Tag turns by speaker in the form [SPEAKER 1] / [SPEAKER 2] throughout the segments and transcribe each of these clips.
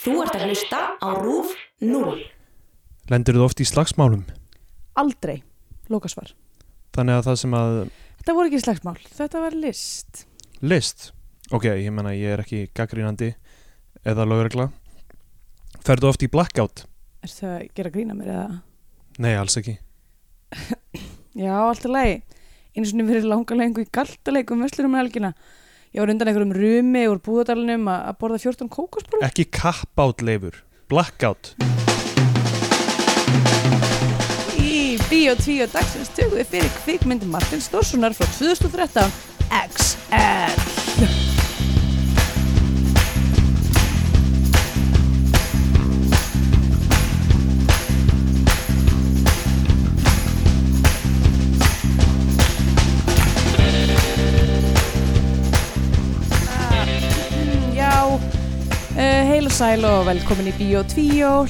[SPEAKER 1] Þú ert að hlusta á RÚF 0.
[SPEAKER 2] Lendir þú oft í slagsmálum?
[SPEAKER 3] Aldrei, lokasvar.
[SPEAKER 2] Þannig að það sem að
[SPEAKER 3] Þetta voru ekki slagsmál, þetta var list.
[SPEAKER 2] list, ok, ég menna ég er ekki gaggrínandi eða lögregla. Ferðu oft í blackout?
[SPEAKER 3] Er það að gera grína mér eða?
[SPEAKER 2] Nei, alls ekki.
[SPEAKER 3] Já, allt í lagi. Einu sinni verið langa lengu í galtaleikum veslurum með helgina. Ég var undan einhverjum rumi úr búðadalinum að að borða 14 kókosbrúð.
[SPEAKER 2] Ekki kappátt leifur, blackout.
[SPEAKER 3] Í Bíó 2 dagsins tökum við fyrir kvikmynd Martin Stórssonar frá 2013 XL. Já, uh, heil og sæl og velkomin í Bíó 2,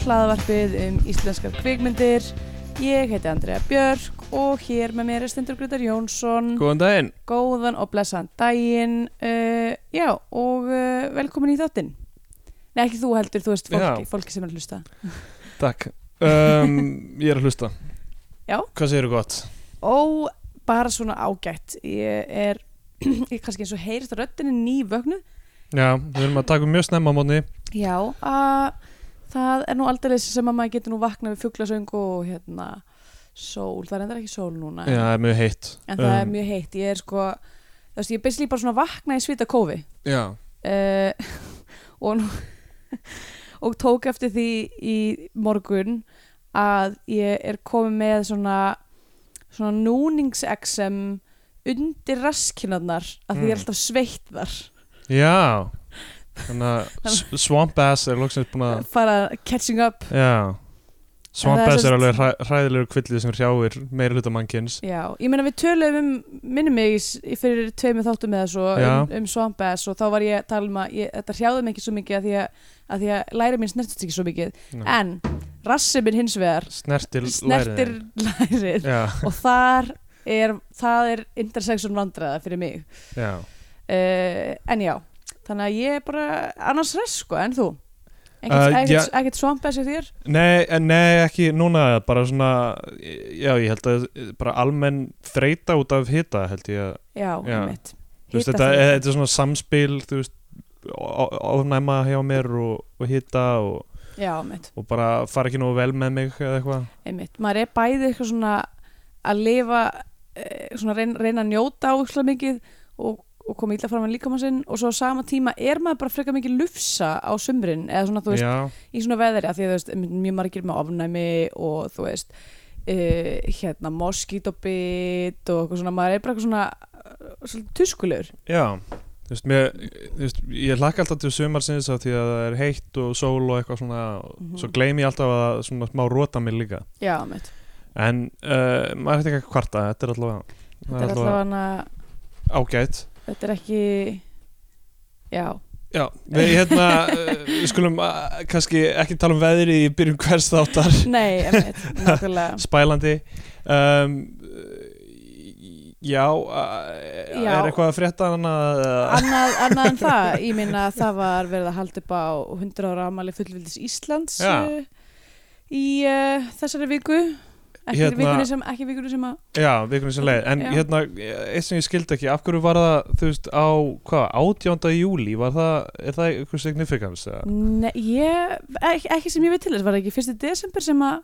[SPEAKER 3] hlaðvarpið um íslenskar kvikmyndir. Ég heiti Andrea Björk og hér með mér er Stendur Grétar Jónsson.
[SPEAKER 2] Góðan daginn.
[SPEAKER 3] Góðan og blessaðan daginn. Uh, já, og uh, velkomin í þáttinn. Nei, ekki þú heldur, þú veist fólki,
[SPEAKER 2] Já.
[SPEAKER 3] fólki sem er að hlusta.
[SPEAKER 2] Takk. Um, ég er að hlusta.
[SPEAKER 3] Já.
[SPEAKER 2] Hvað segirðu gott?
[SPEAKER 3] Ó, bara svona ágætt. Ég er, ég kannski eins og heyrist að röddinni nývögnuð.
[SPEAKER 2] Já, við erum að taka um mjög snemma á mótni.
[SPEAKER 3] Já, að það er nú aldrei sem að maður getur nú vaknað við fuglasöng og hérna sól, það er endur ekki sól núna
[SPEAKER 2] Já, það er mjög heitt. Um,
[SPEAKER 3] en það er mjög heitt, ég er sko þú veist, ég er basically bara svona vaknað í svita kófi
[SPEAKER 2] Já.
[SPEAKER 3] uh, og nú og tók eftir því í morgun að ég er komið með svona svona núningsexem undir raskinarnar að því ég er
[SPEAKER 2] Mm.
[SPEAKER 3] alltaf sveitt þar
[SPEAKER 2] Já. Þannig að s- Swamp Ass er loksins búin að
[SPEAKER 3] fara catching up
[SPEAKER 2] Já
[SPEAKER 3] En það er
[SPEAKER 2] Svampæs er
[SPEAKER 3] sem
[SPEAKER 2] alveg hræ, hræðilegur kvillið sem hrjáir meira hluta mannkins
[SPEAKER 3] Já, ég meina við töluðum um minnum mig í s- í fyrir tveimur þáttum eða svo
[SPEAKER 2] Já.
[SPEAKER 3] um, um svampaðs og þá var ég að tala um að ég, þetta hrjáði mig ekki svo mikið að því að, að, því að læri mín snertist ekki svo mikið
[SPEAKER 2] Já.
[SPEAKER 3] en rassi minn hins vegar
[SPEAKER 2] Snertir
[SPEAKER 3] snertir
[SPEAKER 2] lærið.
[SPEAKER 3] lærið
[SPEAKER 2] Já,
[SPEAKER 3] og þar er, það er intersection vandræða fyrir mig
[SPEAKER 2] já
[SPEAKER 3] uh, en já, þannig að ég er bara annars res sko en þú
[SPEAKER 2] Uh,
[SPEAKER 3] ekkert
[SPEAKER 2] já.
[SPEAKER 3] uh, ekkert svampaðs í þér
[SPEAKER 2] Nei, en nei, ekki núna bara svona, já, ég held að bara almenn þreita út af hita held ég að,
[SPEAKER 3] Já,
[SPEAKER 2] Já.
[SPEAKER 3] einmitt
[SPEAKER 2] þú veist,
[SPEAKER 3] Hita
[SPEAKER 2] þetta,
[SPEAKER 3] þreyta.
[SPEAKER 2] þetta er svona samspil, þú veist ó- ó- ofnæma hjá mér og, og hita og,
[SPEAKER 3] Já, einmitt
[SPEAKER 2] og bara fara ekki nógu vel með mig eða eitthvað
[SPEAKER 3] einmitt, maður er bæði eitthvað svona að lifa eh, svona reyna, reyna að njóta ákslega mikið og, og koma illa fram að líka maður sinn og svo á sama tíma er maður bara frekar mikið lufsa á sumrin eða svona þú veist,
[SPEAKER 2] Já,
[SPEAKER 3] í svona veðri að því að þú veist, einmitt mjög margir með ofnæmi og þú veist uh, hérna moskítobit og eitthvað svona, maður er bara eitthvað svona eh, svolítið tuskulegur
[SPEAKER 2] Já, þú veist, mér, þú veist, ég hlakka alltaf til sumarsins af því að það er heitt og sól og eitthvað svona
[SPEAKER 3] Mhm.
[SPEAKER 2] svo gleymi ég alltaf að svona smá rota mig líka
[SPEAKER 3] já, mitt,
[SPEAKER 2] en uh, maður hefði ekki að kvarta, þetta er allavega það
[SPEAKER 3] þetta er alltaf hana
[SPEAKER 2] ágætt
[SPEAKER 3] þetta er ekki já,
[SPEAKER 2] Já, við hérna, uh, við skulum uh, kannski ekki tala um veðrið í byrjun hvers þáttar
[SPEAKER 3] nei, einmitt, nákvæmlega
[SPEAKER 2] spælandi um, Já, uh,
[SPEAKER 3] Já.
[SPEAKER 2] er eitthvað að frétta annað? eða?
[SPEAKER 3] annað, annað en það, ég minna að það var verið að halda upp á 100 ára afmæli fullvildis Íslands
[SPEAKER 2] Já.
[SPEAKER 3] uh, í uh, þessari viku ekki
[SPEAKER 2] Hérna-
[SPEAKER 3] hérna, vikunni sem, ekki vikunni sem að
[SPEAKER 2] Já, vikunum sem leið, en
[SPEAKER 3] Já.
[SPEAKER 2] hérna eitt sem ég skildi ekki, af hverju var það þú veist, á, hvað, 18. júli var það, er það eitthvað significance eða?
[SPEAKER 3] ne, ég, ekki, ekki sem ég veit til þess var það ekki fyrsti desember sem að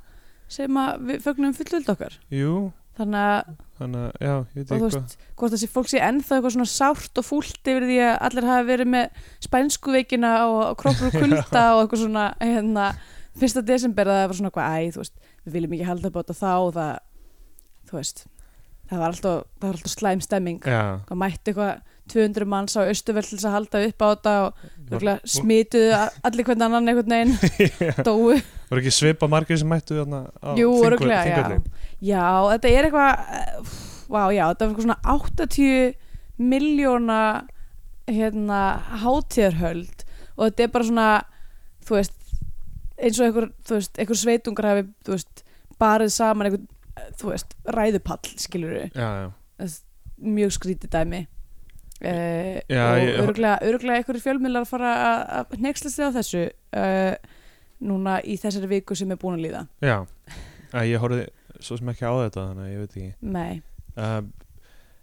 [SPEAKER 3] sem að við fögnum fullvild okkar
[SPEAKER 2] Jú,
[SPEAKER 3] þannig að,
[SPEAKER 2] þannig að, já, ég veit
[SPEAKER 3] og þú
[SPEAKER 2] ekki hvað
[SPEAKER 3] veist, hvort þessi fólk sé ennþá eitthvað svona sárt og fúlt yfir því að allir hafi verið með spænskuveikina og, og kroppur og kulda og eitthvað svona hérna, fyrsta desember það var svona eitthvað, æ, þú veist, við viljum ekki halda upp á þetta þá og það, þú veist það var alltaf, það var alltaf slæm stemming
[SPEAKER 2] Já,
[SPEAKER 3] og mætti eitthvað 200 manns á austurvöld til þess að halda upp á þetta og
[SPEAKER 2] var,
[SPEAKER 3] örugglega smituðu a- allir hvern annan einhvern veginn dóu,
[SPEAKER 2] var ekki svipa margir sem mættu þarna á
[SPEAKER 3] jú,
[SPEAKER 2] Þingvöll-
[SPEAKER 3] öruglega já.
[SPEAKER 2] Þingvöllum?
[SPEAKER 3] já, þetta er eitthvað eh, vá, já, þetta var eitthvað svona 80 miljóna hérna, hátíðarhöld og þetta er bara svona þú veist, eins og einhver, þú veist, einhver sveitungar hafi, þú veist, barið saman eh, einhver, þú veist, ræðupall, skilur
[SPEAKER 2] Já, já,
[SPEAKER 3] mjög skrítið dæmi uh,
[SPEAKER 2] Já,
[SPEAKER 3] og
[SPEAKER 2] ég-
[SPEAKER 3] örglega, örglega einhverju fjölmiðlar fara að- að nexla sig á þessu uh, núna í þessari viku sem er búin að líða
[SPEAKER 2] já að ég horfði svo sem ekki á þetta þannig að ég veit ekki
[SPEAKER 3] Nei,
[SPEAKER 2] uh,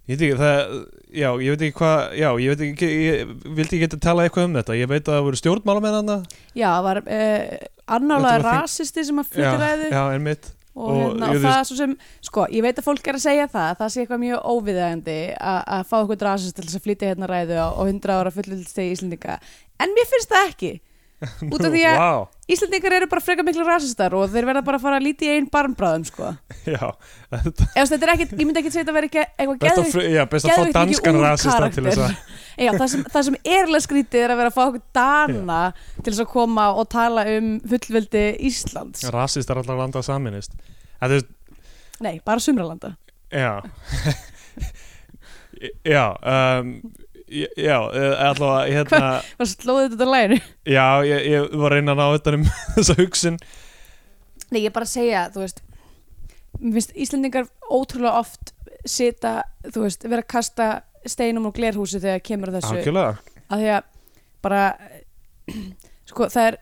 [SPEAKER 2] ég veit ekki það já, ég veit ekki hvað já, ég veit ekki, ég vildi ekki geta talað eitthvað um þetta ég veit að það voru stjórnmálamenn hann
[SPEAKER 3] já, það var uh, annálaði
[SPEAKER 2] Þetta var þing-
[SPEAKER 3] rasisti sem að
[SPEAKER 2] já,
[SPEAKER 3] flutti ræðu
[SPEAKER 2] já, en mitt
[SPEAKER 3] og,
[SPEAKER 2] Og
[SPEAKER 3] hérna,
[SPEAKER 2] ég
[SPEAKER 3] og það svo sem, sko, ég veit að fólk er að segja það það sé eitthvað mjög óviðægandi að að fá eitthvað rasist til þess að flytja hérna ræðu á, á 100 ára fullvöldstegi Íslendinga en mér finnst það ekki út af því að
[SPEAKER 2] wow.
[SPEAKER 3] Íslendingar eru bara frekar miklu rasistar og þeir verða bara að fara að líti í einn barmbráðum sko.
[SPEAKER 2] já, þetta,
[SPEAKER 3] Ef þú- þetta er ekkit, ég myndi ekki segja þetta veri
[SPEAKER 2] best,
[SPEAKER 3] eitthvað
[SPEAKER 2] að,
[SPEAKER 3] geðvikt
[SPEAKER 2] fr- já, best að fá
[SPEAKER 3] geðveikt mikið
[SPEAKER 2] danskan
[SPEAKER 3] úr
[SPEAKER 2] rasista til þess að
[SPEAKER 3] Já, það sem, það sem erlega skrítið er að vera að fá okkur dana til þess að koma og tala um fullveldi Íslands
[SPEAKER 2] rasist er allar landa saminist að þú veist,
[SPEAKER 3] Nei, bara sumralanda
[SPEAKER 2] Já Já um, j- Já, eh, allavega hérna,
[SPEAKER 3] Hvað slóðið þetta læginu?
[SPEAKER 2] Já, ég, ég var að reyna að ná þetta um þessa hugsun
[SPEAKER 3] Nei, ég er bara að segja, þú veist mér finnst Íslendingar ótrúlega oft sita, þú veist, vera að kasta steinum og glerhúsi þegar kemur að þessu
[SPEAKER 2] Algjörlega
[SPEAKER 3] að því að bara sko, það er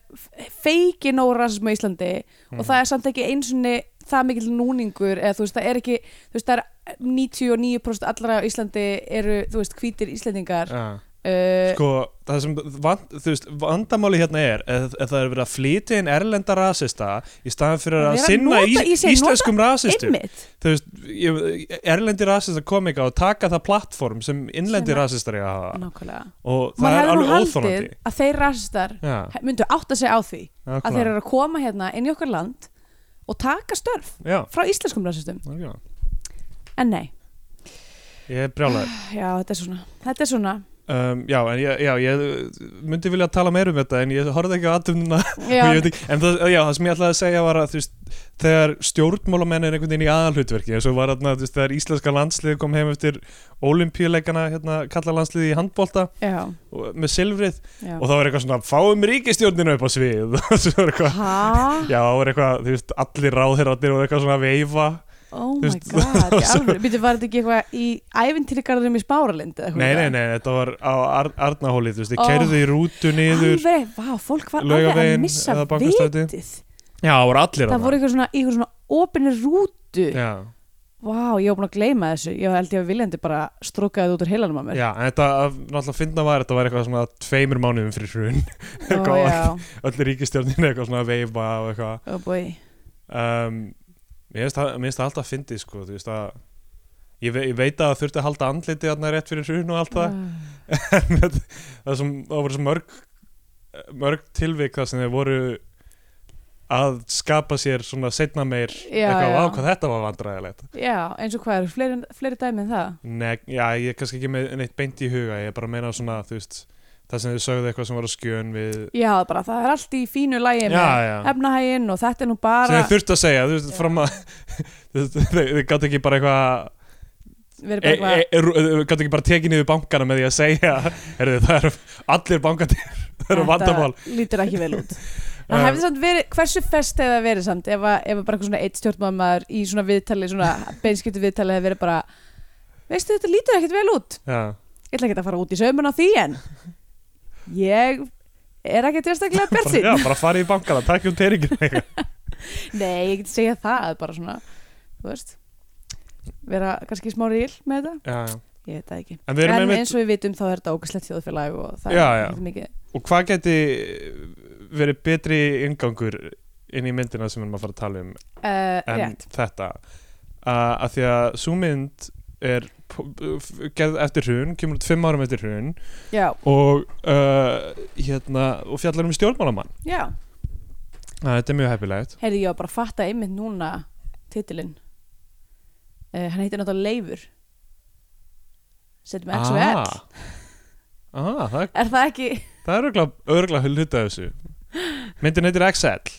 [SPEAKER 3] feiki nóg rasismu í Íslandi og það er samt ekki einsunni það mikill núningur eða þú veist, það er ekki þú veist, það er 99% allra á Íslandi eru, þú veist, hvítir Íslendingar
[SPEAKER 2] Já.
[SPEAKER 3] uh,
[SPEAKER 2] Sko, það sem vand, þú veist, vandamáli hérna er að það er verið að flytja inn erlenda rasista í staðan fyrir
[SPEAKER 3] Það
[SPEAKER 2] að
[SPEAKER 3] er að
[SPEAKER 2] sinna
[SPEAKER 3] nota-
[SPEAKER 2] í,
[SPEAKER 3] ég segi, nota
[SPEAKER 2] íslenskum rasistum
[SPEAKER 3] einmitt
[SPEAKER 2] þú veist, ég, erlendi rasista kom ekki á að taka það plattform sem innlendi
[SPEAKER 3] Sem að-
[SPEAKER 2] rasistar ég að hafa
[SPEAKER 3] nákvæmlega
[SPEAKER 2] og
[SPEAKER 3] Maður
[SPEAKER 2] það er
[SPEAKER 3] hefði nú
[SPEAKER 2] alveg
[SPEAKER 3] haldið
[SPEAKER 2] óþólandi
[SPEAKER 3] að þeir rasistar
[SPEAKER 2] Já,
[SPEAKER 3] myndu átta sig á því að þeir
[SPEAKER 2] nákvæmlega.
[SPEAKER 3] eru að koma hérna inn í okkar land og taka störf
[SPEAKER 2] Já,
[SPEAKER 3] frá íslenskum rasistum
[SPEAKER 2] algjörlega.
[SPEAKER 3] en nei,
[SPEAKER 2] ég er brjálæður
[SPEAKER 3] já þetta er svona þetta er svona,
[SPEAKER 2] Um, já, en ég, já, ég myndi vilja tala meir um þetta en ég horfði ekki á aðtöfnuna
[SPEAKER 3] já,
[SPEAKER 2] en það, já, það sem ég ætlaði að segja var að þú veist, þegar stjórnmálamenn er einhvern veginn í aðalhutverki eins og var þarna, þú veist, þegar íslenska landslið kom heim eftir olimpíuleikana hérna, kalla landsliði í handbolta
[SPEAKER 3] já,
[SPEAKER 2] og, með silfrið
[SPEAKER 3] já.
[SPEAKER 2] og það var eitthvað svona fáum ríkistjórnina upp á svið og svo var eitthvað
[SPEAKER 3] Hæ?
[SPEAKER 2] Já, það var eitthvað, þú veist, allir ráðherrarnir voru eitthvað svona að veifa
[SPEAKER 3] Oh
[SPEAKER 2] Þú
[SPEAKER 3] my
[SPEAKER 2] veist,
[SPEAKER 3] god,
[SPEAKER 2] og
[SPEAKER 3] ég
[SPEAKER 2] svo-
[SPEAKER 3] alveg, býttu var þetta ekki eitthvað í ævintýrigarðurum í Spáralind eða
[SPEAKER 2] Nei, nei, nei, þetta var á Ar Arnahóli, þú veist, þið
[SPEAKER 3] Ó.
[SPEAKER 2] kerðu í rútu niður
[SPEAKER 3] Oh. Alveg, vá, fólk var alveg að
[SPEAKER 2] Laugaveginn
[SPEAKER 3] missa
[SPEAKER 2] eða Bankastræti.
[SPEAKER 3] vitið
[SPEAKER 2] Já, það voru allir
[SPEAKER 3] Það voru eitthvað svona, eitthvað svona opinni rútu
[SPEAKER 2] Já,
[SPEAKER 3] Vá, ég var búin að gleyma þessu Ég held ég að viljandi bara strókaði þetta út úr heilanum að mér
[SPEAKER 2] Já, en þetta, af- náttúrulega finna var þetta var eitthvað svona tveimur mánuðum fyrir hrun
[SPEAKER 3] Ó,
[SPEAKER 2] eitthvað
[SPEAKER 3] já,
[SPEAKER 2] öll ríkistjórnin eitthvað svona að veifa og eitthvað
[SPEAKER 3] oh boy
[SPEAKER 2] um, Mér finnst það- mér finnst það alltaf að fyndi sko, þú veist að Ég, ve ég veit að það þurfti að halda andliti þarna rétt fyrir hrun og allt það en þetta- það, sem, það voru svo mörg mörg tilvik þar sem þeir voru að skapa sér svona setna meir
[SPEAKER 3] Já,
[SPEAKER 2] eitthvað,
[SPEAKER 3] já.
[SPEAKER 2] vá hvað þetta var vandræðilegt
[SPEAKER 3] Já, eins og hvað er fleiri, fleiri dæmi en það
[SPEAKER 2] Nei, já, ég er kannski ekki með neitt beint í huga, ég er bara að meina svona, þú veist, það sem þau sögðu eitthvað sem var á skjön við,
[SPEAKER 3] Já, bara það er allt í fínu lægi
[SPEAKER 2] Já,
[SPEAKER 3] með
[SPEAKER 2] já.
[SPEAKER 3] efnahæginn og þetta er nú
[SPEAKER 2] sem
[SPEAKER 3] bara
[SPEAKER 2] þau þurftu að segja, þú veist,
[SPEAKER 3] Já.
[SPEAKER 2] fram að, þú veist, þau, þau gátt ekki bara eitthvað,
[SPEAKER 3] verið
[SPEAKER 2] e,
[SPEAKER 3] bara eitthvað
[SPEAKER 2] e, rú- þau gátt ekki bara tekið niður bankana með því að segja, herðu, það eru allir bankandir, það eru vandamál.
[SPEAKER 3] lítur ekki vel út
[SPEAKER 2] Eh.
[SPEAKER 3] það hefði samt verið, hversu fest hefði það verið samt ef, að, ef að bara eitthvað svona eitt stjórnmámaður í svona viðtali, svona beinskipti viðtali hefði verið bara, veistu þetta lítur ekkit vel út
[SPEAKER 2] Já,
[SPEAKER 3] ég ætla ekki að fara út í saumun á því en ég er ekki tilstaklega
[SPEAKER 2] bara, já,
[SPEAKER 3] bjartsinn
[SPEAKER 2] bara farið í bankana, takk um teringin eitthvað.
[SPEAKER 3] nei, ég get segja það bara svona, þú veist vera kannski smá ríl með þetta
[SPEAKER 2] Já, já.
[SPEAKER 3] ég veit það ekki
[SPEAKER 2] En við erum
[SPEAKER 3] en
[SPEAKER 2] einmitt,
[SPEAKER 3] eins og við vitum þá er þetta ógæslegt þjóðfélag og það
[SPEAKER 2] Já,
[SPEAKER 3] er
[SPEAKER 2] já.
[SPEAKER 3] ekkert mikið
[SPEAKER 2] og hvað geti verið betri ingangur inn í myndina sem við erum að fara að tala um
[SPEAKER 3] uh,
[SPEAKER 2] en
[SPEAKER 3] rétt,
[SPEAKER 2] þetta uh, að því að sú mynd er p- f- gerð eftir hrun kemur út fimm árum eftir hrun
[SPEAKER 3] já,
[SPEAKER 2] og, uh, hérna, og fjallar um stjórnmálamann
[SPEAKER 3] já
[SPEAKER 2] Æ, þetta er mjög heppilegt
[SPEAKER 3] Heyrðu, ég var bara að fatta einmitt núna titilinn uh, Hann heitir náttúrulega Leifur Settum X og L
[SPEAKER 2] ah. ah, það, er-
[SPEAKER 3] Er það ekki?
[SPEAKER 2] það er örgla, örgla hluta af þessu myndin heitir XL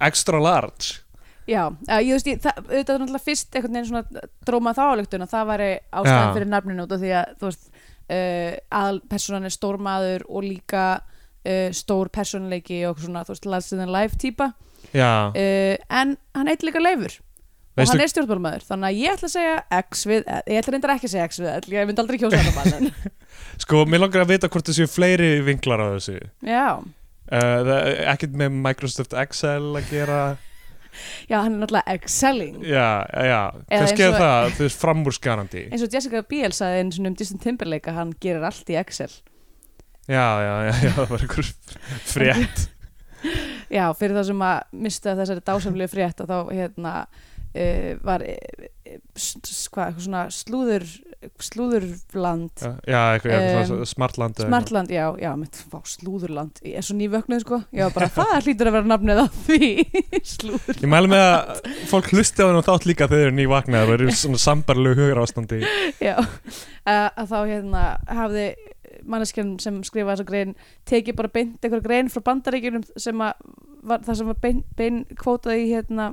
[SPEAKER 2] extra large
[SPEAKER 3] Já, uh, ég þú veist, ég, það, auðvitað er náttúrulega fyrst einhvern veginn svona drómað þá álöktun að það væri ástæðan
[SPEAKER 2] Já.
[SPEAKER 3] fyrir nafninu út af því að þú veist, uh, aðalpersonan er stór maður og líka uh, stór personleiki og svona, þú veist, last in the life típa
[SPEAKER 2] já,
[SPEAKER 3] uh, en hann heitir líka Leifur og
[SPEAKER 2] Veistu-
[SPEAKER 3] hann er stjórnmálmaður þannig að ég ætla að segja X við L ég ætla reyndar ekki að segja X við L ég myndi aldrei kjósa hann um mann en-
[SPEAKER 2] Sko, mér langar að vita hvort það séu fleiri vinklar á þessu uh,
[SPEAKER 3] já.
[SPEAKER 2] það, Ekkert með Microsoft Excel að gera
[SPEAKER 3] já, hann er náttúrulega excelling
[SPEAKER 2] Já, já,
[SPEAKER 3] Eða
[SPEAKER 2] kannski
[SPEAKER 3] eins
[SPEAKER 2] er
[SPEAKER 3] og-
[SPEAKER 2] það Þú veist, framúrskarandi
[SPEAKER 3] eins og Jessica Biel sagði eins og um Distin Timberlake að hann gerir allt í Excel
[SPEAKER 2] Já, já, já, já, það var einhver frétt
[SPEAKER 3] já, fyrir það sem að mista þessari dásamlegu frétt að þá hérna uh, var uh, hvað, eitthvað svona slúður slúðurland
[SPEAKER 2] Já, eitthvað, eitthvað
[SPEAKER 3] Um,
[SPEAKER 2] um, smartland eða eitthvað.
[SPEAKER 3] Smartland, já, já, mitt, vá, slúðurland ég er svo nývöknuð, sko, já, bara það hlýtur að vera nafnið á því slúður,
[SPEAKER 2] Ég mælu með að fólk hlusti á þennan þátt líka þegar þeir eru nývaknað og eru í svona sambarlegu hugur ástandi
[SPEAKER 3] já uh, að þá, hérna, hafði manneskjan sem skrifaði þessa grein tekið bara beint einhver grein frá bandaríkjunum sem að, var, það sem var bein, bein kvótaði í, hérna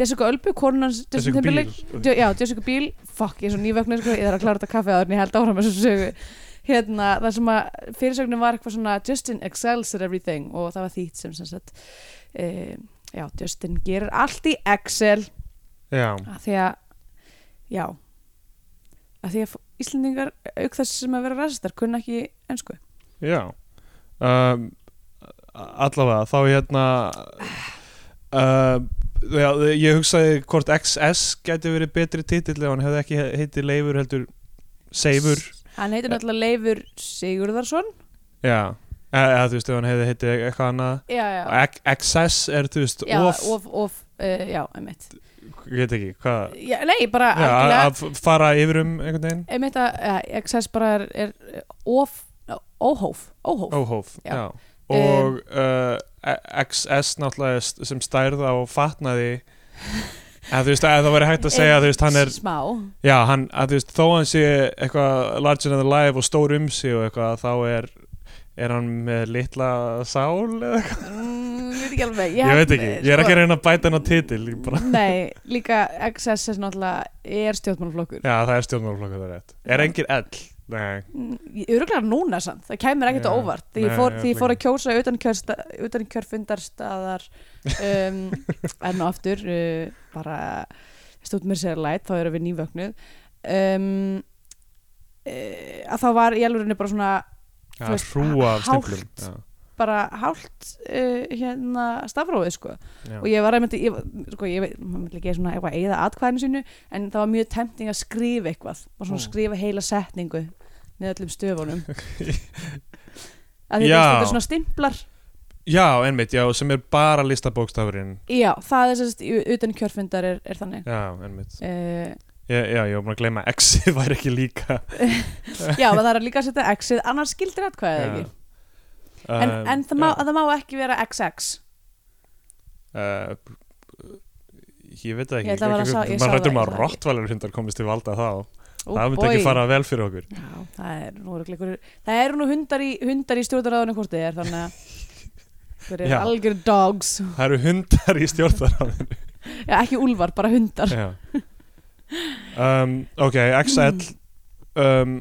[SPEAKER 3] Jessica Ölbu, konunans Justin
[SPEAKER 2] Jessica Biel.
[SPEAKER 3] Timberlake Jo- Já, Jessica Biel, fuck, ég er svo nývöknuð sko, ég þarf að klára þetta kaffi áður en ég held áfram þessu sögu hérna, það sem að fyrirsögnin var eitthvað svona Justin excels at everything og það var þýtt sem sem sagt e, já, Justin gerir allt í Excel
[SPEAKER 2] Já,
[SPEAKER 3] að því að já, að því að f- Íslendingar auk þess sem að vera rasistar kunna ekki ennsku
[SPEAKER 2] já um, Allavega, þá hérna uh, já, Ég hugsaði hvort XS gæti verið betri titill ef hann hefði ekki heitið Leifur heldur Seifur Eh.
[SPEAKER 3] hann heitir náttúrulega Leifur Sigurðarsson
[SPEAKER 2] Já, eða þú veist ef hann hefði heitið eitthvað annað
[SPEAKER 3] já, já,
[SPEAKER 2] X- XS er þú veist
[SPEAKER 3] já,
[SPEAKER 2] of,
[SPEAKER 3] of, of uh, já, einmitt
[SPEAKER 2] ég veit ekki, hvað
[SPEAKER 3] já, nei, bara
[SPEAKER 2] Já, að
[SPEAKER 3] algjörlega-
[SPEAKER 2] að fara yfir um einhvern veginn
[SPEAKER 3] einmitt að ja, XS bara er, er of, óhóf, óhóf.
[SPEAKER 2] Óhóf,
[SPEAKER 3] Já.
[SPEAKER 2] já, Og uh, XS náttúrulega er st- sem stærð á fatnaði En þú veist, að það væri hægt að segja, þú veist, hann er,
[SPEAKER 3] smá
[SPEAKER 2] já, hann, að þú veist, þó hann sé eitthvað larger than life og stór um sig og eitthvað, þá er, er hann með litla sál eða eitthvað?
[SPEAKER 3] mm, ég veit ekki alveg
[SPEAKER 2] Ég veit ekki, ég
[SPEAKER 3] sko-
[SPEAKER 2] er ekki að reyna að bæta hann á titil, ég bara,
[SPEAKER 3] nei, líka XS er náttúrulega er stjórnmálflokkur
[SPEAKER 2] já, það er stjórnmálflokkur það er rétt. Er engin L? Nei,
[SPEAKER 3] öruglega Mm, núna samt, það kæmur ekkert
[SPEAKER 2] Já.
[SPEAKER 3] á óvart því ég
[SPEAKER 2] Nei,
[SPEAKER 3] fór, því ég fór að
[SPEAKER 2] örugglega.
[SPEAKER 3] kjósa utan, kjörsta, utan kjörfundarstaðar um, enn og aftur uh, bara stútt mér sér læt, þá erum við nývöknuð um, uh, að þá var í alvegurinu bara svona
[SPEAKER 2] já,
[SPEAKER 3] Þú veist,
[SPEAKER 2] hrúa af
[SPEAKER 3] hálft.
[SPEAKER 2] stimplum, já,
[SPEAKER 3] bara hálft uh, hérna stafróið sko
[SPEAKER 2] já.
[SPEAKER 3] og ég var einmitt, ég, sko ég veit maður vil ekki svona eitthvað eða atkvæðinu sínu en það var mjög tempting að skrifa eitthvað og svona
[SPEAKER 2] Mm.
[SPEAKER 3] skrifa heila setningu með öllum stöfunum að
[SPEAKER 2] Já.
[SPEAKER 3] því þetta þetta er svona stimplar
[SPEAKER 2] Já, einmitt, já, sem er bara listabókstafurinn
[SPEAKER 3] já, það er sérst, utan kjörfundar er, er þannig
[SPEAKER 2] Já, einmitt
[SPEAKER 3] uh,
[SPEAKER 2] Já, já ég var búin að gleyma að X-ið væri ekki líka
[SPEAKER 3] já, og það er líka að setja x-ið annars skildir atkvæðið
[SPEAKER 2] Já.
[SPEAKER 3] ekki en,
[SPEAKER 2] Um,
[SPEAKER 3] en það, má,
[SPEAKER 2] já.
[SPEAKER 3] það má ekki vera xx
[SPEAKER 2] Uh, Ég veit það ekki
[SPEAKER 3] Ég ætla að vera að sá- ég
[SPEAKER 2] Man
[SPEAKER 3] sá það,
[SPEAKER 2] rættum
[SPEAKER 3] ég
[SPEAKER 2] um að
[SPEAKER 3] sá það ekki.
[SPEAKER 2] rottvalur hundar komist til valda þá
[SPEAKER 3] Ó,
[SPEAKER 2] Það myndi ekki
[SPEAKER 3] boy.
[SPEAKER 2] fara vel fyrir okkur
[SPEAKER 3] já, það er nú, örugglega einhverjir- það er nú hundar í, hundar í stjórnaráðinu hvort þið er þannig að þeir eru
[SPEAKER 2] Já.
[SPEAKER 3] algjör dogs
[SPEAKER 2] Það eru hundar í stjórnarafinu
[SPEAKER 3] já, ekki úlvar, bara hundar
[SPEAKER 2] um, Ok, XL um,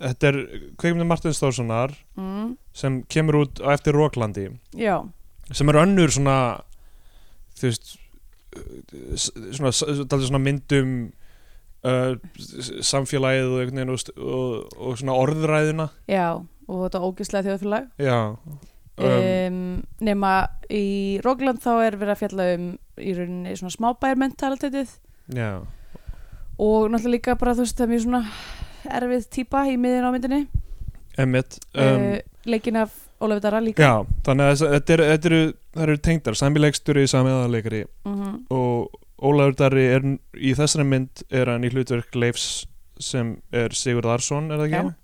[SPEAKER 2] Þetta er kveikmynd Martin Stórssonar
[SPEAKER 3] mm,
[SPEAKER 2] sem kemur út á eftir Róklandi
[SPEAKER 3] já,
[SPEAKER 2] sem er önnur svona þú veist uh, s- svona, s- dálítið svona myndum uh, s- samfélagið og, einhvern veginn og, st- og, og svona orðræðina
[SPEAKER 3] já og þetta ógislega þjóðfélag
[SPEAKER 2] já um,
[SPEAKER 3] um, nema í Rókland þá er verið að fjalla um í rauninni svona smábæjarmentalitetið
[SPEAKER 2] já,
[SPEAKER 3] og náttúrulega líka bara þú veist það er mjög svona erfið típa í miðin á myndinni
[SPEAKER 2] emmitt um,
[SPEAKER 3] um, leikin af Ólafur Dara líka
[SPEAKER 2] já, þannig að þess- þetta eru- þetta eru það eru tengdar, sami leiksturi, sami aðanleikari
[SPEAKER 3] Mhm.
[SPEAKER 2] og Ólafur Darri er n- í þessari mynd er hann í hlutverk Leifs sem er Sigurð Arsson er það ekki?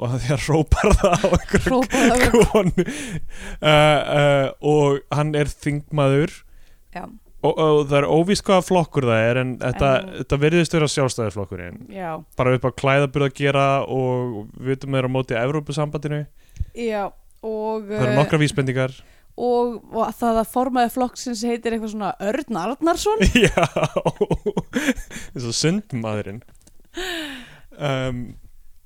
[SPEAKER 2] og því að rópar það á einhverju
[SPEAKER 3] Hrópaði það verið-
[SPEAKER 2] konu uh, uh, og hann er þingmaður
[SPEAKER 3] já,
[SPEAKER 2] og, og það er óvíst hvaða flokkur það er en þetta,
[SPEAKER 3] En-
[SPEAKER 2] þetta verðist vera sjálfstæðisflokkurinn
[SPEAKER 3] já,
[SPEAKER 2] bara upp á klæðaburð að gera og við veitum við erum á móti Evrópusambandinu
[SPEAKER 3] já og, eh,
[SPEAKER 2] það eru nokkra vísbendingar
[SPEAKER 3] og, og það að formaði flokksins heitir eitthvað svona Örn Arnarsson
[SPEAKER 2] já eins og sundmaðurinn um,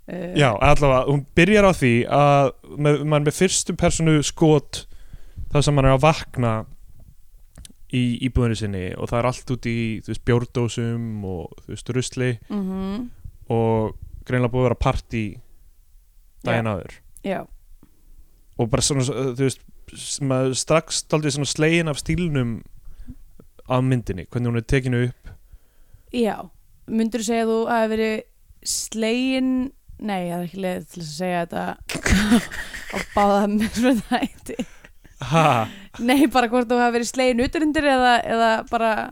[SPEAKER 3] uh,
[SPEAKER 2] já, allavega, hún byrjar á því að með, mann með fyrstu personu skot þar sem mann er að vakna í íbúðinu sinni og það er allt út í þú veist, bjórdósum og þú veist, rusli
[SPEAKER 3] mm -hmm.
[SPEAKER 2] og greinlega búið að vera partí daginn áður
[SPEAKER 3] já,
[SPEAKER 2] og bara svona, þú veist s- maður strax staldið svona slegin af stílnum af myndinni, hvernig hún er tekinu upp
[SPEAKER 3] já myndur þú segja að þú hafi verið slegin nei, það er ekki leið til þess að segja þetta og báða það með svona þætti
[SPEAKER 2] ha,
[SPEAKER 3] nei, bara hvort þú hafi verið slegin uturindir eða, eða bara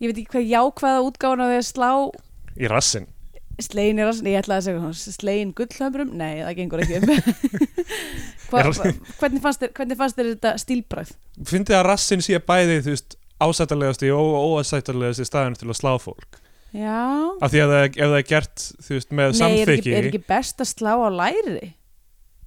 [SPEAKER 3] ég veit ekki hvað jákvæða útgáfuna því að slá
[SPEAKER 2] í rassin
[SPEAKER 3] slegin er að, ég ætlaði að segja svona, slegin gullhamrum, nei, það gengur ekki um Hva,
[SPEAKER 2] Er-
[SPEAKER 3] hvernig, fannst þér, hvernig fannst þér þetta stílbræð?
[SPEAKER 2] fyndið að rassin sé bæði þú veist, ásættalegasti og óásættalegasti staðan til að slá fólk
[SPEAKER 3] já,
[SPEAKER 2] af því að það, ef það er gert þú veist, með
[SPEAKER 3] Nei, er ekki,
[SPEAKER 2] samþykki
[SPEAKER 3] er ekki best að slá á læri?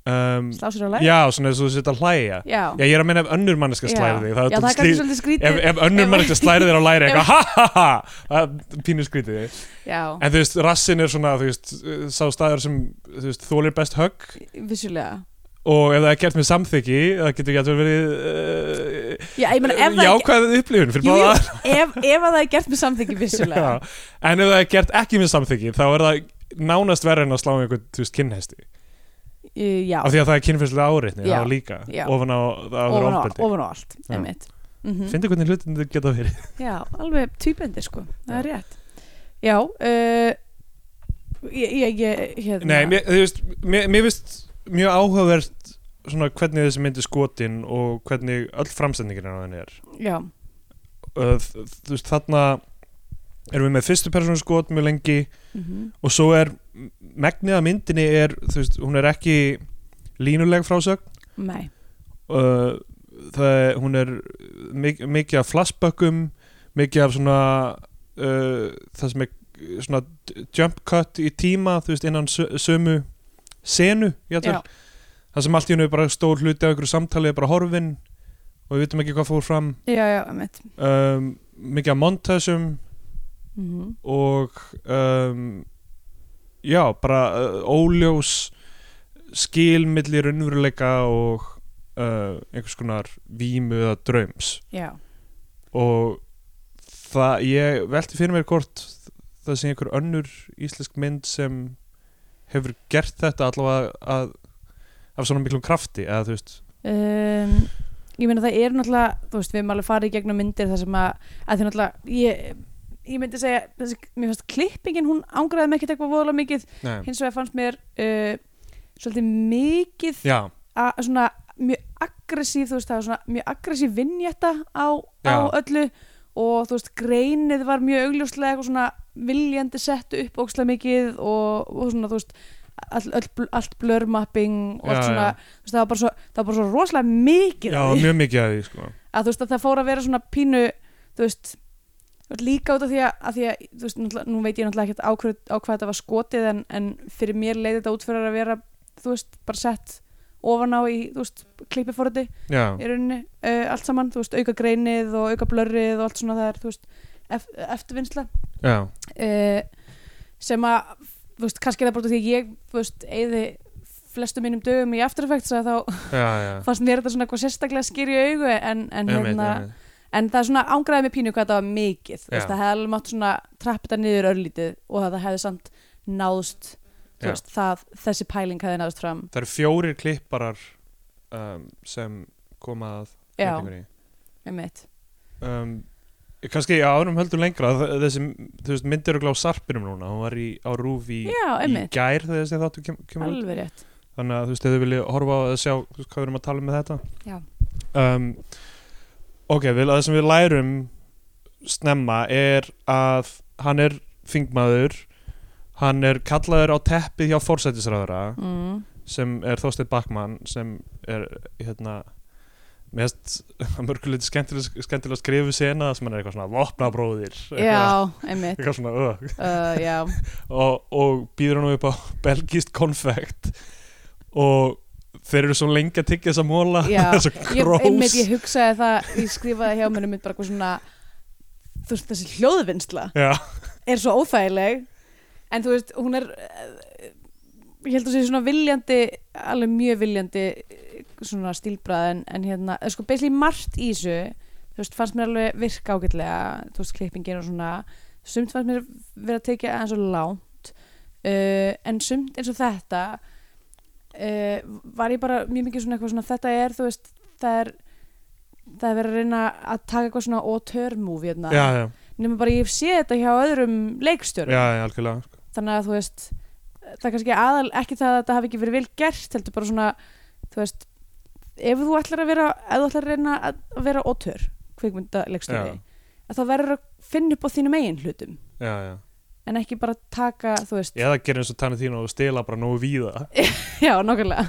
[SPEAKER 2] um,
[SPEAKER 3] Slá sér á læri?
[SPEAKER 2] já, svona eins og þú sitt að hlæja
[SPEAKER 3] Já,
[SPEAKER 2] Já, ég er að meina ef önnur manneska
[SPEAKER 3] Já.
[SPEAKER 2] slæði þig
[SPEAKER 3] Já,
[SPEAKER 2] það er
[SPEAKER 3] það
[SPEAKER 2] dálítið
[SPEAKER 3] er kannski
[SPEAKER 2] skrít-
[SPEAKER 3] svolítið
[SPEAKER 2] ef,
[SPEAKER 3] skrítið
[SPEAKER 2] ef önnur
[SPEAKER 3] Ef-
[SPEAKER 2] manneska slæði þér á læri eitthvað ha ha ha það er pínu skrítið þig
[SPEAKER 3] Já,
[SPEAKER 2] en þú veist, rassin er svona þú veist, sá staður sem þú veist, þólir best högg
[SPEAKER 3] vissulega
[SPEAKER 2] og ef það er gert með samþykki það getur ekki að verið uh,
[SPEAKER 3] Já, ég meina, ef það er
[SPEAKER 2] jákvæðið upplifun fyrir
[SPEAKER 3] Jú, jú,
[SPEAKER 2] báða
[SPEAKER 3] ef, ef að það er gert með samþyggi vissulega
[SPEAKER 2] Já, en ef það er gert ekki með samþykki þá er það nánast verið en að slá einhvern þú veist, kynhesti
[SPEAKER 3] Í- Já,
[SPEAKER 2] af því að það er kynfyrslega áreitni,
[SPEAKER 3] Já,
[SPEAKER 2] það er líka
[SPEAKER 3] já.
[SPEAKER 2] ofan á það er
[SPEAKER 3] ofan á,
[SPEAKER 2] ofbeldi
[SPEAKER 3] ofan á allt
[SPEAKER 2] Já.
[SPEAKER 3] einmitt. Mhm.
[SPEAKER 2] finnir hvernig hlutin þetta geta verið
[SPEAKER 3] Já, alveg týpendi sko, það er rétt Já, uh, ég, ég, ég hérna
[SPEAKER 2] Nei, mér, þú veist, mér, mér finnst mjög áhugavert svona hvernig þessi myndi skotin og hvernig öll framsendingirinn á henni er
[SPEAKER 3] Já,
[SPEAKER 2] Uh, þ- þú veist, þarna erum við með fyrstu persónu skot mjög lengi
[SPEAKER 3] mm
[SPEAKER 2] og svo er megnið að myndinni er, þú veist, hún er ekki línuleg frásögn
[SPEAKER 3] nei
[SPEAKER 2] uh, það, er- hún er mik mikið af flashbökkum mikið af svona uh, það sem er svona d- jump cut í tíma þú veist innan sö- sömu senu
[SPEAKER 3] Já,
[SPEAKER 2] játvel, það sem allt í hennu er bara stór hluti af einhverju samtali er bara horfin og við vitum ekki hvað fór fram
[SPEAKER 3] já, já, einmitt
[SPEAKER 2] um, mikið af montasum
[SPEAKER 3] mm
[SPEAKER 2] og um, já, bara uh, óljós skil milli raunveruleika og uh, einhvers konar vímu eða draums
[SPEAKER 3] Já,
[SPEAKER 2] og það, ég velti fyrir mér hvort það sé einhver önnur íslensk mynd sem hefur gert þetta allavega að, af svona miklum krafti eða þú veist
[SPEAKER 3] um, ég meina það er náttúrulega þú veist við erum alveg farið í gegnum myndir þar sem að, að því náttúrulega ég, ég myndi segja, þessi, mér fannst klippingin hún ángraði mig ekkert eitthvað voðalega mikið
[SPEAKER 2] Nei.
[SPEAKER 3] hins vegar fannst mér uh, svolítið mikið
[SPEAKER 2] já,
[SPEAKER 3] að svona mjög aggressív þú veist það var svona mjög aggressív vinnjætta á, á
[SPEAKER 2] Já.
[SPEAKER 3] öllu og þú veist greinið var mjög augljóslega eitthvað svona viljandi sett upp ókslega mikið og, og svona þú veist all, all, bl- allt blurmapping og allt
[SPEAKER 2] Já,
[SPEAKER 3] svona
[SPEAKER 2] já.
[SPEAKER 3] þú veist, það, var bara svo, það var bara svo rosalega mikið
[SPEAKER 2] já,
[SPEAKER 3] af því.
[SPEAKER 2] mjög mikið að því sko.
[SPEAKER 3] að þú veist að það fór að vera svona pínu þú veist þú veist, líka út af því að, að, því að þú veist, náttúrulega- nú veit ég náttúrulega ekkert á, hver- á hvað þetta var skotið en, en fyrir mér leiði þetta út fyrir að vera þú veist, bara sett ofan á í, þú veist, klippiforði
[SPEAKER 2] já,
[SPEAKER 3] í rauninni, uh, allt saman, þú veist, auka greinið og auka blörrið og allt svona það er, þú veist, ef, eftirvinnsla
[SPEAKER 2] já,
[SPEAKER 3] uh, sem að, þú veist, kannski er það bara út af því að ég, þú veist, eigði flestum mínum dögum í After Effects að þá
[SPEAKER 2] já, já.
[SPEAKER 3] fannst mér þetta svona eitthvað sérstaklega skýr í augu en, en
[SPEAKER 2] Einmitt,
[SPEAKER 3] hérna,
[SPEAKER 2] einmitt.
[SPEAKER 3] en það er svona ángraði með pínu hvað þetta var mikið þú veist,
[SPEAKER 2] Já.
[SPEAKER 3] það hefði alveg mátt svona trappita niður örlítið og það hefði samt náðst þú
[SPEAKER 2] Já.
[SPEAKER 3] veist, það, þessi pæling hefði náðst fram
[SPEAKER 2] það eru fjórir klipparar um, sem koma að
[SPEAKER 3] já,
[SPEAKER 2] breytingunni.
[SPEAKER 3] einmitt
[SPEAKER 2] um, kannski árum höldum lengra þ- þessi þú veist, myndir eru gláð sarpinum núna hún var í, á rúf í,
[SPEAKER 3] já,
[SPEAKER 2] í
[SPEAKER 3] einmitt,
[SPEAKER 2] gær þegar þessi þáttu kem, kemur út
[SPEAKER 3] alveg rétt
[SPEAKER 2] þannig að þú veist, ef þið viljið horfa á að sjá þú veist, hvað við erum að tala um með
[SPEAKER 3] Já.
[SPEAKER 2] þetta um, ok, vel, það sem við lærum snemma er að hann er þingmaður hann er kallaður á teppið hjá forsætisræðara
[SPEAKER 3] mm.
[SPEAKER 2] sem er Þorsteinn Bakman sem er hérna mest mörguleiti skemmtilega, skemmtilega skrifu sena sem hann er eitthvað svona vopna bróðir eitthvað,
[SPEAKER 3] já, einmitt
[SPEAKER 2] eitthvað svona ög
[SPEAKER 3] uh, já,
[SPEAKER 2] og, og býður hann upp á belgist konfekt og þeir eru svo lengi að tyggja þess að móla
[SPEAKER 3] Já.
[SPEAKER 2] þess
[SPEAKER 3] ég,
[SPEAKER 2] krós
[SPEAKER 3] einmitt, ég hugsaði það ég skrifaði hjá mér um mitt bara eitthvað svona þú veist, þessi hljóðvinnsla
[SPEAKER 2] já,
[SPEAKER 3] er svo óþægileg en þú veist, hún er eh, ég held að sé svona viljandi alveg mjög viljandi eh, svona stílbrað en, en hérna, eh, sko, basically margt í þessu þú veist, fannst mér alveg virka ágætlega þú veist, klippingin og svona sumt fannst mér vera að tekja eins og lánt uh, en sumt eins og þetta uh, var ég bara mjög mikið svona eitthvað svona þetta er, þú veist, það er það er verið að reyna að taka eitthvað svona auteur movie hérna,
[SPEAKER 2] já, já,
[SPEAKER 3] nema bara ég sé þetta hjá öðrum
[SPEAKER 2] já,
[SPEAKER 3] leikstjórum
[SPEAKER 2] já, algjörlega sko.
[SPEAKER 3] þannig að þú veist það er kannski aðal, ekki það að þetta hafi ekki verið vel gert heldur bara svona, þú veist ef þú ætlar að vera ef þú ætlar að reyna að að vera ótör kvikmyndalegstöði,
[SPEAKER 2] Já.
[SPEAKER 3] að þá verður að finna upp á þínum eigin hlutum
[SPEAKER 2] já, já.
[SPEAKER 3] en ekki bara taka, þú veist
[SPEAKER 2] eða gera eins og tannir þínu og stela bara nógu víða
[SPEAKER 3] já, nokkulega,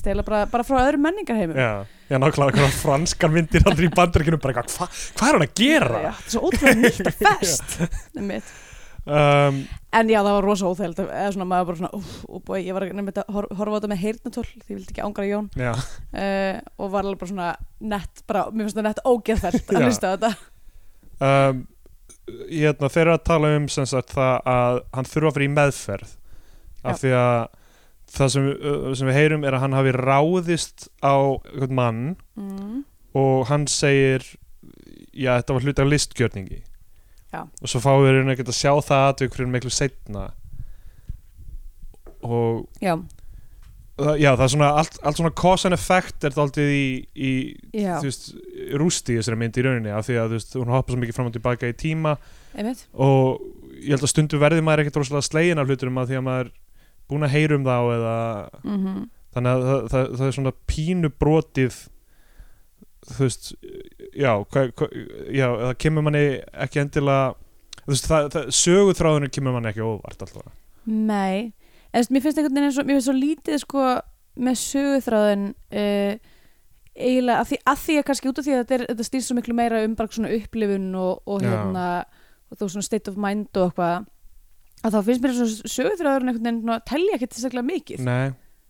[SPEAKER 3] stela bara, bara frá öðrum menningarheimum
[SPEAKER 2] já, já nákvæmlega hvernig franskar myndir aldrei í bandaríkinu bara eitthvað, hva, hvað er hann að gera
[SPEAKER 3] Já, þetta er svo ótrúlega nýtt að fest Einmitt.
[SPEAKER 2] um,
[SPEAKER 3] en já, það var rosa óþægild eða svona maður bara svona, úf, úf, ég var nefnir að hor horfa á þetta með heyrnatól því ég vildi ekki ángra Jón
[SPEAKER 2] já,
[SPEAKER 3] uh, og var alveg bara svona nett, bara, mér finnst það nett ógeðfælt að
[SPEAKER 2] Já.
[SPEAKER 3] hlusta á þetta
[SPEAKER 2] um, hérna, þeir eru að tala um sem sagt það að hann þurfa að fyrir í meðferð af því að það sem, uh, sem við heyrum er að hann hafi ráðist á einhvern mann
[SPEAKER 3] mm.
[SPEAKER 2] og hann segir já, þetta var hluti af listgjörningi
[SPEAKER 3] Já.
[SPEAKER 2] og svo fáum við einhvern veginn að sjá það að við hverjum miklu setna og
[SPEAKER 3] já,
[SPEAKER 2] það- já, það er svona allt, allt svona cause and effect er það aldrei í, í
[SPEAKER 3] já,
[SPEAKER 2] þú veist, rústi í þessari mynd í rauninni af því að þú veist, hún hoppar svo mikið fram og tilbaka í tíma
[SPEAKER 3] einmitt
[SPEAKER 2] og ég held að stundu verði maður ekkert rosalega slegin af hlutunum að því að maður er búin að heyra um þá eða
[SPEAKER 3] mm
[SPEAKER 2] þannig að það, það, það er svona pínu brotið þú veist já, hva, hva, já það kemur manni ekki endilega þú veist, það, það, söguþráðunum kemur manni ekki á óvart alltaf
[SPEAKER 3] Nei, en þú veist, mér finnst einhvern veginn eins og, mér finnst svo lítið sko með söguþráðin uh, eiginlega, að því, að því að kannski út af því að þetta, er, þetta stýrst svo miklu meira um bara svona upplifun og, og
[SPEAKER 2] Já.
[SPEAKER 3] hérna og þú svona state of mind og eitthvað að þá finnst mér svo söguþráðurinn einhvern veginn svona telja ekki tilstaklega mikið,
[SPEAKER 2] Nei,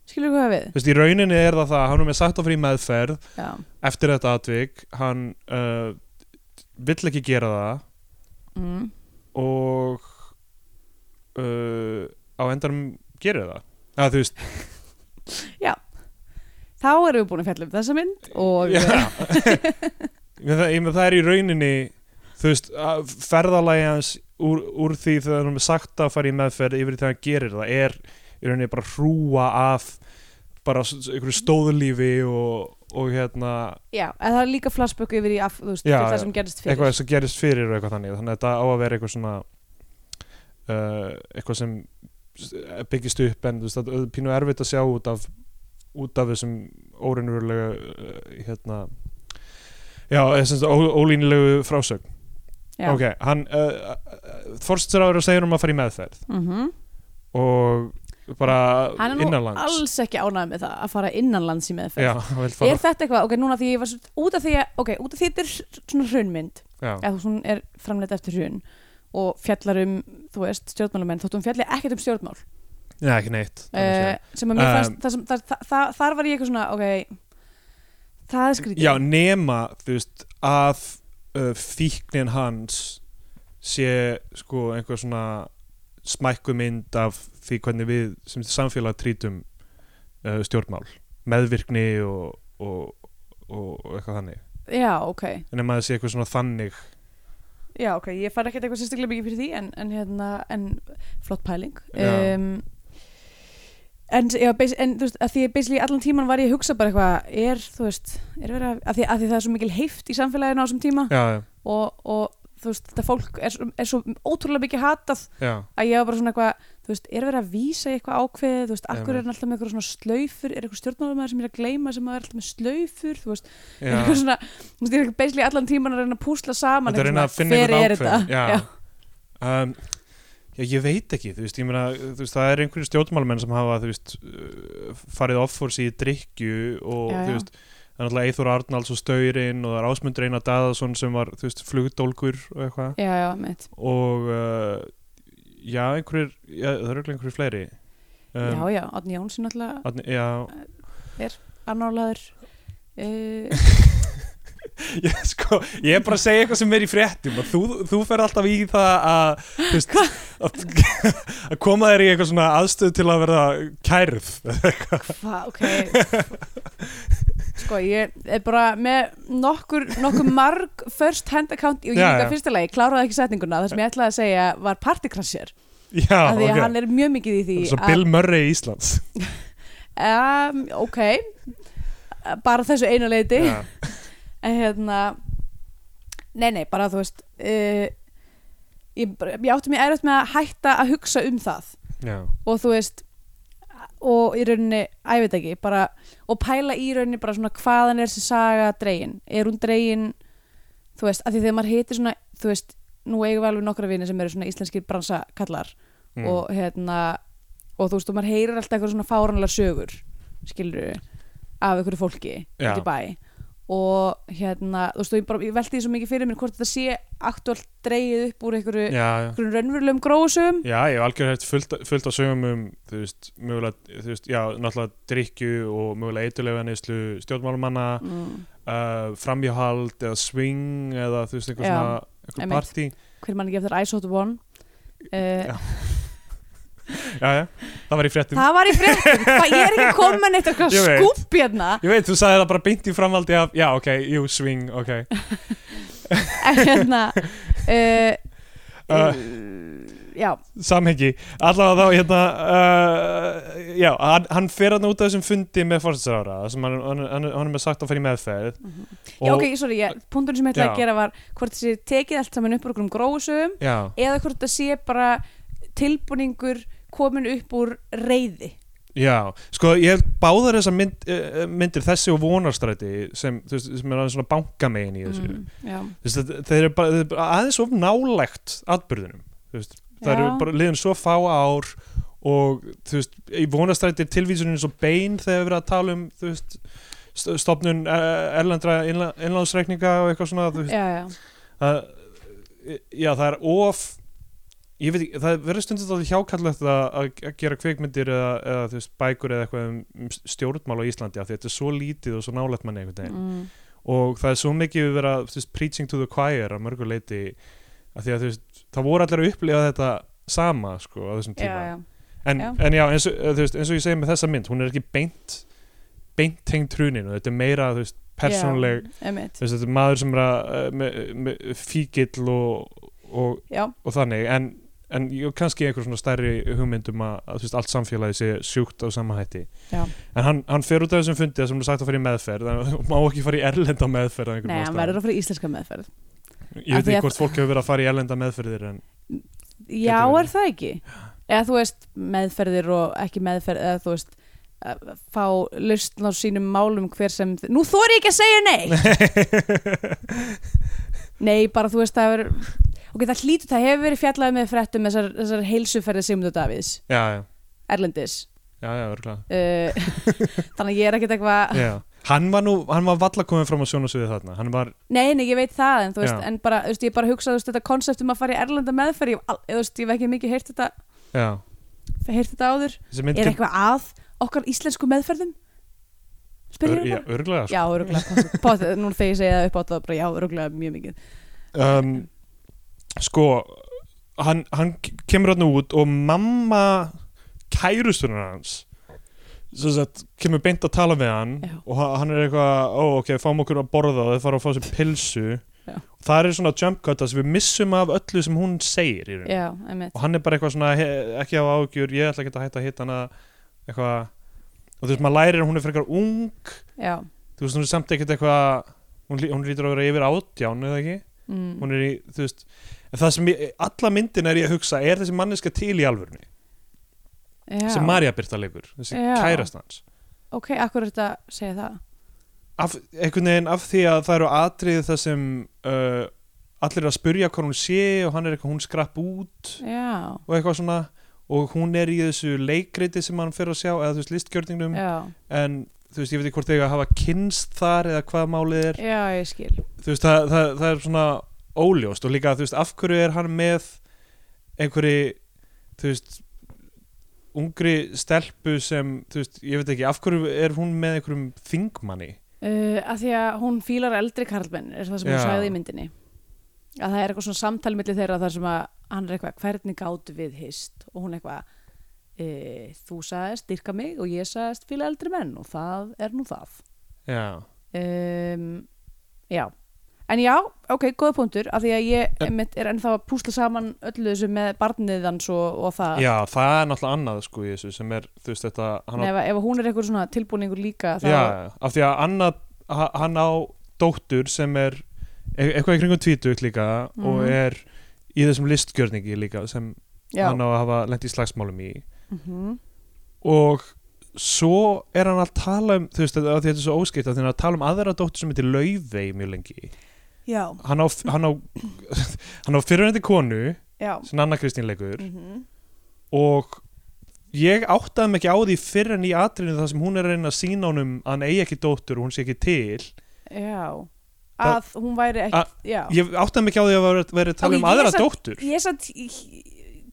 [SPEAKER 3] skilur hvað ég á við
[SPEAKER 2] þú veist, í rauninni er það það að hann er með sagt á fyrir meðferð
[SPEAKER 3] Já,
[SPEAKER 2] eftir þetta atvik hann uh, vill ekki gera það
[SPEAKER 3] mm.
[SPEAKER 2] og uh, á endanum gerir það að þú veist
[SPEAKER 3] þá erum við búin að fjalla um þessa mynd og
[SPEAKER 2] já. Ég meina, það, ég meina, það er í rauninni þú veist, ferðalagi hans úr, úr því þegar hann er með sagt að fara í meðferð yfir í þegar hann gerir það er í rauninni bara hrúa af bara s- s- einhverju stóðlífi og, og hérna
[SPEAKER 3] Já, en það er líka flashback yfir í af, þú veist,
[SPEAKER 2] Já,
[SPEAKER 3] já, það
[SPEAKER 2] já.
[SPEAKER 3] sem gerist fyrir
[SPEAKER 2] eitthvað sem gerist fyrir og eitthvað þannig þannig að þetta á að vera eitthvað svona uh, eitthvað sem s- eh, byggist upp en þú veist, það er pínu erfitt að sjá út af út af þessum óreynurlega uh, hérna já, þessum ó- ólínulegu frásögn
[SPEAKER 3] Já.
[SPEAKER 2] ok, hann uh, uh, Þorstráður segir um að fara í meðferð
[SPEAKER 3] Mhm.
[SPEAKER 2] og bara
[SPEAKER 3] Hann er nú
[SPEAKER 2] innanlands
[SPEAKER 3] alls ekki ánægð með það að fara innanlands í meðferð
[SPEAKER 2] já, hann vill
[SPEAKER 3] Er
[SPEAKER 2] fara
[SPEAKER 3] þetta eitthvað, ok, núna því ég var svo, út af því að, ok, út af því þetta er svona hrunmynd
[SPEAKER 2] já,
[SPEAKER 3] eða þú svona er framleitt eftir hrun og fjallar um, þú veist, stjórnmálamenn þótt hún fjalli ekkert um stjórnmál
[SPEAKER 2] Nei, ekki neitt
[SPEAKER 3] uh, sem að mér
[SPEAKER 2] Um,
[SPEAKER 3] fannst, þar, sem, þar, þar, þar var ég eitthvað svona, ok það er skrítið
[SPEAKER 2] Já, nema, þú veist, að uh, fíknin hans sé sko einhver svona smækku mynd af því hvernig við sem samfélag trítum uh, stjórnmál, meðvirkni og, og, og, og eitthvað þannig
[SPEAKER 3] Já, ok,
[SPEAKER 2] nema það sé eitthvað svona þannig
[SPEAKER 3] já, ok, ég fær ekkert eitthvað sérstaklega mikið fyrir því en, en hérna, en flott pæling
[SPEAKER 2] Já.
[SPEAKER 3] um, En, já, bas- en þú veist, að því basically allan tíman var ég að hugsa bara eitthvað, er, þú veist, er verið að, að því, að því það er svo mikil heift í samfélaginu á þessum tíma
[SPEAKER 2] Já,
[SPEAKER 3] og, og þú veist, þetta fólk er, svo- er svo ótrúlega mikið hatað
[SPEAKER 2] já,
[SPEAKER 3] að ég var bara svona eitthvað, þú veist, er verið að vísa í eitthvað ákveðið, þú veist, akkur er
[SPEAKER 2] Einmitt.
[SPEAKER 3] hann alltaf með eitthvað svona slaufur, er eitthvað stjórnmálumæður sem er að gleyma sem að er alltaf með slaufur, þú veist, er
[SPEAKER 2] já.
[SPEAKER 3] eitthvað svona, þú veist, ég er eitthvað basically allan tíman að reyna að púsla saman,
[SPEAKER 2] Þetta er reyna
[SPEAKER 3] eitthvað
[SPEAKER 2] að finna
[SPEAKER 3] svona, hver
[SPEAKER 2] einhvern
[SPEAKER 3] er
[SPEAKER 2] ákveðin
[SPEAKER 3] þetta?
[SPEAKER 2] já. Um, já, ég veit ekki þú veist, ég meina, þú veist, það er einhverju stjórnmálumenn sem hafa, þú veist uh, farið offors í drikju og
[SPEAKER 3] Já,
[SPEAKER 2] þú
[SPEAKER 3] já.
[SPEAKER 2] veist, það er náttúrulega Eithor Arnalds og Staurinn og það er Ásmundur Einar Daðason sem var, þú veist, flugdólgur og eitthvað
[SPEAKER 3] Já, já, mitt.
[SPEAKER 2] og uh, já, einhverjir já, það eru örugglega einhverjir fleiri Um.
[SPEAKER 3] já, já, Átni Jónsson alltaf
[SPEAKER 2] Adni, já,
[SPEAKER 3] annálaður. Uh,
[SPEAKER 2] ég, sko, ég er bara að segja eitthvað sem er í fréttum og þú, þú fer alltaf í það að, þú veist, að, að koma þér í eitthvað svona aðstöð til að verða kærð
[SPEAKER 3] Hva, ok Sko, ég er bara með nokkur, nokkur marg first hand account og ég
[SPEAKER 2] Já,
[SPEAKER 3] líka
[SPEAKER 2] já.
[SPEAKER 3] fyrsta lagi, kláraði ekki setninguna það sem ég ætlaði að segja var partykrasjar
[SPEAKER 2] Já,
[SPEAKER 3] af því að
[SPEAKER 2] ok.
[SPEAKER 3] hann er mjög mikið í því
[SPEAKER 2] Svo Bill Murray í Íslands
[SPEAKER 3] að, um, ok bara að þessu einu leiti
[SPEAKER 2] Já,
[SPEAKER 3] en hérna nei, nei, bara þú veist uh, ég, bara- ég átti mér erfitt með að hætta að hugsa um það
[SPEAKER 2] já,
[SPEAKER 3] og þú veist og í rauninni, að ég veit ekki bara, og pæla í rauninni bara svona hvaðan er þessi saga dregin er hún dregin, þú veist af því þegar maður heitir svona, þú veist nú eigum við alveg nokkra vini sem eru svona íslenskir bransakallar
[SPEAKER 2] Mm.
[SPEAKER 3] og hérna og þú veist, og maður heyrir alltaf eitthvað svona fáranlega sögur skilur af einhverju fólki
[SPEAKER 2] Já.
[SPEAKER 3] út í bæ og hérna, þú veist, og ég, bara, ég velti því svo mikið fyrir mér hvort þetta sé aktuelt dregið upp úr einhverju,
[SPEAKER 2] já, já.
[SPEAKER 3] einhverjum raunverulegum grósum
[SPEAKER 2] Já, ég hef algjörlega hægt fullt, fullt á sögum um, þú veist, mögulega, þú veist, já, náttúrulega drikju og mögulega eitulega neyslu stjórnmálumanna,
[SPEAKER 3] mm.
[SPEAKER 2] uh, framhjáhald eða swing eða þú veist, einhver
[SPEAKER 3] Já,
[SPEAKER 2] svona, einhver
[SPEAKER 3] einmitt.
[SPEAKER 2] partí.
[SPEAKER 3] hver mann ekki eftir Ice Hot One uh,
[SPEAKER 2] Já, já, það var í fréttum.
[SPEAKER 3] það var í fréttum það ég er ekki að koma neitt eitthvað
[SPEAKER 2] Ég veit.
[SPEAKER 3] skúpp hérna
[SPEAKER 2] Ég veit, þú sagði það bara beint í framhaldi af, já, ok, jú, swing, ok.
[SPEAKER 3] en hérna uh,
[SPEAKER 2] Uh,
[SPEAKER 3] já,
[SPEAKER 2] samhengi allavega þá hérna uh, já, hann, hann fer hann út af þessum fundi með fórstinsrára sem hann, hann, hann, hann er með sagt að fara í meðferð
[SPEAKER 3] Mhm. já, ok, sorry ég, punkturinn sem ég ætlaði
[SPEAKER 2] Já.
[SPEAKER 3] að gera var hvort þessi tekið allt saman upp úr okkur um grósum
[SPEAKER 2] já,
[SPEAKER 3] eða hvort það sé bara tilbúningur komin upp úr reyði
[SPEAKER 2] já, sko ég held báðar þessar mynd, uh, myndir þessi og vonarstræti sem, þú veist, sem er aðeins svona bankamegin í þessu mm.
[SPEAKER 3] já,
[SPEAKER 2] veist, þetta- þeir eru bara, þeir eru bara aðeins of nálægt atbyrðunum þú veist, það
[SPEAKER 3] Já.
[SPEAKER 2] eru bara liðin svo fá ár og þú veist, í vonastrætti er tilvísunin svo bein þegar við erum að tala um þú veist, st- stofnun eh, erlendra innla- innlánsreikninga og eitthvað svona þú veist,
[SPEAKER 3] já, já,
[SPEAKER 2] það, já, það er of ég veit ekki, það verður stundum þáttið hjákallegt að, að að gera kveikmyndir eða, eða þú veist, bækur eða eitthvað um um stjórnmál á Íslandi af því að þetta er svo lítið og svo nálægt manni einhvern veginn
[SPEAKER 3] mm,
[SPEAKER 2] og það er svo mikið við vera þú veist, preaching to the choir að mörgu leiti af því að þú veist, það voru allir að upplifa þetta sama sko á þessum
[SPEAKER 3] já,
[SPEAKER 2] tíma
[SPEAKER 3] já,
[SPEAKER 2] en,
[SPEAKER 3] Já.
[SPEAKER 2] en já, eins og, þú veist, eins og ég segi með þessa mynd hún er ekki beint beint tengd hruninu, þetta er meira þú veist, persónleg,
[SPEAKER 3] já, einmitt.
[SPEAKER 2] þú veist, þetta er maður sem er að, eh, með, með fíkill og, og
[SPEAKER 3] já,
[SPEAKER 2] og þannig en, en jú, kannski einhver svona stærri hugmyndum að, að þú veist, allt samfélagi sé sjúkt á sama hætti
[SPEAKER 3] Já.
[SPEAKER 2] en hann, hann fer út af þessum fundi sem er sagt að fara í meðferð en hann má ekki fara í erlenda meðferð af einhverjum
[SPEAKER 3] nei, hann
[SPEAKER 2] ástæðum.
[SPEAKER 3] verður að fara í íslenska meðferð
[SPEAKER 2] ég
[SPEAKER 3] Af
[SPEAKER 2] veit
[SPEAKER 3] því
[SPEAKER 2] ekki
[SPEAKER 3] að-
[SPEAKER 2] hvort fólk hefur verið að fara í erlenda meðferðir en
[SPEAKER 3] Já,
[SPEAKER 2] Getur verið.
[SPEAKER 3] er það ekki? Eða þú veist, meðferðir og ekki meðferð eða þú veist, að fá lausn á sínum málum hver sem nú þóri ég ekki að segja nei Nei, bara þú veist, það er ok, það hlýtur, það hefur verið fjallað með fréttum þessar, þessar heilsuferði Sigmundur Davíðs
[SPEAKER 2] já, já,
[SPEAKER 3] Erlendis
[SPEAKER 2] já, já, örgulega
[SPEAKER 3] uh, Þannig að ég er ekkert eitthvað
[SPEAKER 2] já. hann var nú, hann var valla komin fram á sjónasviði þarna, hann var
[SPEAKER 3] Nei, nei, ég veit það, en þú veist,
[SPEAKER 2] Já.
[SPEAKER 3] en bara, þú veist, ég bara hugsa, þú veist, þetta konsept um að fara í erlenda meðferð, ég, hef al- þú veist, ég hef ekki mikið heyrt þetta,
[SPEAKER 2] já,
[SPEAKER 3] heyrt þetta áður
[SPEAKER 2] þessi mynd
[SPEAKER 3] er eitthvað að okkar íslensku meðferðum spyrir
[SPEAKER 2] já, sko.
[SPEAKER 3] ég bara
[SPEAKER 2] örgulega
[SPEAKER 3] já, öruglega, pott, núna þegar ég segja það upp á það bara já, öruglega, mjög mikið
[SPEAKER 2] um, sko hann, hann kemur hann út og mamma kærustunar hans sem sagt, kemur beint að tala við hann
[SPEAKER 3] Já.
[SPEAKER 2] og ha- hann er eitthvað, ó ok, fáum okkur að borða og þau fara að fá sér pilsu
[SPEAKER 3] Já.
[SPEAKER 2] það er svona jump cut að við missum af öllu sem hún segir í raun.
[SPEAKER 3] já, einmitt,
[SPEAKER 2] og hann er bara eitthvað svona he, ekki á ágjur, ég ætla ekki að hætta að hitta hana eitthvað og þú veist, maður lærir að hún er frekar ung
[SPEAKER 3] já
[SPEAKER 2] þú veist, hún er samt ekkert eitthvað hún, lí- hún lítur að vera yfir átján eða ekki
[SPEAKER 3] mm.
[SPEAKER 2] hún er í, þú veist en það sem ég, alla myndin er ég að hugsa er þessi manneska til í alvörunni
[SPEAKER 3] já.
[SPEAKER 2] sem Marja Byrta leikur, þessi
[SPEAKER 3] Já.
[SPEAKER 2] kærast hans
[SPEAKER 3] ok, akkur er þetta að segja það
[SPEAKER 2] af, einhvern veginn af því að það eru atrið það sem uh, allir eru að spurja hvað hún sé og hann er eitthvað hún skrapp út
[SPEAKER 3] já,
[SPEAKER 2] og eitthvað svona og hún er í þessu leikriti sem hann fyrir að sjá eða þú veist listgjörningnum
[SPEAKER 3] já,
[SPEAKER 2] en þú veist ég veit ekki hvort þau að hafa kynst þar eða hvað málið er
[SPEAKER 3] já, ég skil
[SPEAKER 2] þú veist, það, það, það er svona óljóst og líka, þú veist, af hverju er hann með einhverju, þú veist ungri stelpu sem, þú veist, ég veit ekki af hverju er hún með einhverjum þingmanni
[SPEAKER 3] uh, að því að hún fílar eldri karlmenn er það sem
[SPEAKER 2] Já.
[SPEAKER 3] hún sagði í myndinni að það er eitthvað svona samtal milli þeirra þar sem að hann er eitthvað, hvernig gátu við hist og hún eitthvað "Eh, e, þú sagðist, dyrka mig og ég sagðist fíla eldri menn og það er nú það
[SPEAKER 2] já,
[SPEAKER 3] um, já en já, ok, góða punktur af því að ég
[SPEAKER 2] En-
[SPEAKER 3] mitt er ennþá að púsla saman öllu þessu með barniðans og, og það
[SPEAKER 2] Já, það er náttúrulega annað sko í þessu sem er, þú veist þetta hann á,
[SPEAKER 3] ef, ef hún er eitthvað svona tilbúningur líka þá,
[SPEAKER 2] já, af því að annað, ha- hann á dóttur sem er e- eitthvað í kringum tvítug líka og
[SPEAKER 3] Mhm.
[SPEAKER 2] er í þessum listgjörningi líka sem
[SPEAKER 3] já.
[SPEAKER 2] hann á að hafa lent í slagsmálum í
[SPEAKER 3] Mhm.
[SPEAKER 2] og svo er hann að tala um þú veist, þetta af því þetta er svo óskipt af því hann er að tala um aðra dóttur sem heitir Laufey mjög lengi
[SPEAKER 3] já,
[SPEAKER 2] hann á, hann á, hann á fyrirhundi konu
[SPEAKER 3] já
[SPEAKER 2] sem Anna Kristín leikur
[SPEAKER 3] Mhm.
[SPEAKER 2] og ég áttaði mig ekki á því fyrr en í atrinu þar sem hún er að reyna að sína honum að hann eigi ekki dóttur og hún sé ekki til
[SPEAKER 3] já
[SPEAKER 2] Það-
[SPEAKER 3] að hún væri ekki
[SPEAKER 2] Að-
[SPEAKER 3] já.
[SPEAKER 2] ég áttaði mig ekki á því að vera, vera að tala
[SPEAKER 3] Ok,
[SPEAKER 2] um
[SPEAKER 3] ég
[SPEAKER 2] aðra
[SPEAKER 3] satt-
[SPEAKER 2] dóttur
[SPEAKER 3] ég satt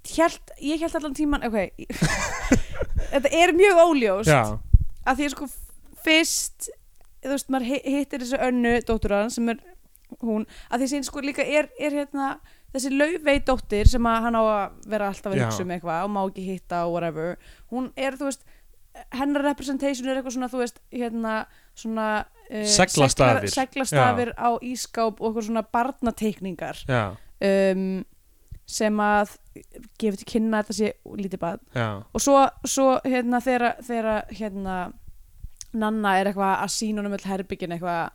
[SPEAKER 3] Hjælt, ég held allan tíman ok, þetta er mjög óljóst
[SPEAKER 2] já,
[SPEAKER 3] að því sko fyrst þú veist, maður hi- hittir þessu önnu dóttur hann sem er hún að því sem sko líka er, er hérna þessi laufvei dóttir sem að hann á að vera alltaf að
[SPEAKER 2] Já.
[SPEAKER 3] hugsa um eitthvað og má ekki hitta og whatever hún er þú veist hennar representation er eitthvað svona þú veist hérna svona uh,
[SPEAKER 2] Seglastafir.
[SPEAKER 3] seglastafir á ískáp og eitthvað svona barnateikningar
[SPEAKER 2] já,
[SPEAKER 3] um, sem að gefur til kynna að þetta sé lítið bad
[SPEAKER 2] já
[SPEAKER 3] og svo, svo hérna þegar þegar, hérna Nanna er eitthvað að sína honum öll herbyggin eitthvað,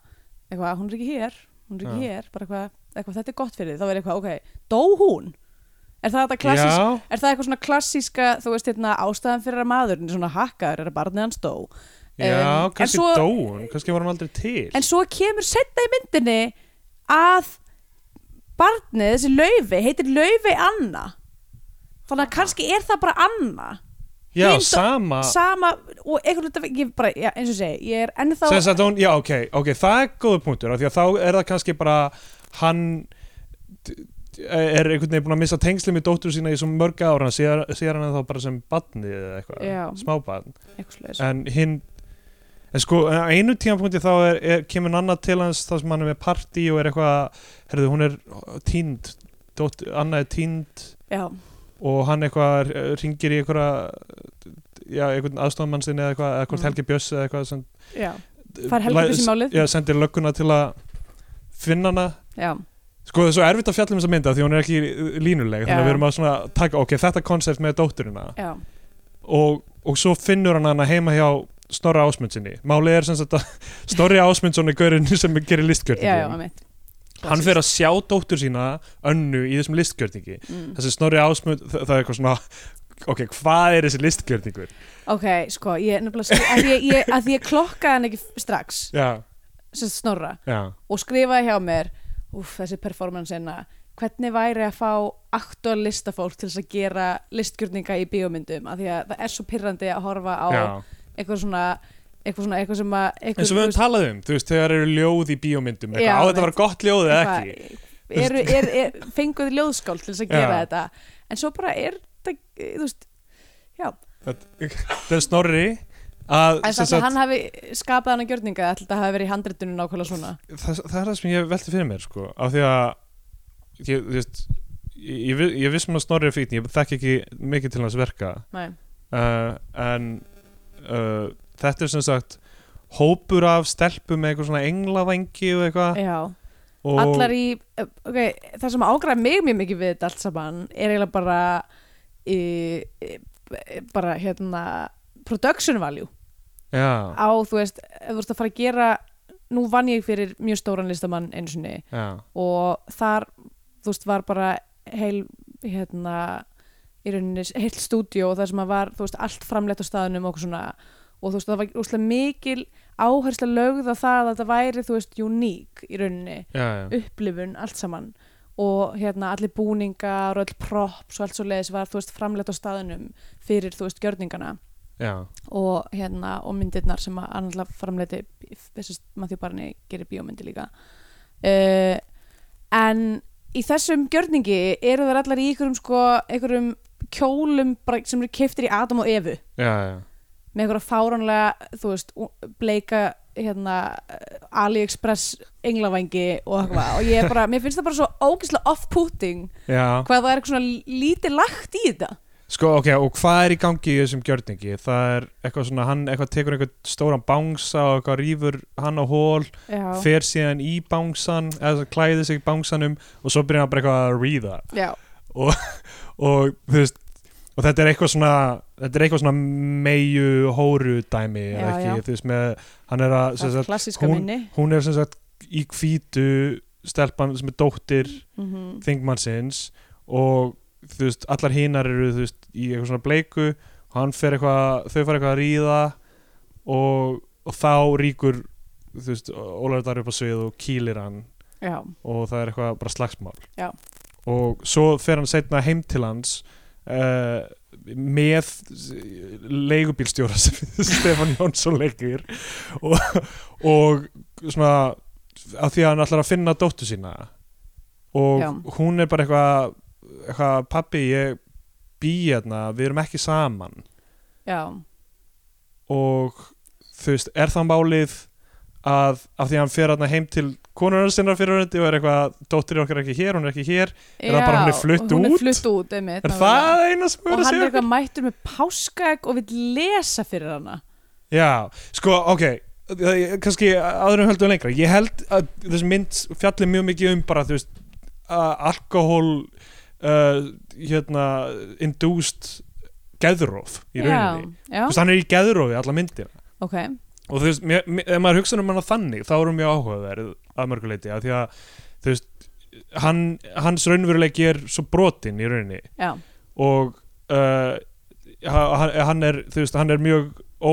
[SPEAKER 3] eitthvað, hún er ekki hér hún er ekki
[SPEAKER 2] Já.
[SPEAKER 3] hér, bara eitthvað, eitthvað þetta er gott fyrir þig, þá er eitthvað, ok, dó hún er það þetta klassísk
[SPEAKER 2] já,
[SPEAKER 3] er það eitthvað svona klassíska þú veist hérna ástæðan fyrir að maðurinn er svona hakkaður er að barnið hans dó
[SPEAKER 2] já,
[SPEAKER 3] Um, en
[SPEAKER 2] kannski
[SPEAKER 3] svo-
[SPEAKER 2] dó hún kannski var hann aldrei til
[SPEAKER 3] en svo kemur setna í myndinni að barnið, þessi laufi, heitir laufi Anna þannig
[SPEAKER 2] Ah.
[SPEAKER 3] að kannski er það bara Anna
[SPEAKER 2] já,
[SPEAKER 3] hin dó-
[SPEAKER 2] sama
[SPEAKER 3] sama og einhvern veit að ég bara, já, eins og segi, ég er ennþá
[SPEAKER 2] Sem sagt, hún, já, ok, ok, það er góður punktur af því að þá er það kannski bara hann d- d- er einhvern veginn búin að missa tengsli með dóttur sína í svo mörg ára, síðar, síðar hann er þá bara sem badni eða
[SPEAKER 3] Já.
[SPEAKER 2] eitthvað, smábarn
[SPEAKER 3] eitthvað slags,
[SPEAKER 2] en hinn en sko, á einu tímapunkti þá er, er, kemur hann annað til hans þá sem hann er með partí og er eitthvað, herðu, hún er tínd, dótt, annað er tínd
[SPEAKER 3] já,
[SPEAKER 2] og hann eitthvað ringir í eitthvað já, einhvern aðstofamann sinni eða eitthvað, eða hvort
[SPEAKER 3] Mm.
[SPEAKER 2] Helgi Bjöss eða eitthvað sem
[SPEAKER 3] já, Fær Helgi
[SPEAKER 2] Læ-
[SPEAKER 3] Bjöss í málið?
[SPEAKER 2] já, sendir lögguna til að finna hana
[SPEAKER 3] já
[SPEAKER 2] sko það er svo erfitt að fjalla um þessa mynda því hún er ekki uh, línuleg þannig
[SPEAKER 3] Já.
[SPEAKER 2] að við erum að svona taka ok, þetta konsept með dótturina
[SPEAKER 3] já,
[SPEAKER 2] og, og svo finnur hann hana heima hjá Snorra Ásmundsinni málið er sem sagt að Snorri Ásmundsson er gaurinn sem gerir
[SPEAKER 3] já, já,
[SPEAKER 2] listgjörningum
[SPEAKER 3] mitt
[SPEAKER 2] hann fer að sjá dóttur sína önnu í þessum listgjörningi
[SPEAKER 3] mm.
[SPEAKER 2] þessi Snorri Ásmund, þa- það er eitthvað svona ok, hvað er þessi listgjörningur
[SPEAKER 3] ok, sko, ég er nefnilega skil- að ég, ég, að ég klokkaði hann ekki strax
[SPEAKER 2] já,
[SPEAKER 3] sem snorra
[SPEAKER 2] já,
[SPEAKER 3] og skrifaði hjá mér úf, þessi performance hérna hvernig væri að fá aktuál listafólk til þess að gera listgjörninga í bíómyndum af því að það er svo pirrandi að horfa á
[SPEAKER 2] já
[SPEAKER 3] eitthvað svona eitthvað svona, eitthvað sem að eitthvað,
[SPEAKER 2] eins og við höfum
[SPEAKER 3] þú
[SPEAKER 2] talað um, þú veist, þegar eru ljóð í bíómyndum,
[SPEAKER 3] Já,
[SPEAKER 2] eitthvað, á þetta
[SPEAKER 3] mitt.
[SPEAKER 2] var gott ljóð eða
[SPEAKER 3] Eitthvað,
[SPEAKER 2] ekki
[SPEAKER 3] eru, er, er, fenguð ljóðskáld til þess að
[SPEAKER 2] Já.
[SPEAKER 3] gera þetta en svo bara er þetta, eh, þú veist já,
[SPEAKER 2] þetta er snorri að,
[SPEAKER 3] en
[SPEAKER 2] sem
[SPEAKER 3] þess að
[SPEAKER 2] sagt,
[SPEAKER 3] hann hafi skapað hann að gjörninga ætli þetta hafi verið í handritunum nákvæmlega svona
[SPEAKER 2] það, það er það sem ég velti fyrir mér sko, af því að ég, þú veist, ég, ég, vi- ég vissum að snorri er fíkn, ég þekki ekki mikið til hans verka
[SPEAKER 3] Nei.
[SPEAKER 2] uh, en uh, þetta er sem sagt hópur af stelpum með eitthvað svona englavængi og eitthvað
[SPEAKER 3] já,
[SPEAKER 2] og
[SPEAKER 3] allar í eh, ok, það sem ágræði mig mjög mikið við þetta allt saman er eiginlega bara í, í, bara hérna production value
[SPEAKER 2] já,
[SPEAKER 3] á, þú veist, ef þú veist að fara að gera nú vann ég fyrir mjög stóran listamann einu sinni
[SPEAKER 2] já,
[SPEAKER 3] og þar þú veist var bara heil hérna í rauninni heilt stúdíó og það sem að var þú veist allt framleitt á staðunum og okkur svona og þú veist það var úrslega mikil áhersla lögð á það að þetta væri þú veist uník í rauninni
[SPEAKER 2] já, já,
[SPEAKER 3] upplifun allt saman og hérna allir búningar og all props og allt svo leiðis var þú veist framleitt á staðunum fyrir þú veist gjörningana
[SPEAKER 2] já,
[SPEAKER 3] og hérna og myndirnar sem að annarlega framleiti þessist Matthew Barney gerir bíómyndi líka uh, en í þessum gjörningi eru þær allar í einhverjum sko einhverjum kjólum bara, sem eru keiftir í Adam og Evu
[SPEAKER 2] já, já.
[SPEAKER 3] með einhverja fáránlega þú veist, ú- bleika hérna, eh, AliExpress englavængi og eitthvað og ég er bara, mér finnst það bara svo ógeðslega off-putting
[SPEAKER 2] já.
[SPEAKER 3] hvað það er eitthvað svona lítið lagt í þetta
[SPEAKER 2] Sko, ok, og hvað er í gangi í þessum gjörningi? Það er eitthvað svona, hann eitthvað tekur eitthvað stóran bangsa og eitthvað rýfur hann á hól,
[SPEAKER 3] já,
[SPEAKER 2] fer síðan í bangsan, eða klæðir sig í bangsanum og svo byrjar hann bara eitthvað að ríða
[SPEAKER 3] já,
[SPEAKER 2] og þú veist, og þetta er eitthvað svona, þetta er eitthvað svona meju hóru dæmi,
[SPEAKER 3] Já,
[SPEAKER 2] eða ekki,
[SPEAKER 3] já.
[SPEAKER 2] þú veist, með, hann er að, sem
[SPEAKER 3] það
[SPEAKER 2] sagt,
[SPEAKER 3] klassíska
[SPEAKER 2] hún-
[SPEAKER 3] minni
[SPEAKER 2] hún er sem sagt í hvítu stelpan sem er dóttir
[SPEAKER 3] Mhm.
[SPEAKER 2] þingmannsins og þú veist, allar hinar eru þú veist, í eitthvað svona bleiku og hann fer eitthvað, þau fara eitthvað að ríða og, og þá ríkur þú veist, Ólafur Darri upp á svið og kýlir hann
[SPEAKER 3] já,
[SPEAKER 2] og það er eitthvað bara slagsmál
[SPEAKER 3] Já.
[SPEAKER 2] og svo fer hann setna heim til hans uh, með leigubílstjóra sem Stefán Jónsson leikir og, og svona af því að hann ætlar að finna dóttu sína og
[SPEAKER 3] Já.
[SPEAKER 2] hún er bara eitthvað eitthvað, pappi ég bý hérna, við erum ekki saman
[SPEAKER 3] já,
[SPEAKER 2] og þú veist, er það málið að af því að hann fer hérna heim til konurinn sinna fyrirhundi og er eitthvað dóttir okkar er ekki hér, hún er ekki hér Er það bara
[SPEAKER 3] Já,
[SPEAKER 2] hún er flutt
[SPEAKER 3] hún er
[SPEAKER 2] út?
[SPEAKER 3] flutt út einmitt,
[SPEAKER 2] er
[SPEAKER 3] nákvæmlega.
[SPEAKER 2] það eina sem verður
[SPEAKER 3] og
[SPEAKER 2] að
[SPEAKER 3] hann er
[SPEAKER 2] segja
[SPEAKER 3] eitthvað mættur með páskaegg og vill lesa fyrir hana
[SPEAKER 2] Já, sko, ok það- kannski aðurum höldum lengra ég held að þessi mynd fjallir mjög mikið um bara, þú veist að alkohól uh, hérna, induced geðróf í rauninni
[SPEAKER 3] já, já,
[SPEAKER 2] þú veist, hann er í geðrófi alla myndir
[SPEAKER 3] ok
[SPEAKER 2] og þú veist, mér, mér, ef maður hugsa um hana þannig þá erum mjög áhugaverð að mörguleiti af því að, þú veist hann, hans raunveruleiki er svo brotinn í rauninni
[SPEAKER 3] já,
[SPEAKER 2] og uh, hann, hann er, þú veist, hann er mjög ó,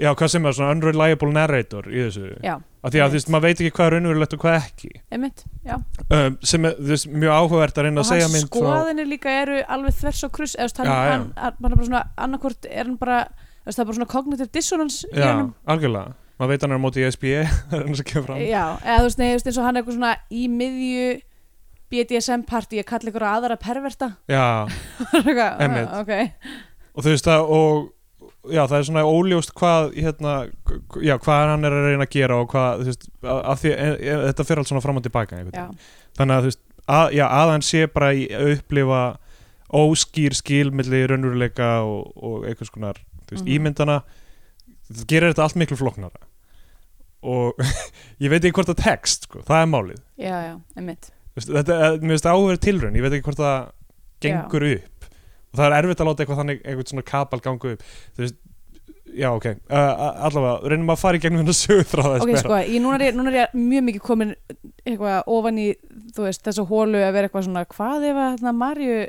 [SPEAKER 2] já, hvað sem er svona unreliable narrator í þessu
[SPEAKER 3] já,
[SPEAKER 2] af því að, þú veist, maður veit ekki hvað er raunverulegt og hvað ekki
[SPEAKER 3] einmitt já.
[SPEAKER 2] um, sem er, þú veist, mjög áhugavert að reyna
[SPEAKER 3] og
[SPEAKER 2] að segja
[SPEAKER 3] hans
[SPEAKER 2] mynd frá-
[SPEAKER 3] skoðanir líka eru alveg þvers og krus eða þú veist, hann,
[SPEAKER 2] Já, já.
[SPEAKER 3] hann, hann, hann er bara svona annarkvort er hann bara, þú veist, það er bara svona cognitive dissonance í
[SPEAKER 2] já,
[SPEAKER 3] honum
[SPEAKER 2] algjörlega, maður veit hann er á móti í SBA það er hann sem kemur fram
[SPEAKER 3] já, eða þú veist, nei, þú veist, eins og hann er eitthvað svona í miðju BDSM party að kalla ykkur aðra perverta
[SPEAKER 2] já,
[SPEAKER 3] Eitthvað, ah,
[SPEAKER 2] Einmitt.
[SPEAKER 3] ok,
[SPEAKER 2] og þú veist það og já það er svona óljóst hvað hérna, k- já, hvað hann er að reyna að gera og hvað þú veist að, að því, e, e, þetta fer allt svona fram og tilbaka einhvern
[SPEAKER 3] já,
[SPEAKER 2] veginn. þannig að þú veist að, já, að hann sé bara í að upplifa óskýr skil milli raunveruleika og, og einhvers konar þú veist,
[SPEAKER 3] Mhm.
[SPEAKER 2] ímyndana það gerir þetta allt miklu flóknara og ég veit ekki hvort það tekst sko, það er málið
[SPEAKER 3] já, já, einmitt
[SPEAKER 2] Þú veist, þetta, eh, mér finnst það áverð tilraun ég veit ekki hvort það gengur upp og það er erfitt að láta eitthvað þannig eitthvað svona kapal gangu upp þú veist já ok, uh, allavega reynum að fara í gegnum þennan sögur frá þess
[SPEAKER 3] ok, sko, ég, núna, er ég, núna er ég mjög mikið komin eitthvað ofan í, þú veist, þessu hólu að vera eitthvað svona, hvað ef að þarna Marju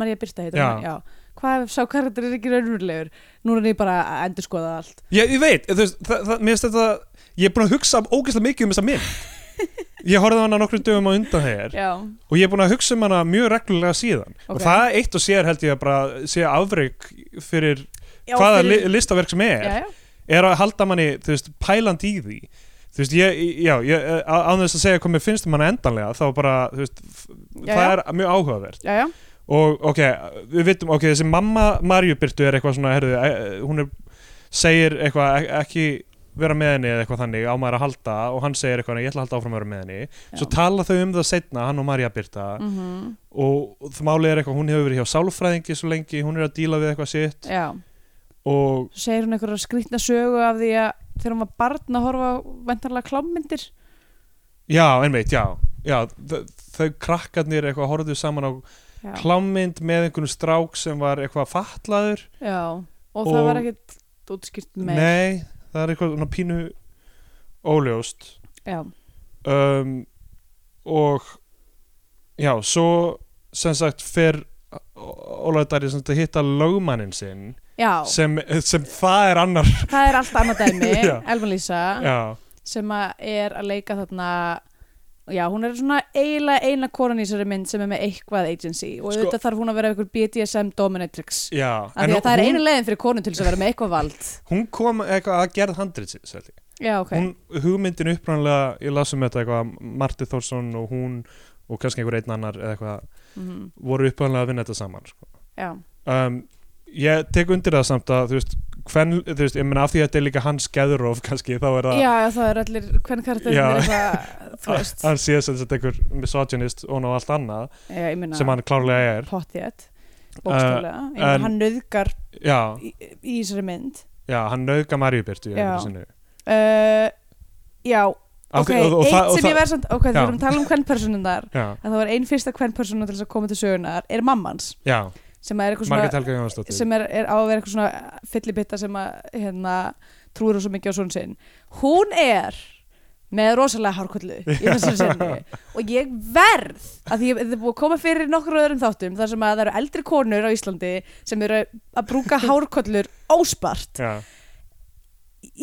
[SPEAKER 3] Marja Birta heitir
[SPEAKER 2] Já.
[SPEAKER 3] hún, já, hvað ef sá karakter er ekki raunverulegur, núna er ég bara að endur skoða allt,
[SPEAKER 2] ég, ég veit, þú veist, það, það, mér finnst þetta ég er búin að hugsa ógeðslega mikið um þessa mynd ég horfði á hana nokkrum dögum á undan þegar
[SPEAKER 3] já,
[SPEAKER 2] og ég er búin að hugsa um hana mjög reglulega síðan
[SPEAKER 3] Ok.
[SPEAKER 2] og það eitt og sér held ég að bara sé afreg fyrir
[SPEAKER 3] já
[SPEAKER 2] hvaða
[SPEAKER 3] fyrir-
[SPEAKER 2] fyrir... listaverk sem er
[SPEAKER 3] já, já,
[SPEAKER 2] er að halda manni, þú veist, pæland í því þú veist, ég, já, ég, eh, á- án þess að segja hvað mér finnst um hana endanlega þá bara, þú veist, f-
[SPEAKER 3] Já,
[SPEAKER 2] það
[SPEAKER 3] já.
[SPEAKER 2] er mjög áhugavert
[SPEAKER 3] já, já,
[SPEAKER 2] og, ok, við vitum, ok, þessi mamma Marjubirtu er eitthvað svona, herðu, eh, hún er, segir eitthvað ek- ekki vera með henni eða eitthvað þannig á maður að halda og hann segir eitthvað, ég ætla að halda áfram að vera með henni svo tala þau um það setna, hann og Marja Birta
[SPEAKER 3] mm
[SPEAKER 2] og það málið er eitthvað, hún hefur verið hjá sálfræðingi svo lengi, hún er að díla við eitthvað sitt
[SPEAKER 3] já,
[SPEAKER 2] og
[SPEAKER 3] svo segir hún einhverja skrýtna sögu af því að þegar hún var barn að horfa á vendarlega klámyndir,
[SPEAKER 2] Já, einmitt, já, já þau- þau krakkarnir eitthvað horfðu saman á
[SPEAKER 3] já,
[SPEAKER 2] klámynd með einhvern strák sem var eitthvað fatlaður
[SPEAKER 3] já, og það
[SPEAKER 2] Og-
[SPEAKER 3] var ekkit útskýrt með,
[SPEAKER 2] Nei, það er eitthvað svona pínu óljóst
[SPEAKER 3] já,
[SPEAKER 2] um, og já, svo sem sagt fer Ólaður Dæri sem sagt að hitta lögmannin sinn
[SPEAKER 3] já,
[SPEAKER 2] sem, sem það er annar
[SPEAKER 3] það er allt annað dæmi,
[SPEAKER 2] Já.
[SPEAKER 3] Elma Lísa,
[SPEAKER 2] Já,
[SPEAKER 3] sem að er að leika þarna já, hún er svona eiginlega eina konan í þessari mynd sem er með eitthvað agency og
[SPEAKER 2] Sko-
[SPEAKER 3] auðvitað þarf hún að vera einhver BDSM dominatrix
[SPEAKER 2] já
[SPEAKER 3] af því að það er
[SPEAKER 2] hún,
[SPEAKER 3] eina leiðin fyrir konu til þess að vera með eitthvað vald
[SPEAKER 2] hún kom eitthvað að gerð handritsins held ég
[SPEAKER 3] já, ok,
[SPEAKER 2] hún, hugmyndin upprannlega, ég las um þetta eitthvað, Marti Þórsson og hún og kannski einhver einn annar eða eitthvað
[SPEAKER 3] Mhm.
[SPEAKER 2] voru upprannlega að vinna þetta saman sko.
[SPEAKER 3] já,
[SPEAKER 2] um, ég tek undir það samt að þú veist, hvern, þú veist, ég menna af því að þetta er líka hans geðurof kannski, þá er það
[SPEAKER 3] já, já, það er allir hvern karakter
[SPEAKER 2] Já.
[SPEAKER 3] er eitthvað, þú veist
[SPEAKER 2] hann sé sem þetta einhver misogynist og ná allt annað
[SPEAKER 3] já, ég minna,
[SPEAKER 2] sem hann klárlega er
[SPEAKER 3] pottið bókstaflega, Ég meina,
[SPEAKER 2] en-
[SPEAKER 3] hann nöðgar
[SPEAKER 2] já,
[SPEAKER 3] í, í þessari mynd
[SPEAKER 2] já, hann nauðga Marjubirtu
[SPEAKER 3] Já. uh, já, ok, eitt sem ég verð samt ok,
[SPEAKER 2] Já.
[SPEAKER 3] þegar við erum að tala um kvennpersonunar
[SPEAKER 2] já,
[SPEAKER 3] að það var ein fyrsta kvennpersonu til þess að koma til sögunar er mammans,
[SPEAKER 2] já,
[SPEAKER 3] sem er eitthvað svona
[SPEAKER 2] Margrét Helga Jónsdóttir
[SPEAKER 3] sem er, er á að vera eitthvað svona fyllibitta sem að hérna, trúir á svo mikið á svona sinn hún er með rosalega hárkullu í þessari sinni og ég verð að því ég er búið að koma fyrir nokkur öðrum þáttum þar sem að það eru eldri konur á Íslandi sem eru að brúka hárkollur óspart
[SPEAKER 2] já,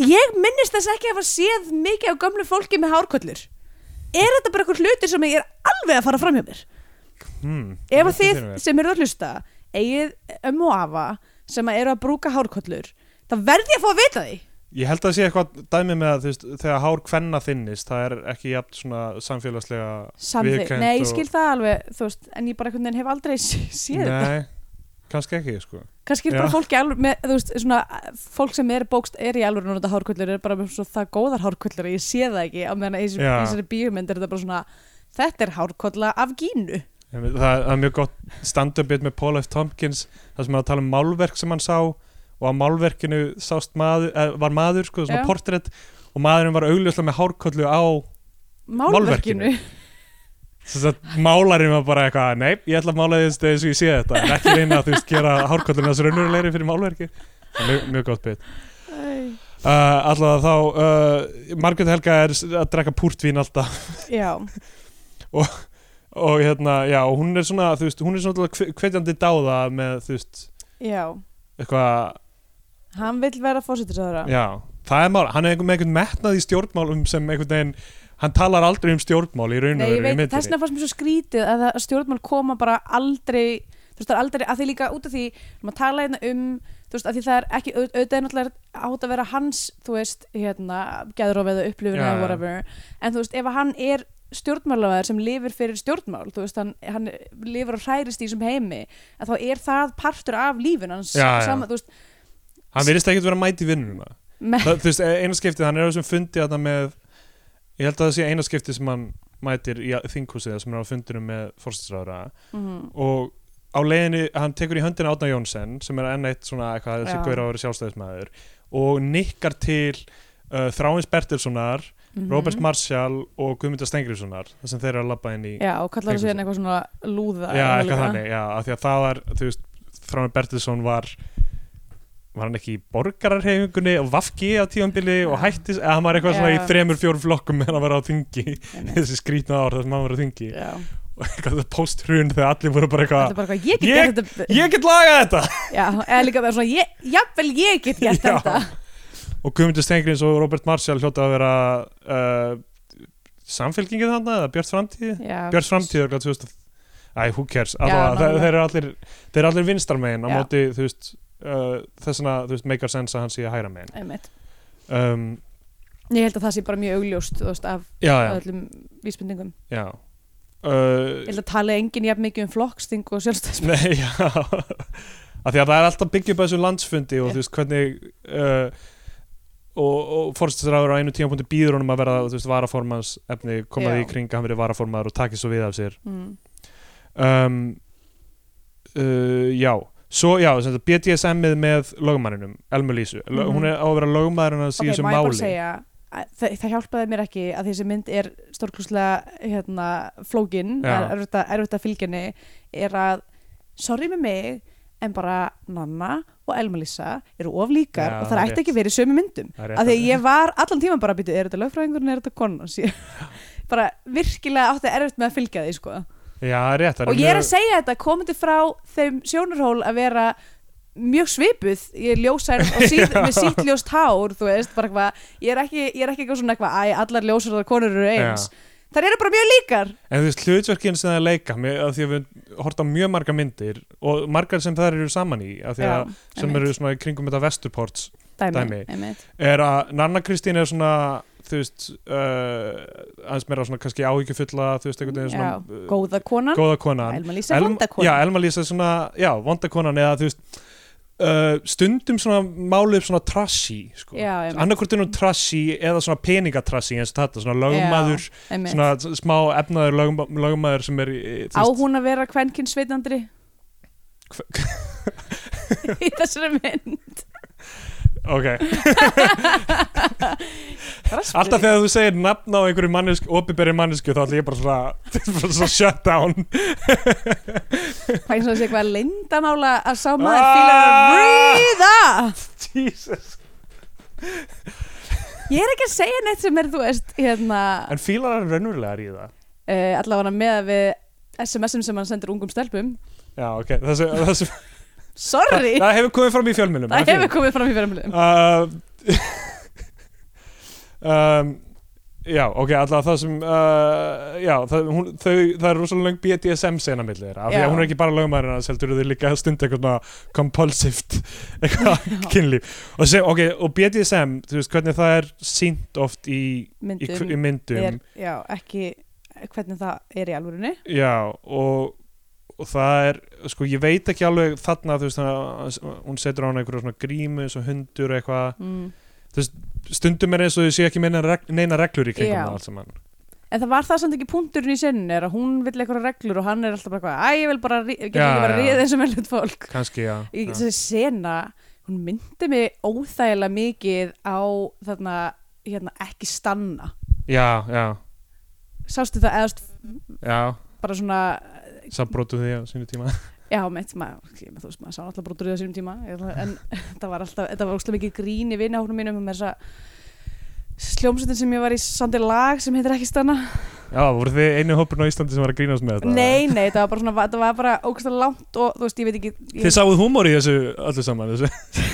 [SPEAKER 3] ég minnist þess ekki að hafa séð mikið af gömlu fólki með hárkollur er þetta bara eitthvað hluti sem ég er alveg að fara fram hjá mér
[SPEAKER 2] hmm,
[SPEAKER 3] ef að
[SPEAKER 2] velti
[SPEAKER 3] þið
[SPEAKER 2] fyrir mér.
[SPEAKER 3] sem eru að hlusta eigið ömmu og afa sem að eru að brúka hárkollur þá verð ég að fá að vita því
[SPEAKER 2] Ég held að sé eitthvað dæmi með að þú veist, þegar hár kvenna þinnist, það er ekki jafn svona samfélagslega
[SPEAKER 3] Samþykkt,
[SPEAKER 2] Viðurkennt
[SPEAKER 3] nei ég
[SPEAKER 2] og-
[SPEAKER 3] skil það alveg þú veist, en ég bara einhvern veginn hef aldrei s- séð þetta
[SPEAKER 2] Nei, kannski ekki, sko
[SPEAKER 3] kannski er bara
[SPEAKER 2] Já.
[SPEAKER 3] fólki alveg með, þú veist, svona fólk sem er bókst er í alveg núna hárkollur er bara með svo það góðar hárkollur að ég sé það ekki á meðan að í þessu- í
[SPEAKER 2] Já.
[SPEAKER 3] þessari bíómynd er þetta bara svona þetta er hárkolla af gínu
[SPEAKER 2] Ég meina, Það, það er mjög gott stand-up-bit með Paul F. Tompkins þar sem hann er að tala um málverk sem hann sá og á málverkinu sást maður, eh, var maður, sko, svona
[SPEAKER 3] Já.
[SPEAKER 2] portrétt og maðurinn var augljóslega með hárkollu á
[SPEAKER 3] málverkinu,
[SPEAKER 2] sem sagt, málarinn var bara eitthvað nei, ég ætla að mála þess eins og ég sé þetta en ekki reyna að þú veist gera hárkolluna þessu raunurulegri fyrir málverki Það er mjög, mjög gott bit
[SPEAKER 3] Æ,
[SPEAKER 2] Uh, allavega þá uh, Margrét Helga er s- að drekka púrtvín alltaf
[SPEAKER 3] já,
[SPEAKER 2] og hérna, já, og hún er svona þú veist, hún er svona hve- hvetjandi dáða með, þú veist,
[SPEAKER 3] já
[SPEAKER 2] eitthvað
[SPEAKER 3] hann vill vera fósitisöðra
[SPEAKER 2] já, það er mál, hann er einhvern með einhvern metnað í stjórnmálum sem einhvern veginn hann talar aldrei um stjórnmál í raun
[SPEAKER 3] Nei,
[SPEAKER 2] og
[SPEAKER 3] ég
[SPEAKER 2] veru í
[SPEAKER 3] veit, þess
[SPEAKER 2] myndinni
[SPEAKER 3] vegna fannst mér svo skrítið að það- að stjórnmál koma bara aldrei þú veist, það er aldrei, að því líka út af því maður tala hérna um, þú veist, að því það er ekki au- auðvitað er náttúrulega átt að vera hans þú veist, hérna, gæðurof eða upplifun
[SPEAKER 2] Já,
[SPEAKER 3] eða
[SPEAKER 2] já.
[SPEAKER 3] whatever, en þú veist, ef að hann er stjórnmálaðar sem lifir fyrir stjórnmál þú veist, hann, hann lifir og hrærist í þessum heimi, að þá er það partur af lífin hans
[SPEAKER 2] Já, já.
[SPEAKER 3] sama, þú veist,
[SPEAKER 2] hann virðist ekkert vera mæti í vinnuna
[SPEAKER 3] með,
[SPEAKER 2] það, þú veist, e, eina skiptið, hann er á þessum fundi þarna með, ég held að það sé eina skiptið sem hann mætir í þinghúsið sem er á fundinu með fórstisráðra
[SPEAKER 3] mm,
[SPEAKER 2] og á leiðinni, hann tekur í höndina Átna Jónsson sem er enn eitt svona eitthvað þessi
[SPEAKER 3] Já.
[SPEAKER 2] gaur á að vera sjálfstæðismæður og nikkar til uh, Þráins Bertilssonar,
[SPEAKER 3] mm,
[SPEAKER 2] Róbert Marshall og Guðmundar Stengriðssonar þar sem þeir eru að labba inn í
[SPEAKER 3] já, og kallar það síðan eitthvað svona lúða
[SPEAKER 2] já
[SPEAKER 3] eða
[SPEAKER 2] eitthvað
[SPEAKER 3] líka.
[SPEAKER 2] þannig, já, af því að það var þú veist, Þráins Bertilsson var var hann ekki í borgararhefingunni og vafki á tíðanbili og hættis eða hann var eitthvað svona í
[SPEAKER 3] Já.
[SPEAKER 2] þremur, fjórum flokkum meðan hann var á þingi,
[SPEAKER 3] Einmitt.
[SPEAKER 2] þessi skrýtna ár þar sem hann var á þingi
[SPEAKER 3] já,
[SPEAKER 2] og eitthvað post-hrun þegar allir voru bara
[SPEAKER 3] þetta er
[SPEAKER 2] eitthvað
[SPEAKER 3] bara eitthvað, ég get
[SPEAKER 2] Ég-
[SPEAKER 3] gert þetta
[SPEAKER 2] ég get lagað þetta
[SPEAKER 3] Já, eða líka bara svona, ég- jafnvel ég get gert
[SPEAKER 2] Já.
[SPEAKER 3] þetta
[SPEAKER 2] og Guðmundur Stengrins og Robert Marshall hljóta að vera uh, samfélkingið þarna eða Björns framtíð
[SPEAKER 3] Já,
[SPEAKER 2] Björns framtíð er glæð 2000 Æ, who cares,
[SPEAKER 3] Já,
[SPEAKER 2] allavega, þeir,
[SPEAKER 3] nákvæmlega.
[SPEAKER 2] þeir eru allir þeir eru allir vinstar megin á
[SPEAKER 3] Já.
[SPEAKER 2] móti þú veist, uh, þessna, þú veist, make a sense að hann sé að hæra megin
[SPEAKER 3] Einmitt.
[SPEAKER 2] um,
[SPEAKER 3] Ég held að það sé bara mjög augljóst þú veist, af
[SPEAKER 2] já, já,
[SPEAKER 3] öllum vísbendingum
[SPEAKER 2] já
[SPEAKER 3] Ég
[SPEAKER 2] uh,
[SPEAKER 3] held að tala enginn jafn mikið um flokksting og sjálfstæðsmenn
[SPEAKER 2] nei, já af því að það er alltaf byggjum þessu landsfundi og
[SPEAKER 3] Já.
[SPEAKER 2] þú veist, hvernig uh, og, og fórstæðsraður á einu tímapunkti býður honum að verða, þú veist, varaformans efni, koma
[SPEAKER 3] Já.
[SPEAKER 2] því í kring að hann verið varaformaður og taki svo við af sér
[SPEAKER 3] mm.
[SPEAKER 2] um, uh, já svo já, sem sagt, BDSM-ið með lögumanninum, Elmu Lísu Lö
[SPEAKER 3] Mhm.
[SPEAKER 2] hún er á að vera lögumannin að
[SPEAKER 3] Ok,
[SPEAKER 2] síðan sem
[SPEAKER 3] má ég bara
[SPEAKER 2] máli
[SPEAKER 3] segja að Það, það hjálpaði mér ekki að þessi mynd er stórkúslega hérna, flókin
[SPEAKER 2] Já.
[SPEAKER 3] er erfitt að- erfitt að fylgjenni er að, sorry með mig en bara Nanna og Elmalisa eru oflíkar
[SPEAKER 2] Já,
[SPEAKER 3] og það
[SPEAKER 2] rétt.
[SPEAKER 3] ætti ekki verið í sömu myndum
[SPEAKER 2] Það er rétt
[SPEAKER 3] að því
[SPEAKER 2] að-
[SPEAKER 3] að ég var allan tíman bara að byrja, er þetta lögfræðingurinn, er þetta konan Ég- bara virkilega átti erfitt með að fylgja því sko.
[SPEAKER 2] já, það er rétt það
[SPEAKER 3] og ég er að
[SPEAKER 2] mjög-
[SPEAKER 3] segja þetta komandi frá þeim sjónarhól að vera mjög svipuð ég er ljósær og síð, með sítt ljóst hár þú veist, bara eitthvað ég er ekki, ég er ekki eitthvað svona eitthvað, æ, allar ljósarðar konur eru eins þær eru bara mjög líkar
[SPEAKER 2] en þú veist, hlutverkin sem það er leika með, að því að við horta mjög marga myndir og margar sem það eru saman í að því að sem eru svona í kringum þetta vesturports
[SPEAKER 3] dæmi,
[SPEAKER 2] dæmi.
[SPEAKER 3] dæmi.
[SPEAKER 2] er að Nanna Kristín er svona þú veist uh, aðeins meira svona kannski áhyggjufulla þú veist, einhvern veginn
[SPEAKER 3] Já,
[SPEAKER 2] svona uh,
[SPEAKER 3] góða konan,
[SPEAKER 2] góða konan
[SPEAKER 3] Elma Lísa er vonda konan
[SPEAKER 2] Já, Elma Lísa er svona, já, vondakonan eða þú veist, uh, stundum svona málið svona trashy sko.
[SPEAKER 3] Já, einmitt.
[SPEAKER 2] annarkvort er hún trashy eða svona peningatrashy eins og þetta, svona lögmaður
[SPEAKER 3] einmitt.
[SPEAKER 2] svona s- smá efnaður lögum, lögmaður sem er í- í- þú
[SPEAKER 3] á
[SPEAKER 2] veist-
[SPEAKER 3] hún að vera kvenkinsveitandri í þessari mynd
[SPEAKER 2] ok, alltaf þegar þú segir nafn á einhverju mannesk, opiberi mannesku þá ætlum ég bara svona, bara svona shut down
[SPEAKER 3] Það er eins og þessi eitthvað lindamála að sá maður
[SPEAKER 2] Ah!
[SPEAKER 3] fílar að ríða
[SPEAKER 2] Jesus
[SPEAKER 3] Ég er ekki að segja neitt sem er, þú veist, hérna
[SPEAKER 2] en fílar er raunverulega að ríða
[SPEAKER 3] uh, allavega með við SMS-um sem hann sendir ungum stelpum
[SPEAKER 2] já, ok, það, sem, það, sem,
[SPEAKER 3] Sorry,
[SPEAKER 2] það hefur komið fram í fjölmjölum
[SPEAKER 3] það hefur komið fram í fyrirmlum
[SPEAKER 2] uh, um, já, ok, alltaf það sem uh, já, það, hún, þau, það er rosalega löng BDSM sena milli þeirra, af því
[SPEAKER 3] Já.
[SPEAKER 2] að hún er ekki bara lögmaðurinn hans, heldur þau líka að stunda eitthvað svona compulsivt eitthvað kynlíf og, sem, ok, og BDSM, þú veist hvernig það er sínt oft í, í,
[SPEAKER 3] myndum,
[SPEAKER 2] í myndum
[SPEAKER 3] Er, Já, ekki hvernig það er í alvörunni
[SPEAKER 2] Já, og, og það er, sko, ég veit ekki alveg þarna, þú veist, að hún setur á hann einhverja svona grímu, eins og hundur og eitthvað,
[SPEAKER 3] mm.
[SPEAKER 2] stundum er eins og þau séu ekki meina reg, neina reglur í kringum
[SPEAKER 3] Já.
[SPEAKER 2] það allt saman.
[SPEAKER 3] En það var það samt ekki punkturinn í seninu er að hún vill eitthvað reglur og hann er alltaf bara eitthvað Æ, ég vil bara, rí- ég
[SPEAKER 2] Já,
[SPEAKER 3] get ekki bara
[SPEAKER 2] já.
[SPEAKER 3] ríða eins og með hlut fólk
[SPEAKER 2] Kanski, já.
[SPEAKER 3] Í
[SPEAKER 2] já.
[SPEAKER 3] þessi sena, hún myndi mig óþægilega mikið á þarna, hérna, ekki stanna
[SPEAKER 2] Já, já,
[SPEAKER 3] Sástu það eðast
[SPEAKER 2] já,
[SPEAKER 3] bara svona
[SPEAKER 2] það brotum því á sínu tíma.
[SPEAKER 3] Já, mitt, maður, ég- þú veist, maður sá alltaf brotur í þessum tíma ég ætla- en þetta var alltaf, þetta var óslega mikið grín í vinahóknum mínum með þessa sljómsutin sem ég var í sandi lag sem heitir ekki stanna
[SPEAKER 2] Já, voru þið einu hópurinn á Íslandi sem var að grínast með þetta?
[SPEAKER 3] Nei, nei, þetta var bara svona, þetta var bara ógæslega langt og þú veist, ég veit ekki ég,
[SPEAKER 2] Þið sáuð húmor í þessu öllu saman, þessu.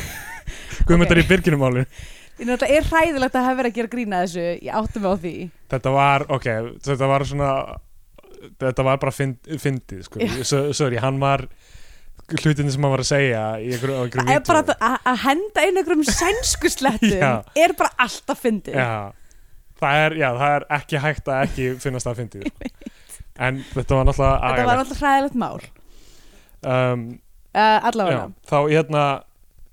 [SPEAKER 2] Guðmundar í Birginumáli.
[SPEAKER 3] Ég náttúrulega er hræðilegt að hafa verið að gera grína þessu, ég átti mig á því.
[SPEAKER 2] Þetta var, ok, þetta var svona þetta var bara fynd- fyndið sko.
[SPEAKER 3] Já.
[SPEAKER 2] S- sorry, hann var hlutinni sem hann var að segja í einhverju, á einhverju
[SPEAKER 3] Það er bara
[SPEAKER 2] vídeói.
[SPEAKER 3] að- að að henda inn einhverjum
[SPEAKER 2] Já.
[SPEAKER 3] sænskuslettum er bara alltaf fyndið.
[SPEAKER 2] já, það er, já, það er ekki hægt að ekki finnast það fyndið sko. en þetta var náttúrulega
[SPEAKER 3] Þetta var
[SPEAKER 2] agalegt.
[SPEAKER 3] alltaf hræðilegt mál.
[SPEAKER 2] um,
[SPEAKER 3] Uh,
[SPEAKER 2] já,
[SPEAKER 3] allavega.
[SPEAKER 2] þá hérna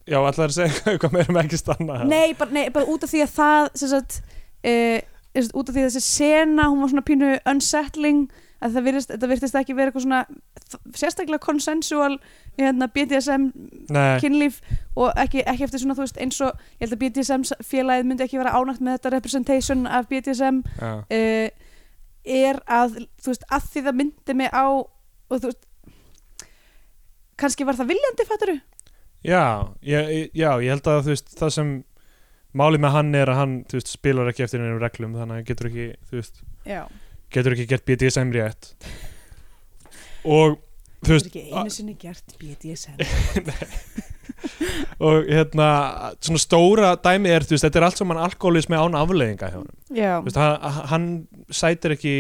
[SPEAKER 2] já, allar að segja eitthvað meira með ekki stanna
[SPEAKER 3] Nei bara, nei, bara út af því að það, sem sagt, uh, sem sagt, út af því að þessi sena, hún var svona pínu unsettling, að það virðist, þetta virtist ekki vera eitthvað svona þ- sérstaklega consensual, hérna, BDSM
[SPEAKER 2] Nei,
[SPEAKER 3] kynlíf og ekki, ekki eftir svona, þú veist, eins og, ég held að BDSM félagið myndi ekki vera ánægt með þetta representation af BDSM
[SPEAKER 2] já,
[SPEAKER 3] uh, er að þú veist, að því það myndi mig á og þú veist kannski var það viljandi fatturu
[SPEAKER 2] já, ég- já, ég held að þú veist, það sem málið með hann er að hann þú veist, spilar ekki eftir einhverjum reglum þannig að hann getur ekki, þú veist
[SPEAKER 3] já,
[SPEAKER 2] getur ekki gert BDSM rétt og þú veist
[SPEAKER 3] þú veist ekki einu sinni gert BDSM
[SPEAKER 2] og hérna svona stóra dæmi er þú veist þetta er allt saman alkoholismi án afleiðinga hjá honum
[SPEAKER 3] já,
[SPEAKER 2] þú veist hann, hann sætir ekki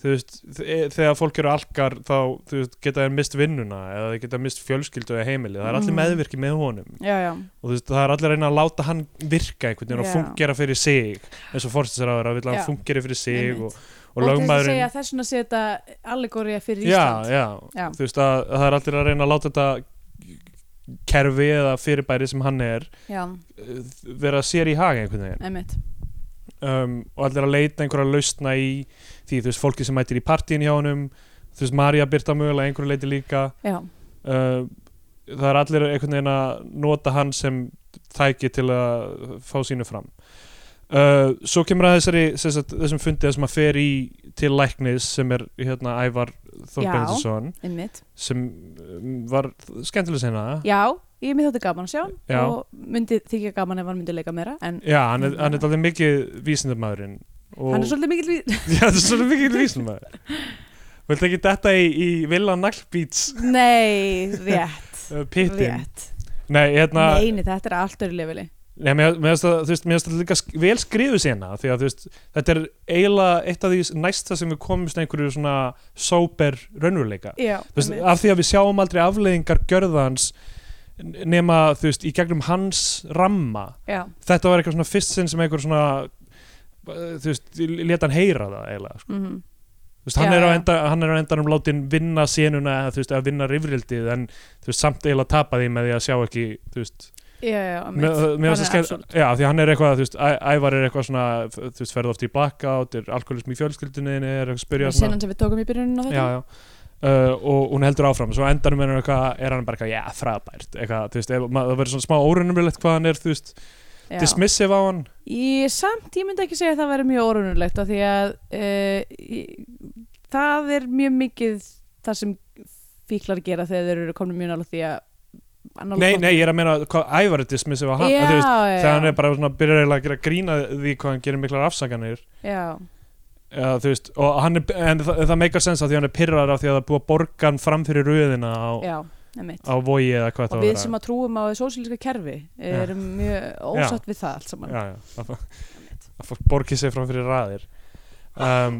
[SPEAKER 2] þú veist þe- þegar fólk eru alkar þá þú veist geta þeir mist vinnuna eða þeir geta mist fjölskyldu eða heimili það er allir
[SPEAKER 3] Mhm.
[SPEAKER 2] meðvirki með honum
[SPEAKER 3] já, já,
[SPEAKER 2] og þú veist það er allir að reyna að láta hann virka einhvern veginn
[SPEAKER 3] Já.
[SPEAKER 2] og fungera fyrir sig eins og forstins er að vera að vilja að
[SPEAKER 3] Já.
[SPEAKER 2] hann fungeri fyrir sig
[SPEAKER 3] Einmitt.
[SPEAKER 2] og, og, lögmaðurinn
[SPEAKER 3] segja, þess vegna sé þetta allegóriða fyrir
[SPEAKER 2] já,
[SPEAKER 3] Ísland
[SPEAKER 2] já,
[SPEAKER 3] Já.
[SPEAKER 2] þú veist að það er allir að reyna að láta þetta kerfi eða fyrirbæri sem hann er
[SPEAKER 3] já,
[SPEAKER 2] eh, vera sér í haga einhvern veginn
[SPEAKER 3] einmitt
[SPEAKER 2] um, og allir að leita einhverja lausna í því, þú veist, fólki sem mætir í partíin hjá honum þú veist, Marja Byrta mögulega einhverju leiti líka
[SPEAKER 3] já,
[SPEAKER 2] uh, það er allir einhvern veginn að nota hann sem tæki til að fá sínu fram uh, svo kemur að þessari sem sagt, þessum fundið sem að fer í til læknis sem er hérna Ævar Þorbendinsson
[SPEAKER 3] einmitt
[SPEAKER 2] sem um, var skemmtileg sinna
[SPEAKER 3] já, ég mér þótti gaman að sjá hann
[SPEAKER 2] Já.
[SPEAKER 3] og myndi þykja gaman ef hann myndi leika meira en
[SPEAKER 2] já, hann er, hann er alveg mikið vísindamæðurinn og...
[SPEAKER 3] hann er svolítið mikill við
[SPEAKER 2] já, það er svolítið mikið vísindamæður viltu ekki detta í, í Villa Naglbíts
[SPEAKER 3] nei, rétt
[SPEAKER 2] uh, pittin
[SPEAKER 3] rétt,
[SPEAKER 2] nei, hérna
[SPEAKER 3] neini, þetta er allt öru lefili
[SPEAKER 2] Nei, mér mér finnst það, þú veist, mér finnst það líka sk- vel skrifu sena, því að þú veist, þetta er eiginlega eitt af því næsta sem við komumst einhverju svona sóper raunveruleika.
[SPEAKER 3] já,
[SPEAKER 2] Þú veist,
[SPEAKER 3] einmitt.
[SPEAKER 2] af því að við sjáum aldrei afleiðingar gjörðans n- nema, þú veist, í gegnum hans ramma.
[SPEAKER 3] já,
[SPEAKER 2] Þetta var eitthvað svona fyrst sinn sem einhver svona, uh, þú veist, leta hann heyra það eiginlega. sko.
[SPEAKER 3] mhm
[SPEAKER 2] Þú veist, hann,
[SPEAKER 3] Já,
[SPEAKER 2] er á
[SPEAKER 3] já.
[SPEAKER 2] enda, hann er á endanum látin vinna senuna, eða, þú veist, að vinna rifrildið, en þú veist, samt eiginlega tapa því með því að sjá ekki, þú veist,
[SPEAKER 3] já, já, einmitt.
[SPEAKER 2] Mér mér
[SPEAKER 3] Hann
[SPEAKER 2] finnst það
[SPEAKER 3] er
[SPEAKER 2] skemmt, já, því hann er eitthvað, þú veist, Æ- Ævar er eitthvað svona, þú veist, ferði oft í blackout, er alkoholism í fjölskyldinni, er eitthvað að spyrja
[SPEAKER 3] senan sem við tókum í byrjunum á
[SPEAKER 2] já, já,
[SPEAKER 3] þetta
[SPEAKER 2] uh, og hún heldur áfram svo á endanum er hann, eitthvað, er hann bara eitthvað, já, frábært eitthvað, þú veist, ef, ma, það verður svona smá órunumilegt hvað hann er, þú veist,
[SPEAKER 3] Já.
[SPEAKER 2] dismissive á hann
[SPEAKER 3] Ég, samt, ég myndi ekki segja að það væri mjög orðunulegt af því að uh, það er mjög mikið það sem fíklar gera þegar þeir eru komin mjög nála því að annar-
[SPEAKER 2] nei, nei, ég er að meina hvað ævar er dismissive á hann
[SPEAKER 3] já,
[SPEAKER 2] þú veist,
[SPEAKER 3] já,
[SPEAKER 2] þegar hann er bara svona byrjar eiginlega að gera grína því hvað hann gerir miklar afsakanir
[SPEAKER 3] já,
[SPEAKER 2] Já, þú veist, og hann er, en það, það meikar sens að því hann er pyrrar af því að það er búið að borga hann fram fyrir röðina á,
[SPEAKER 3] já, einmitt
[SPEAKER 2] á vogi eða hvað
[SPEAKER 3] og
[SPEAKER 2] það
[SPEAKER 3] við sem að trúum á því sósílíska kerfi erum mjög ósatt við það allt saman
[SPEAKER 2] Já, já, að, fá- að fólk borgi sig fram fyrir raðir um,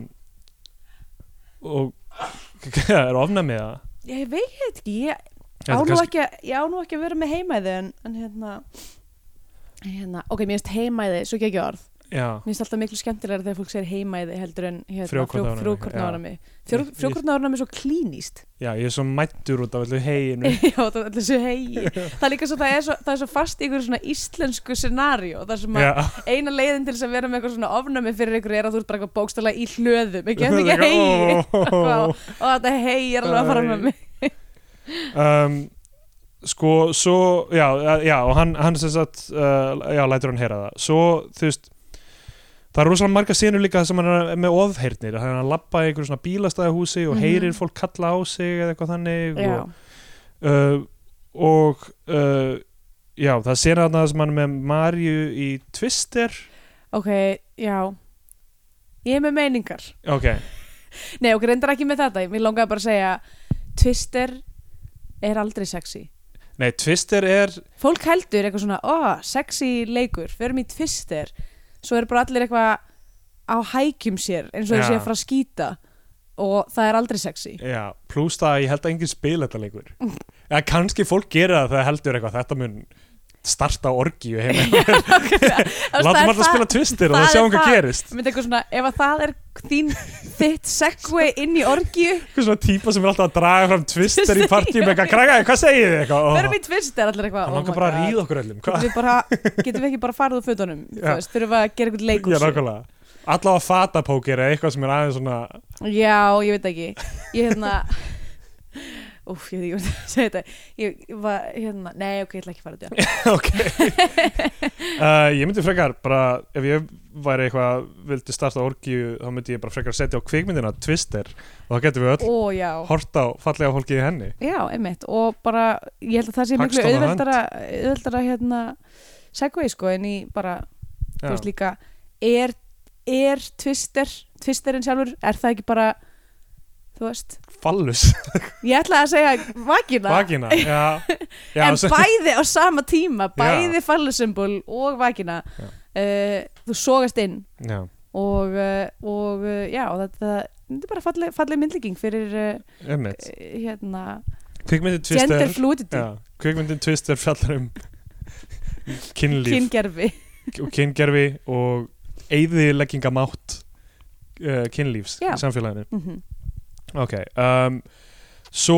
[SPEAKER 2] og er ofnæmið það
[SPEAKER 3] ég veit ekki, ég
[SPEAKER 2] Þetta
[SPEAKER 3] á
[SPEAKER 2] er
[SPEAKER 3] nú
[SPEAKER 2] kannski-
[SPEAKER 3] ekki, að- ég á nú ekki að vera með heimæði en, en hérna, hérna ok, mér finnst heimæði, svo ekki orð
[SPEAKER 2] Já,
[SPEAKER 3] mér finnst alltaf miklu skemmtilegra þegar fólk segir heimæði heldur en hérna,
[SPEAKER 2] Frjókornaofnæmi,
[SPEAKER 3] frjókornaofnæmi.
[SPEAKER 2] Ég-
[SPEAKER 3] Frjó-
[SPEAKER 2] ég-
[SPEAKER 3] frjókornaofnæmi er svo klínist
[SPEAKER 2] já, ég er svo mættur út af allir heginu
[SPEAKER 3] já, það er allir svo hegi það er líka svo, það er svo, það er svo fast í einhverju svona íslensku scenaríó, þar sem að
[SPEAKER 2] Já,
[SPEAKER 3] eina leiðin til þess að vera með eitthvað svona ofnæmi fyrir ykkur er að þú ert bara eitthvað bókstala í hlöðum ekki eftir ekki
[SPEAKER 2] oh.
[SPEAKER 3] hegi
[SPEAKER 2] Ó.
[SPEAKER 3] og þetta hegi er alveg að fara með mig
[SPEAKER 2] um, Sko, svo Já, já og hann, hann sem sagt uh, Já, lætur hann heyra það Svo, þú veist Það er rosalega marga sínur líka þar sem hann er með ofheyrnir Þannig að hann labba í einhverju svona bílastæðahúsi og
[SPEAKER 3] Mhm.
[SPEAKER 2] heyrir fólk kalla á sig eða eitthvað þannig
[SPEAKER 3] já,
[SPEAKER 2] og, uh, og uh, já, það er sena þarna sem hann er með Marju í Twister
[SPEAKER 3] ok, já ég er með meiningar
[SPEAKER 2] ok,
[SPEAKER 3] nei, ok, reyndar ekki með þetta, mér langaði bara að segja Twister er aldrei sexy
[SPEAKER 2] nei, Twister er
[SPEAKER 3] fólk heldur eitthvað svona ó, sexy leikur, förum í Twister svo eru bara allir eitthvað á hækjum sér eins og
[SPEAKER 2] Já.
[SPEAKER 3] þessi að fara að skýta og það er aldrei sexy
[SPEAKER 2] já, pluss það að ég held að enginn spil þetta leikur eða kannski fólk gera það þegar heldur eitthvað þetta mun starta orgíu heima látum alltaf spila Twister og
[SPEAKER 3] það
[SPEAKER 2] það
[SPEAKER 3] er
[SPEAKER 2] sjáum hvað
[SPEAKER 3] það.
[SPEAKER 2] gerist
[SPEAKER 3] Mér tekur svona, ef að það er þín þitt segway inn í orgju
[SPEAKER 2] eitthvað svona típa sem er alltaf að draga fram Twister í
[SPEAKER 3] Twister,
[SPEAKER 2] partíum
[SPEAKER 3] já.
[SPEAKER 2] eitthvað, krakkaði, hvað segið þið eitthvað Ó,
[SPEAKER 3] förum í tvistir allir eitthvað
[SPEAKER 2] hann
[SPEAKER 3] oh
[SPEAKER 2] langar
[SPEAKER 3] my
[SPEAKER 2] bara að
[SPEAKER 3] god.
[SPEAKER 2] ríða okkur öllum
[SPEAKER 3] getum
[SPEAKER 2] hvað?
[SPEAKER 3] við, bara, getum við ekki bara farið úr fötunum þú
[SPEAKER 2] Já.
[SPEAKER 3] veist, þurfum við að gera eitthvað
[SPEAKER 2] já,
[SPEAKER 3] leikur
[SPEAKER 2] nákvæmlega allavega fatapókir eða eitthvað sem er aðeins svona
[SPEAKER 3] já, ég veit ekki ég hérna úf, ég veit ekki hvað að segja þetta ég, ég var, hérna, nei, ok, ég ætla ekki að fara út í það
[SPEAKER 2] ok uh, ég myndi frekar bara ef ég væri eitthvað vildi starta orgíu þá myndi ég bara frekar setja á kvikmyndina Twister og þá getum við öll
[SPEAKER 3] ó, já
[SPEAKER 2] hort á fallega fólki í henni
[SPEAKER 3] já, einmitt, og bara ég held að það sé miklu
[SPEAKER 2] Paxton og Hunt.
[SPEAKER 3] auðveldara auðveldara, hérna, segway, sko en í bara, þú veist líka er, er twister twisterinn sjálfur, er það ekki bara þú veist,
[SPEAKER 2] fallus,
[SPEAKER 3] ég ætla að segja vagina,
[SPEAKER 2] vagina já, já,
[SPEAKER 3] en
[SPEAKER 2] sem-
[SPEAKER 3] bæði á sama tíma bæði fallusymbol og vagina
[SPEAKER 2] Já.
[SPEAKER 3] uh, þú sogast inn
[SPEAKER 2] já,
[SPEAKER 3] og, uh, og uh, já, þetta, þetta er bara falleg, falleg myndlíking fyrir uh,
[SPEAKER 2] emmitt
[SPEAKER 3] hérna,
[SPEAKER 2] kvikmyndin
[SPEAKER 3] gender
[SPEAKER 2] Twister
[SPEAKER 3] fluidity
[SPEAKER 2] já, kvikmyndin Twister fjallar um kynlíf
[SPEAKER 3] kyngerfi
[SPEAKER 2] og kyngerfi og eigðileggingamátt uh, kynlífs
[SPEAKER 3] Já.
[SPEAKER 2] í samfélaginu
[SPEAKER 3] mm
[SPEAKER 2] Ok, um, svo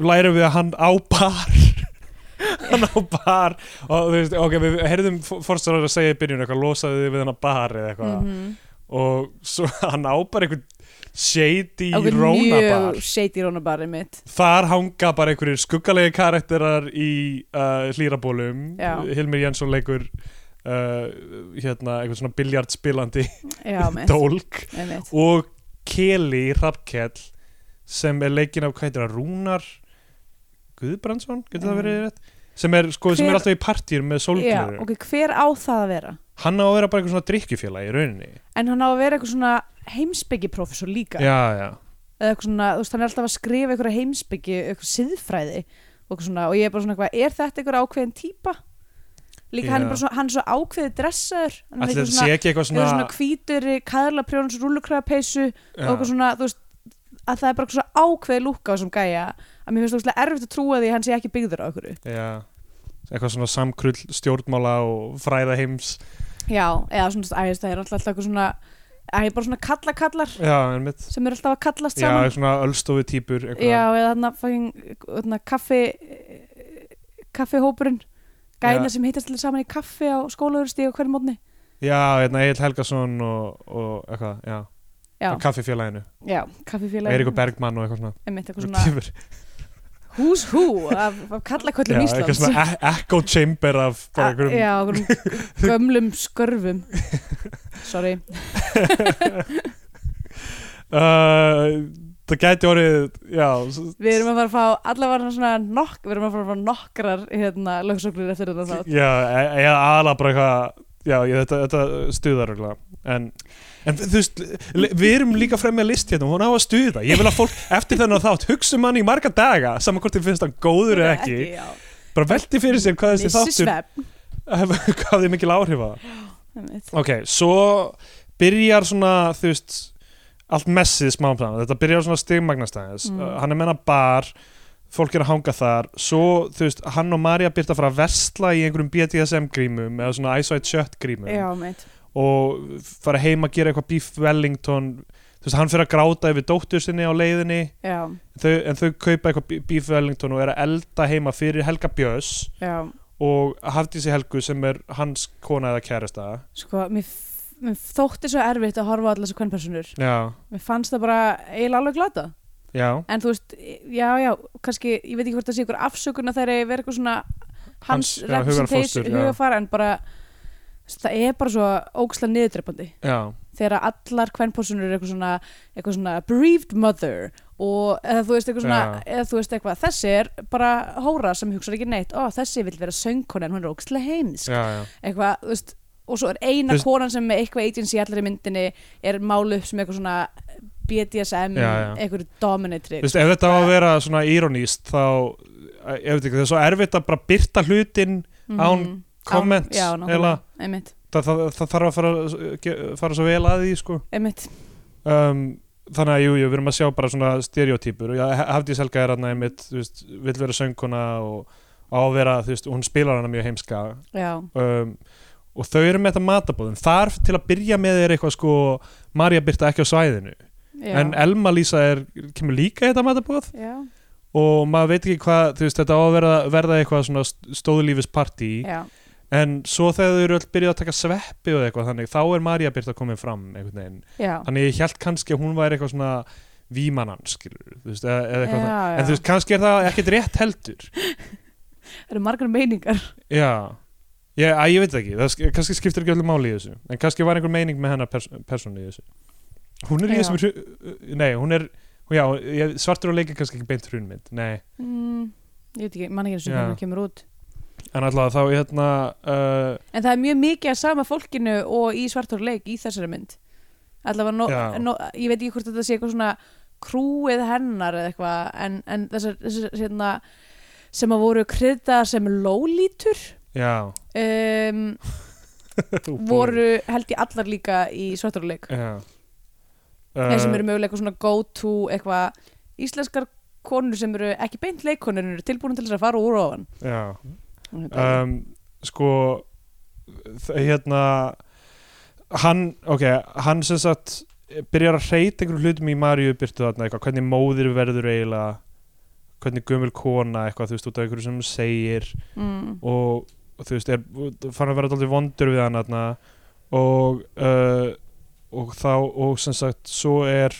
[SPEAKER 2] lærum við að hann á bar hann á bar og þú veist, ok, við heyrðum fórstæðar að segja í byrjun eitthvað, losaðu þið við hann á bar eða eitthvað
[SPEAKER 3] Mhm.
[SPEAKER 2] og svo hann á bara einhvern shady rónabar
[SPEAKER 3] mjög shady rónabar mitt
[SPEAKER 2] þar hanga bara einhverjir skuggalegi karakterar í uh, hlýrabólum
[SPEAKER 3] Já.
[SPEAKER 2] Hilmir Jensson leikur uh, hérna, einhvern svona biljardspilandi
[SPEAKER 3] já, mitt,
[SPEAKER 2] dólk
[SPEAKER 3] einmitt.
[SPEAKER 2] og Keli Rappkell sem er leikin af hvað heitir það, Rúnar Guðbrandsson, getur það verið rétt sem er, sko, sem er
[SPEAKER 3] Mm. Hver-
[SPEAKER 2] alltaf í partýr með
[SPEAKER 3] Já,
[SPEAKER 2] sólglöður,
[SPEAKER 3] ok, hver á það að vera
[SPEAKER 2] hann á að vera bara eitthvað svona drikkjufélag í rauninni
[SPEAKER 3] en hann á að vera eitthvað svona heimsbyggjiprofessor líka
[SPEAKER 2] já, já,
[SPEAKER 3] eða eitthvað svona, þú veist, hann er alltaf að skrifa einhverja heimsbyggi, eitthvað siðfræði og, eitthvað svona, og ég er bara svona eitthvað, er þetta einhver ákveðin típa? Líka hann
[SPEAKER 2] Já.
[SPEAKER 3] er bara svona, hann er svo ákveðið dressaður hann er með
[SPEAKER 2] allir
[SPEAKER 3] eitthvað
[SPEAKER 2] sé
[SPEAKER 3] svona,
[SPEAKER 2] ekki eitthvað
[SPEAKER 3] svona,
[SPEAKER 2] svona,
[SPEAKER 3] svona hvítur kaðlaprjóns rúllukraðapeysu og eitthvað
[SPEAKER 2] já,
[SPEAKER 3] svona, þú veist að það er bara eitthvað svona ákveðið lúka á þessum gæja að mér finnst þú erfitt að trúa því að hann sé ekki byggður á okkur
[SPEAKER 2] já eitthvað svona samkrull stjórnmála og fræða heims
[SPEAKER 3] Já, eða svona, æ, þú veist, það er alltaf eitthvað svona æ, bara svona kallakallar
[SPEAKER 2] já, en mitt
[SPEAKER 3] sem er alltaf að kallast
[SPEAKER 2] já,
[SPEAKER 3] saman
[SPEAKER 2] svona ölstofu típur
[SPEAKER 3] Já, eða þarna fucking þarna, kaffi kaffihópurinn gæna
[SPEAKER 2] Já.
[SPEAKER 3] sem hittast allir saman í kaffi á skólaugursti og hverjum mótni
[SPEAKER 2] já, hérna Egil Helgason og, og eitthvað, já
[SPEAKER 3] já,
[SPEAKER 2] kaffifélaginu,
[SPEAKER 3] já, kaffifélag
[SPEAKER 2] Eiríku Bergmann og eitthvað svona,
[SPEAKER 3] einmitt eitthvað svona
[SPEAKER 2] svona
[SPEAKER 3] who's who af,
[SPEAKER 2] Já,
[SPEAKER 3] af kallaköllum
[SPEAKER 2] eitthvað
[SPEAKER 3] Íslands
[SPEAKER 2] svona e- echo chamber af bara
[SPEAKER 3] A-
[SPEAKER 2] einhverjum
[SPEAKER 3] já, einhverjum gömlum skörfum sorry
[SPEAKER 2] uh, það gæti orðið já, s-
[SPEAKER 3] við erum að fara að fá allavega svona nokk, við erum að fara að fá nokkrar hérna, lögsögnir eftir þetta þátt
[SPEAKER 2] já, e- eða aðla bara eitthvað já, ég, þetta, þetta stuðar örugglega. en, en þú veist le- við erum líka frem með list hérna, hún á að stuða ég vil að fólk eftir þennan þátt hugsa um hann í marga daga saman hvort þið finnst hann góður eða ekki
[SPEAKER 3] já.
[SPEAKER 2] bara velti fyrir sér hvað þessi
[SPEAKER 3] missi
[SPEAKER 2] þáttur
[SPEAKER 3] svefn
[SPEAKER 2] hvað þið mikil áhrif að
[SPEAKER 3] einmitt.
[SPEAKER 2] ok, svo byrjar svona þú veist allt messið smám saman, þetta byrjar svona stigmagnastæðis,
[SPEAKER 3] Mm.
[SPEAKER 2] mm. hann er meina bar fólk er að hanga þar svo þú veist, hann og Marja byrta að fara að versla í einhverjum BDSM grímum eða svona Ice White Shirt grímum
[SPEAKER 3] já, mitt
[SPEAKER 2] og fara heim að gera eitthvað Beef Wellington, þú veist, hann fyrir að gráta yfir dóttur sinni á leiðinni
[SPEAKER 3] já,
[SPEAKER 2] þau, en þau kaupa eitthvað Be- Beef Wellington og er að elda heima fyrir Helga Björs
[SPEAKER 3] já,
[SPEAKER 2] og Hafdísi Helgu sem er hans kona eða kærasta
[SPEAKER 3] sko, mér, f- mér þótti svo erfitt að horfa á allar þessu kvennpersonur
[SPEAKER 2] já,
[SPEAKER 3] mér fannst það bara eiginlega alveg glata
[SPEAKER 2] já
[SPEAKER 3] en þú veist, já, já, kannski ég veit ekki hvort það sé ykkur afsökun að það er verið eitthvað svona hans
[SPEAKER 2] Hans- já,
[SPEAKER 3] representation
[SPEAKER 2] hugarfóstur, já.
[SPEAKER 3] hugafara en bara þú veist, það er bara svo óksla niðurdreppandi
[SPEAKER 2] Já,
[SPEAKER 3] þegar allar kvennpósunur eru eitthvað svona, eitthvað svona bereaved mother og eða þú veist eitthvað svona eða þú veist eitthvað, þessi er bara hóra sem hugsar ekki neitt, ó þessi vill vera söngkona en hún er óksla heimsk
[SPEAKER 2] já, já,
[SPEAKER 3] eitthvað, þú veist, og svo er eina
[SPEAKER 2] Þú veist-
[SPEAKER 3] konan sem með eitthvað agency í allari myndinni er máluð sem eitthvað svona BDSM,
[SPEAKER 2] Já, já.
[SPEAKER 3] eitthvað
[SPEAKER 2] Þú
[SPEAKER 3] dominatrix
[SPEAKER 2] veist, ef þetta á að vera svona ironíst þá, eh, ég veit ekki, það er svo erfitt að bara byrta hlutin án
[SPEAKER 3] Mhm.
[SPEAKER 2] comments,
[SPEAKER 3] já,
[SPEAKER 2] eiginlega.
[SPEAKER 3] nákvæmlega, einmitt,
[SPEAKER 2] það, það, það þarf að fara, ge- fara svo vel að því, sko
[SPEAKER 3] einmitt
[SPEAKER 2] um, Þannig að jú, jú, við erum að sjá bara svona stereotypur, já, Hafdís Helga er hann einmitt, þú veist, vill vera söngkona og á að vera, þú veist, og hún spilar hana mjög heimska
[SPEAKER 3] já,
[SPEAKER 2] um, og þau eru með þetta matabóðum þar til að byrja með er eitthvað sko Marja byrta ekki á svæðinu
[SPEAKER 3] já,
[SPEAKER 2] en Elma Lísa er, kemur líka í þetta matabóð
[SPEAKER 3] já,
[SPEAKER 2] og maður veit ekki hvað, þú veist, þetta á að verða, verða eitthvað svona stóðlífispartí
[SPEAKER 3] já,
[SPEAKER 2] en svo þegar þau eru öll byrjuð að taka sveppi og eitthvað þannig, þá er Marja Byrta komin fram einhvern veginn,
[SPEAKER 3] já
[SPEAKER 2] þannig ég held kannski að hún væri eitthvað svona vímanan, skilur þú veist, e-, eða, eða eitthvað
[SPEAKER 3] Já,
[SPEAKER 2] það,
[SPEAKER 3] já.
[SPEAKER 2] en þú veist, kannski er það ekkert rétt heldur
[SPEAKER 3] það eru margar meiningar
[SPEAKER 2] já, ég, að, ég veit það ekki það, sk- kannski skiptir ekki öllu máli í þessu en kannski var einhver meining með hennar pers persónu í þessu hún er í
[SPEAKER 3] Já.
[SPEAKER 2] þessum hru- nei, hún er, já, ég- svartur og leikir kannski ekki beint hrunmynd, nei
[SPEAKER 3] mm, ég veit ekki, mann ekki eins og
[SPEAKER 2] Já.
[SPEAKER 3] hvernig það kemur út
[SPEAKER 2] en alltaf þá, hérna uh,
[SPEAKER 3] en það er mjög mikið að sama fólkinu og í svartór leik í þessari mynd allavega, no,
[SPEAKER 2] Já.
[SPEAKER 3] no, ég veit ekki hvort þetta sé eitthvað svona krúið hennar eða eitthvað en, en þessar, þessar hérna, sem að voru kryddar sem lólítur
[SPEAKER 2] Já
[SPEAKER 3] um, voru held ég allar líka í svartór leik
[SPEAKER 2] Já Um,
[SPEAKER 3] þeir
[SPEAKER 2] Uh.
[SPEAKER 3] sem eru mögulega eitthvað svona go to eitthvað íslenskar konur sem eru ekki beint leikkonur en eru tilbúin til þess að fara úr ofan
[SPEAKER 2] Já um, Sko þ- Hérna Hann, ok, hann sem sagt byrjar að reyta einhverjum hlutum í Maríu byrtu þarna eitthvað, hvernig móðir verður eiginlega hvernig gömul kona eitthvað, þú veist, út af einhverju sem hún segir
[SPEAKER 3] mm,
[SPEAKER 2] og og þú veist, er fann að vera dálítið vondur við hann þarna og uh, og þá, og sem sagt svo er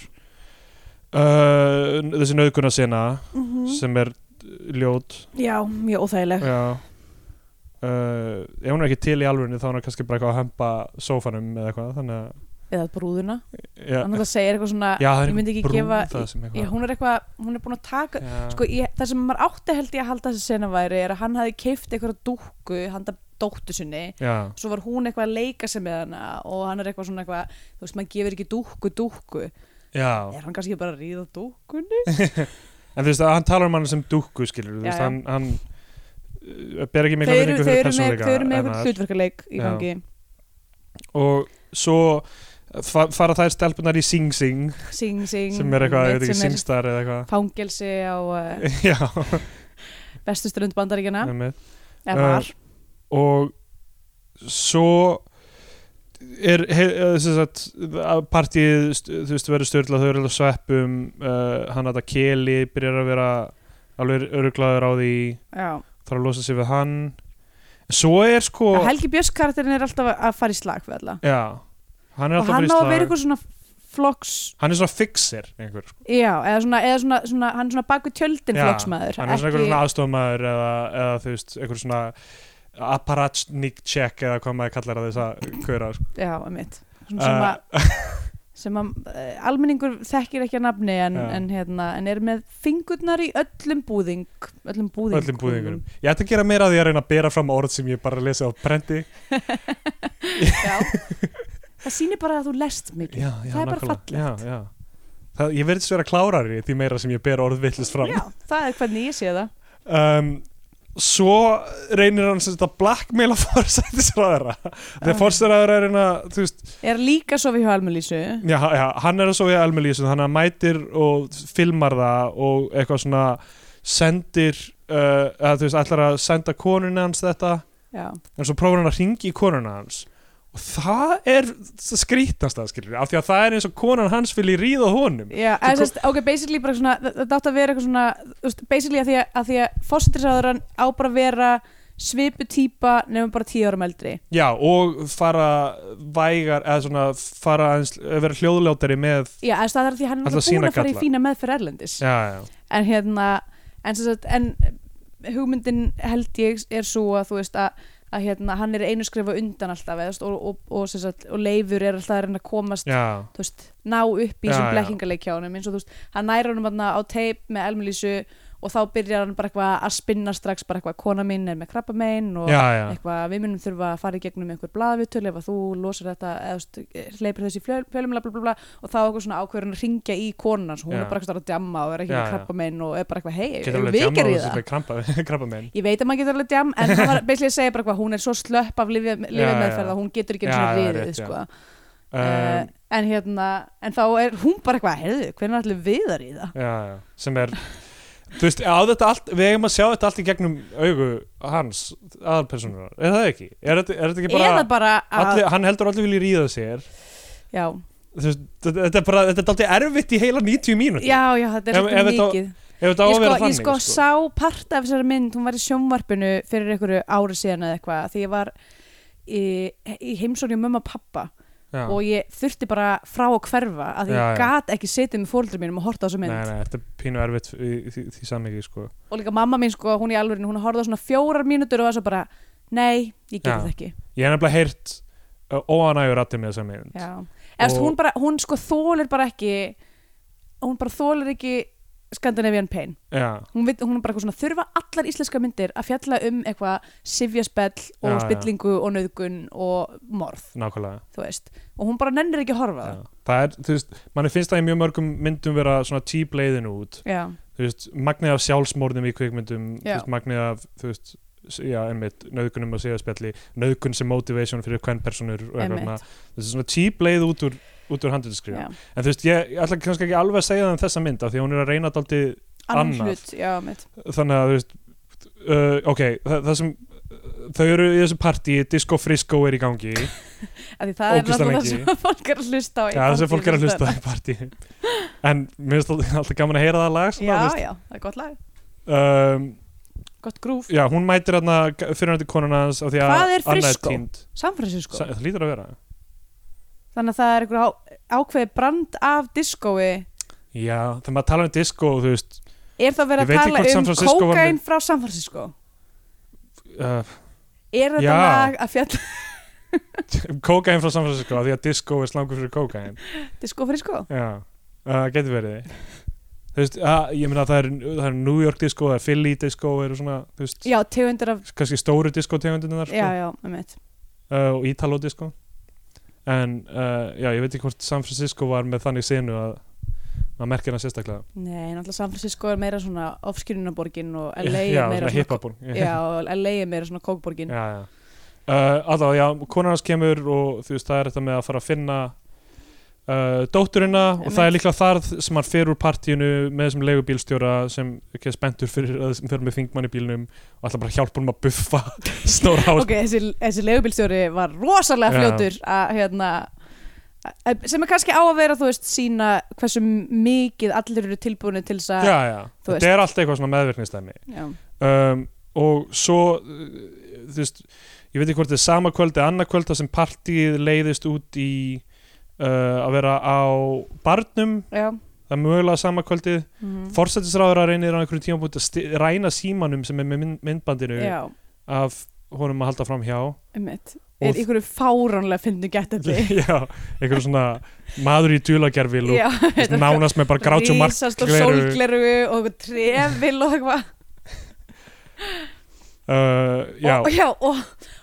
[SPEAKER 2] uh, þessi nöðguna
[SPEAKER 3] Mhm.
[SPEAKER 2] sem er ljót
[SPEAKER 3] já, mjög óþægileg
[SPEAKER 2] já Uh, ef hún er ekki til í alvörinu þá er hún kannski bara eitthvað að hempa sófanum eða eitthvað þannig að
[SPEAKER 3] eða brúðuna
[SPEAKER 2] já,
[SPEAKER 3] þannig að það segir eitthvað svona
[SPEAKER 2] já það er
[SPEAKER 3] ég myndi ekki gefa-
[SPEAKER 2] það sem eitthvað
[SPEAKER 3] Já, hún er eitthvað, hún er búin að taka
[SPEAKER 2] já,
[SPEAKER 3] sko, ég, það sem maður átti held ég að halda þessi sena væri er að hann hafi keift eitthvað dúkku handa dóttu sinni
[SPEAKER 2] já,
[SPEAKER 3] svo var hún eitthvað að leika sig með hana og hann er eitthvað svona eitthvað, þú veist, maður gefur ekki dúkku dúkku,
[SPEAKER 2] já.
[SPEAKER 3] er hann kannski bara að ríða dúkkunni?
[SPEAKER 2] en þú veist að hann talar um hann sem dúkku skilur þú
[SPEAKER 3] Já,
[SPEAKER 2] veist
[SPEAKER 3] já.
[SPEAKER 2] hann, hann uh, ber ekki
[SPEAKER 3] Þau
[SPEAKER 2] mikla
[SPEAKER 3] eru,
[SPEAKER 2] virðingu
[SPEAKER 3] þau
[SPEAKER 2] fyrir
[SPEAKER 3] eru með,
[SPEAKER 2] persónuleika
[SPEAKER 3] þau eru með
[SPEAKER 2] hennar.
[SPEAKER 3] eitthvað hlutverkaleik í
[SPEAKER 2] Já.
[SPEAKER 3] gangi
[SPEAKER 2] og svo fa fara þær stelpunar í Sing Sing
[SPEAKER 3] Sing Sing,
[SPEAKER 2] sem er eitthvað, ég veit ekki,
[SPEAKER 3] sem er
[SPEAKER 2] Singstar eða eitthvað
[SPEAKER 3] fangelsi á uh,
[SPEAKER 2] já,
[SPEAKER 3] vestuströnd bandaríkjana
[SPEAKER 2] með
[SPEAKER 3] eða
[SPEAKER 2] Eh,
[SPEAKER 3] var,
[SPEAKER 2] og svo er he, eh, sem sagt, að partíið st- þú veist verður störla, þau eru alltaf sveppum uh, hann að þetta keli byrjar að vera alveg öruglaður á því
[SPEAKER 3] já
[SPEAKER 2] þarf að losa sig við hann svo er sko
[SPEAKER 3] Helgi Björns karakterin er alltaf að fara í slag við alla
[SPEAKER 2] já, hann er
[SPEAKER 3] og
[SPEAKER 2] alltaf
[SPEAKER 3] hann
[SPEAKER 2] bara
[SPEAKER 3] á
[SPEAKER 2] í
[SPEAKER 3] að vera
[SPEAKER 2] slag.
[SPEAKER 3] eitthvað svona flokks
[SPEAKER 2] hann er svona fixer einhver, sko.
[SPEAKER 3] já, eða svona, eða svona, svona hann er svona baku tjöldin
[SPEAKER 2] Já,
[SPEAKER 3] flokksmaður
[SPEAKER 2] hann er svona einhver svona aðstofmaður eða, eða þú veist, einhver svona apparatnik check eða hvað maður kallar þess að kvöra sko.
[SPEAKER 3] já, einmitt svona sem
[SPEAKER 2] Eh,
[SPEAKER 3] að sem að eh, almenningur þekkir ekki að nafni en,
[SPEAKER 2] Já.
[SPEAKER 3] en, hérna, en er með fingurnar í öllum búðing öllum búðing
[SPEAKER 2] öllum búðingurum ég ætti að gera meira af því að reyna að bera fram orð sem ég bara lesi á prenti
[SPEAKER 3] já. það sýnir bara að þú lest mikið
[SPEAKER 2] já, já,
[SPEAKER 3] það er bara
[SPEAKER 2] nákvæmlega.
[SPEAKER 3] fallegt já,
[SPEAKER 2] já, já. Það, ég verðist vera klárari því meira sem ég ber orð vittlust fram
[SPEAKER 3] það er hvernig ég sé það
[SPEAKER 2] um, svo reynir hann sem þetta blackmaila forsætisraðara
[SPEAKER 3] Já.
[SPEAKER 2] þegar forsætisraðara er reyna þú veist,
[SPEAKER 3] er líka svo við hjá almennlýsu
[SPEAKER 2] Já, já, hann er að sofa í Elmelísu þannig að hann mætir og filmar það og eitthvað svona sendir uh, að, þú veist, ætlar að senda konuna hans þetta
[SPEAKER 3] já,
[SPEAKER 2] en svo prófar hann að ringi í konuna hans og það er það skrítast það skilur af því að það er eins og konan hans vilji ríða honum
[SPEAKER 3] já
[SPEAKER 2] Svo
[SPEAKER 3] en, sest, ok, basically bara svona þa- þetta átt að vera eitthvað svona þú veist, basically að því að, að, því að fósitrisráðurann á bara að vera svipu típa nefnum bara tíu árum eldri
[SPEAKER 2] já og fara vægar eða svona fara aðeins vera hljóðlátari með
[SPEAKER 3] já, en það er því
[SPEAKER 2] Ætla
[SPEAKER 3] að hann er
[SPEAKER 2] að
[SPEAKER 3] náttúrulega búinn
[SPEAKER 2] sýna
[SPEAKER 3] að fara í
[SPEAKER 2] galla.
[SPEAKER 3] fína meðferð erlendis
[SPEAKER 2] já, já,
[SPEAKER 3] en hérna en, sem sagt, en hugmyndin held ég er svo að þú veist að, að hérna, hann er einu skrifa undan alltaf eða, þú veist, og, og, og, sem sagt, og leifur er alltaf að reyna að komast
[SPEAKER 2] já,
[SPEAKER 3] þú veist, ná upp í
[SPEAKER 2] Já,
[SPEAKER 3] þessum
[SPEAKER 2] já.
[SPEAKER 3] blekkingaleikjánum eins og þú veist, hann næra honum hann á teip með elmlísu og þá byrjar hann bara eitthvað að spinna strax bara eitthvað kona mín er með krabba mein og
[SPEAKER 2] já, já.
[SPEAKER 3] eitthvað við munum þurfa að fara í gegnum einhver blaðvitul ef að þú losar þetta eða þú veist, hleypir þessi fjölumla bla, bla, bla, og þá eitthvað svona ákveður að ringja í konuna hans, hún
[SPEAKER 2] Já.
[SPEAKER 3] er bara eitthvað að djamma og er ekki
[SPEAKER 2] Já,
[SPEAKER 3] með
[SPEAKER 2] já.
[SPEAKER 3] krabba mein og er bara eitthvað hei,
[SPEAKER 2] getur
[SPEAKER 3] eru
[SPEAKER 2] alveg
[SPEAKER 3] vikar
[SPEAKER 2] djamma
[SPEAKER 3] í
[SPEAKER 2] og
[SPEAKER 3] það
[SPEAKER 2] þessi krampa, krampa minn
[SPEAKER 3] ég veit að maður getur alveg djam en hann var basically að segja bara eitthvað, hún er svo slöpp af
[SPEAKER 2] Já, já.
[SPEAKER 3] lifjameðferð að hún getur ekki einu
[SPEAKER 2] Já,
[SPEAKER 3] sinni
[SPEAKER 2] já, rétt,
[SPEAKER 3] riðið
[SPEAKER 2] já.
[SPEAKER 3] sko.
[SPEAKER 2] um,
[SPEAKER 3] uh, en hérna en þá er hún bara eitthvað, heyrðu, hvernig ætlum við að riða
[SPEAKER 2] já, já, sem er þú veist, á þetta allt, við eigum að sjá þetta allt í gegnum augu hans aðalpersonur, er það ekki? Er, þetta- er þetta ekki bara,
[SPEAKER 3] eða bara að,
[SPEAKER 2] allir, hann heldur allir vilja ríða sér
[SPEAKER 3] já,
[SPEAKER 2] Þú veist, þetta þetta er bara, þetta er dálítið erfitt í heila 90 mínútur,
[SPEAKER 3] já, já, þetta er
[SPEAKER 2] Ef- ef
[SPEAKER 3] svolítið
[SPEAKER 2] þetta á-
[SPEAKER 3] mikið
[SPEAKER 2] ef þetta á
[SPEAKER 3] ég
[SPEAKER 2] að vera
[SPEAKER 3] sko, ég
[SPEAKER 2] þannig
[SPEAKER 3] sko sá part af þessari mynd hún var í sjónvarpinu fyrir einhverju ári síðan eða eitthvað því ég var í, í heimsókn hjá mömmu og pappa
[SPEAKER 2] já.
[SPEAKER 3] og ég þurfti bara frá að hverfa að því
[SPEAKER 2] Já,
[SPEAKER 3] ég
[SPEAKER 2] já.
[SPEAKER 3] gat ekki setið með fóldur mínum og horta á þessa mynd
[SPEAKER 2] Nei, nei, þetta er pínu erfitt í, í, í, því samhengi sko.
[SPEAKER 3] og líka mamma mín sko, hún í alvörinu, hún horfði á svona fjórar mínútur og var svo bara, nei,
[SPEAKER 2] Já.
[SPEAKER 3] ég gerði það ekki
[SPEAKER 2] Ég hef nefnilega heyrt uh, óanægur rætti með þessa mynd
[SPEAKER 3] já, eða og...
[SPEAKER 2] Og-
[SPEAKER 3] hún bara, hún sko þólir bara ekki hún bara þólir ekki Scandinavian Pain
[SPEAKER 2] Já,
[SPEAKER 3] hún, veit, hún er bara eitthvað svona þurfa allar íslenska myndir að fjalla um eitthvað sifjaspell og
[SPEAKER 2] Já, já.
[SPEAKER 3] spillingu og nöðgun og morð,
[SPEAKER 2] nákvæmlega
[SPEAKER 3] þú veist og hún bara nennir ekki að horfa á
[SPEAKER 2] Já.
[SPEAKER 3] það
[SPEAKER 2] Það er, þú veist, manni finnst það í mjög mörgum myndum vera svona tíbleiðin út
[SPEAKER 3] já,
[SPEAKER 2] þú veist, magnið af sjálfsmórnum í kvikmyndum, þú
[SPEAKER 3] Já.
[SPEAKER 2] veist, magnið af þú veist, s- já, einmitt, nöðgunum að segja spjalli, nöðgun sem motivation fyrir hvern personur og eitthvað svona,
[SPEAKER 3] Einmitt.
[SPEAKER 2] þessi svona típ leið út úr, út úr handhundskrifum,
[SPEAKER 3] já.
[SPEAKER 2] en þú veist, ég, ég ætla kannski ekki alveg að segja það um þessa mynd, af því að hún er að reyna dálítið,
[SPEAKER 3] annan
[SPEAKER 2] Annað.
[SPEAKER 3] hlut já, mitt,
[SPEAKER 2] þannig að þú veist uh, ok, það, það sem þau eru í þessu partí, Disco Frisco er í gangi
[SPEAKER 3] af því það er
[SPEAKER 2] Ógeðslega
[SPEAKER 3] náttúrulega það
[SPEAKER 2] lengi.
[SPEAKER 3] sem fólk er að hlusta á í
[SPEAKER 2] ja, þessi
[SPEAKER 3] partíum
[SPEAKER 2] fólk er að
[SPEAKER 3] í
[SPEAKER 2] hlusta
[SPEAKER 3] staðinn.
[SPEAKER 2] í partí en mér finnst alltaf- alltaf gaman að heyra það lag svona,
[SPEAKER 3] já, já, það er gott lag,
[SPEAKER 2] já. Um,
[SPEAKER 3] gott grúf
[SPEAKER 2] já, hún mætir þarna fyrir hætti konuna hans af því að
[SPEAKER 3] Hvað er
[SPEAKER 2] annað
[SPEAKER 3] Frisco?
[SPEAKER 2] týnd.
[SPEAKER 3] samfræsinskó,
[SPEAKER 2] Sa- Það lítur að vera
[SPEAKER 3] sko. þannig að það er einhver á- ákveðið brand af diskói
[SPEAKER 2] Já, þegar maður tala um disco þú veist,
[SPEAKER 3] er það
[SPEAKER 2] Ég
[SPEAKER 3] verið
[SPEAKER 2] veit ekki
[SPEAKER 3] að
[SPEAKER 2] hvort
[SPEAKER 3] tala
[SPEAKER 2] San
[SPEAKER 3] um
[SPEAKER 2] Francisco var
[SPEAKER 3] kókain frá samfræsinskó
[SPEAKER 2] uh,
[SPEAKER 3] er þetta
[SPEAKER 2] Já.
[SPEAKER 3] lag að fjalla
[SPEAKER 2] kókain frá San Francisco af því að disco er slangur fyrir kókain
[SPEAKER 3] diskó friskó
[SPEAKER 2] Já, uh, getur verið Þú veist, að, ég meina að það er, það er New York disco, það er Philly disco eru svona, þú veist,
[SPEAKER 3] já, tegundir af,
[SPEAKER 2] kannski stóru disco tegundunar sko,
[SPEAKER 3] já, já, einmitt
[SPEAKER 2] uh, og Italo disco en uh, já, ég veit ekki hvort San Francisco var með þannig senu að maður merkir hann sérstaklega
[SPEAKER 3] Nei, náttúrulega San Francisco er meira svona ofskýrunaborgin og LA
[SPEAKER 2] Já,
[SPEAKER 3] er meira
[SPEAKER 2] svona hippabúr
[SPEAKER 3] Já, og LA er meira svona kókborgin
[SPEAKER 2] já, já. Uh, allavega, já, konan hans kemur og þú veist, það er þetta með að fara að finna uh, dótturina og það er líklega þar sem hann fer úr partíinu með þessum leigubílstjóra sem ekki er spenntur fyrir að sem fer með þingmann í bílnum og alltaf bara hjálpa honum að buffa stóra ás
[SPEAKER 3] Ok, þessi, þessi leigubílstjóri var rosalega
[SPEAKER 2] Já.
[SPEAKER 3] fljótur að hérna að- sem er kannski á að vera, þú veist, sína hversu mikið allir eru tilbúinu til þess að
[SPEAKER 2] já, já,
[SPEAKER 3] Þú
[SPEAKER 2] þetta er allt eitthvað svona meðvirknistæmi
[SPEAKER 3] Já,
[SPEAKER 2] um, og svo uh, þú veist, ég veit ekki hvort þetta er sama kvöld eða annað kvöld þar sem partíið leiðist út í uh, að vera á barnum
[SPEAKER 3] já
[SPEAKER 2] það er mögulega sama kvöldið
[SPEAKER 3] mhm.
[SPEAKER 2] forsætisráður að reynir á einhverjum tímabúti að sti- ræna símanum sem er með mynd myndbandinu
[SPEAKER 3] já,
[SPEAKER 2] af honum að halda fram hjá
[SPEAKER 3] einmitt
[SPEAKER 2] Og-
[SPEAKER 3] er einhverju fáránlega fyndu gettabi
[SPEAKER 2] já, einhver svona maður í dulagervil og
[SPEAKER 3] já, þetta er
[SPEAKER 2] nánast með bara grátt og margt
[SPEAKER 3] Rísast og sólgleru og eitthvað trefil og eitthvað
[SPEAKER 2] uh, já,
[SPEAKER 3] og, já, og,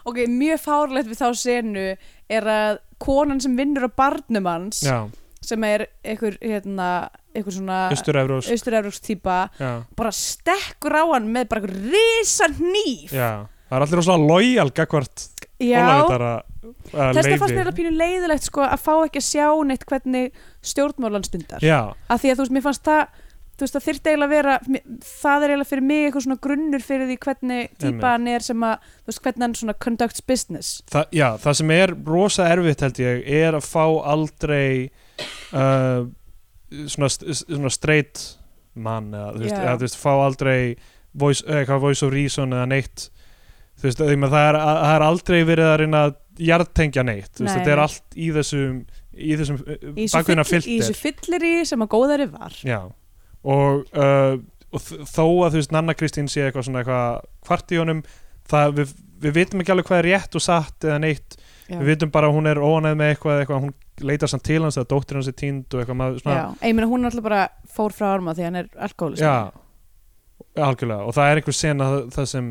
[SPEAKER 3] ok, mjög fárlegt við þá senu er að konan sem vinnur á barnum hans
[SPEAKER 2] já,
[SPEAKER 3] sem er einhver, hérna, einhver svona
[SPEAKER 2] austur-evrós
[SPEAKER 3] austur-evróks típa
[SPEAKER 2] já,
[SPEAKER 3] bara stekkur á hann með bara einhver risan hníf
[SPEAKER 2] já það er allir rosalega lojal gagvart ólægitara uh,
[SPEAKER 3] þess að fannst
[SPEAKER 2] leiði
[SPEAKER 3] mér að pínu leiðilegt sko að fá ekki að sjá neitt hvernig stjórnmálan stundar
[SPEAKER 2] já,
[SPEAKER 3] að því að þú veist, mér fannst það þú veist, það þyrfti eiginlega að vera mér- það er eiginlega fyrir mig eitthvað svona grunnur fyrir því hvernig
[SPEAKER 2] Einmitt.
[SPEAKER 3] típa hann er sem að þú veist, hvernig hann svona conducts business
[SPEAKER 2] Þa, já, það sem er rosa erfitt held ég er að fá aldrei uh, svona, st- svona straight mann eða þú veist,
[SPEAKER 3] Já.
[SPEAKER 2] eða, þú veist fá aldrei voice, eh, eitthvað voice of reason eða neitt þú veist, því maður það er, að- það er aldrei verið að reyna að jartengja neitt, þú veist,
[SPEAKER 3] Nei,
[SPEAKER 2] þetta er
[SPEAKER 3] nei.
[SPEAKER 2] allt í þessum í þessum eh,
[SPEAKER 3] í
[SPEAKER 2] bakvinna
[SPEAKER 3] þessu fyllir,
[SPEAKER 2] filter
[SPEAKER 3] fyllir í sem að góðari var
[SPEAKER 2] já, og, uh, og þ- þó að þú veist Nanna Kristín sé eitthvað svona eitthvað kvart í honum það, við, við vitum ekki alveg hvað er rétt og satt eða neitt
[SPEAKER 3] já.
[SPEAKER 2] við vitum bara að hún er óanæð með eitthvað, eitthvað hún leitar samt til hans eða dóttir hans er tínd og eitthvað maður svona
[SPEAKER 3] Já, ég meina hún er alltaf bara fór frá arma því hann er alkoholist
[SPEAKER 2] algjörlega og það er einhver sena þa- það sem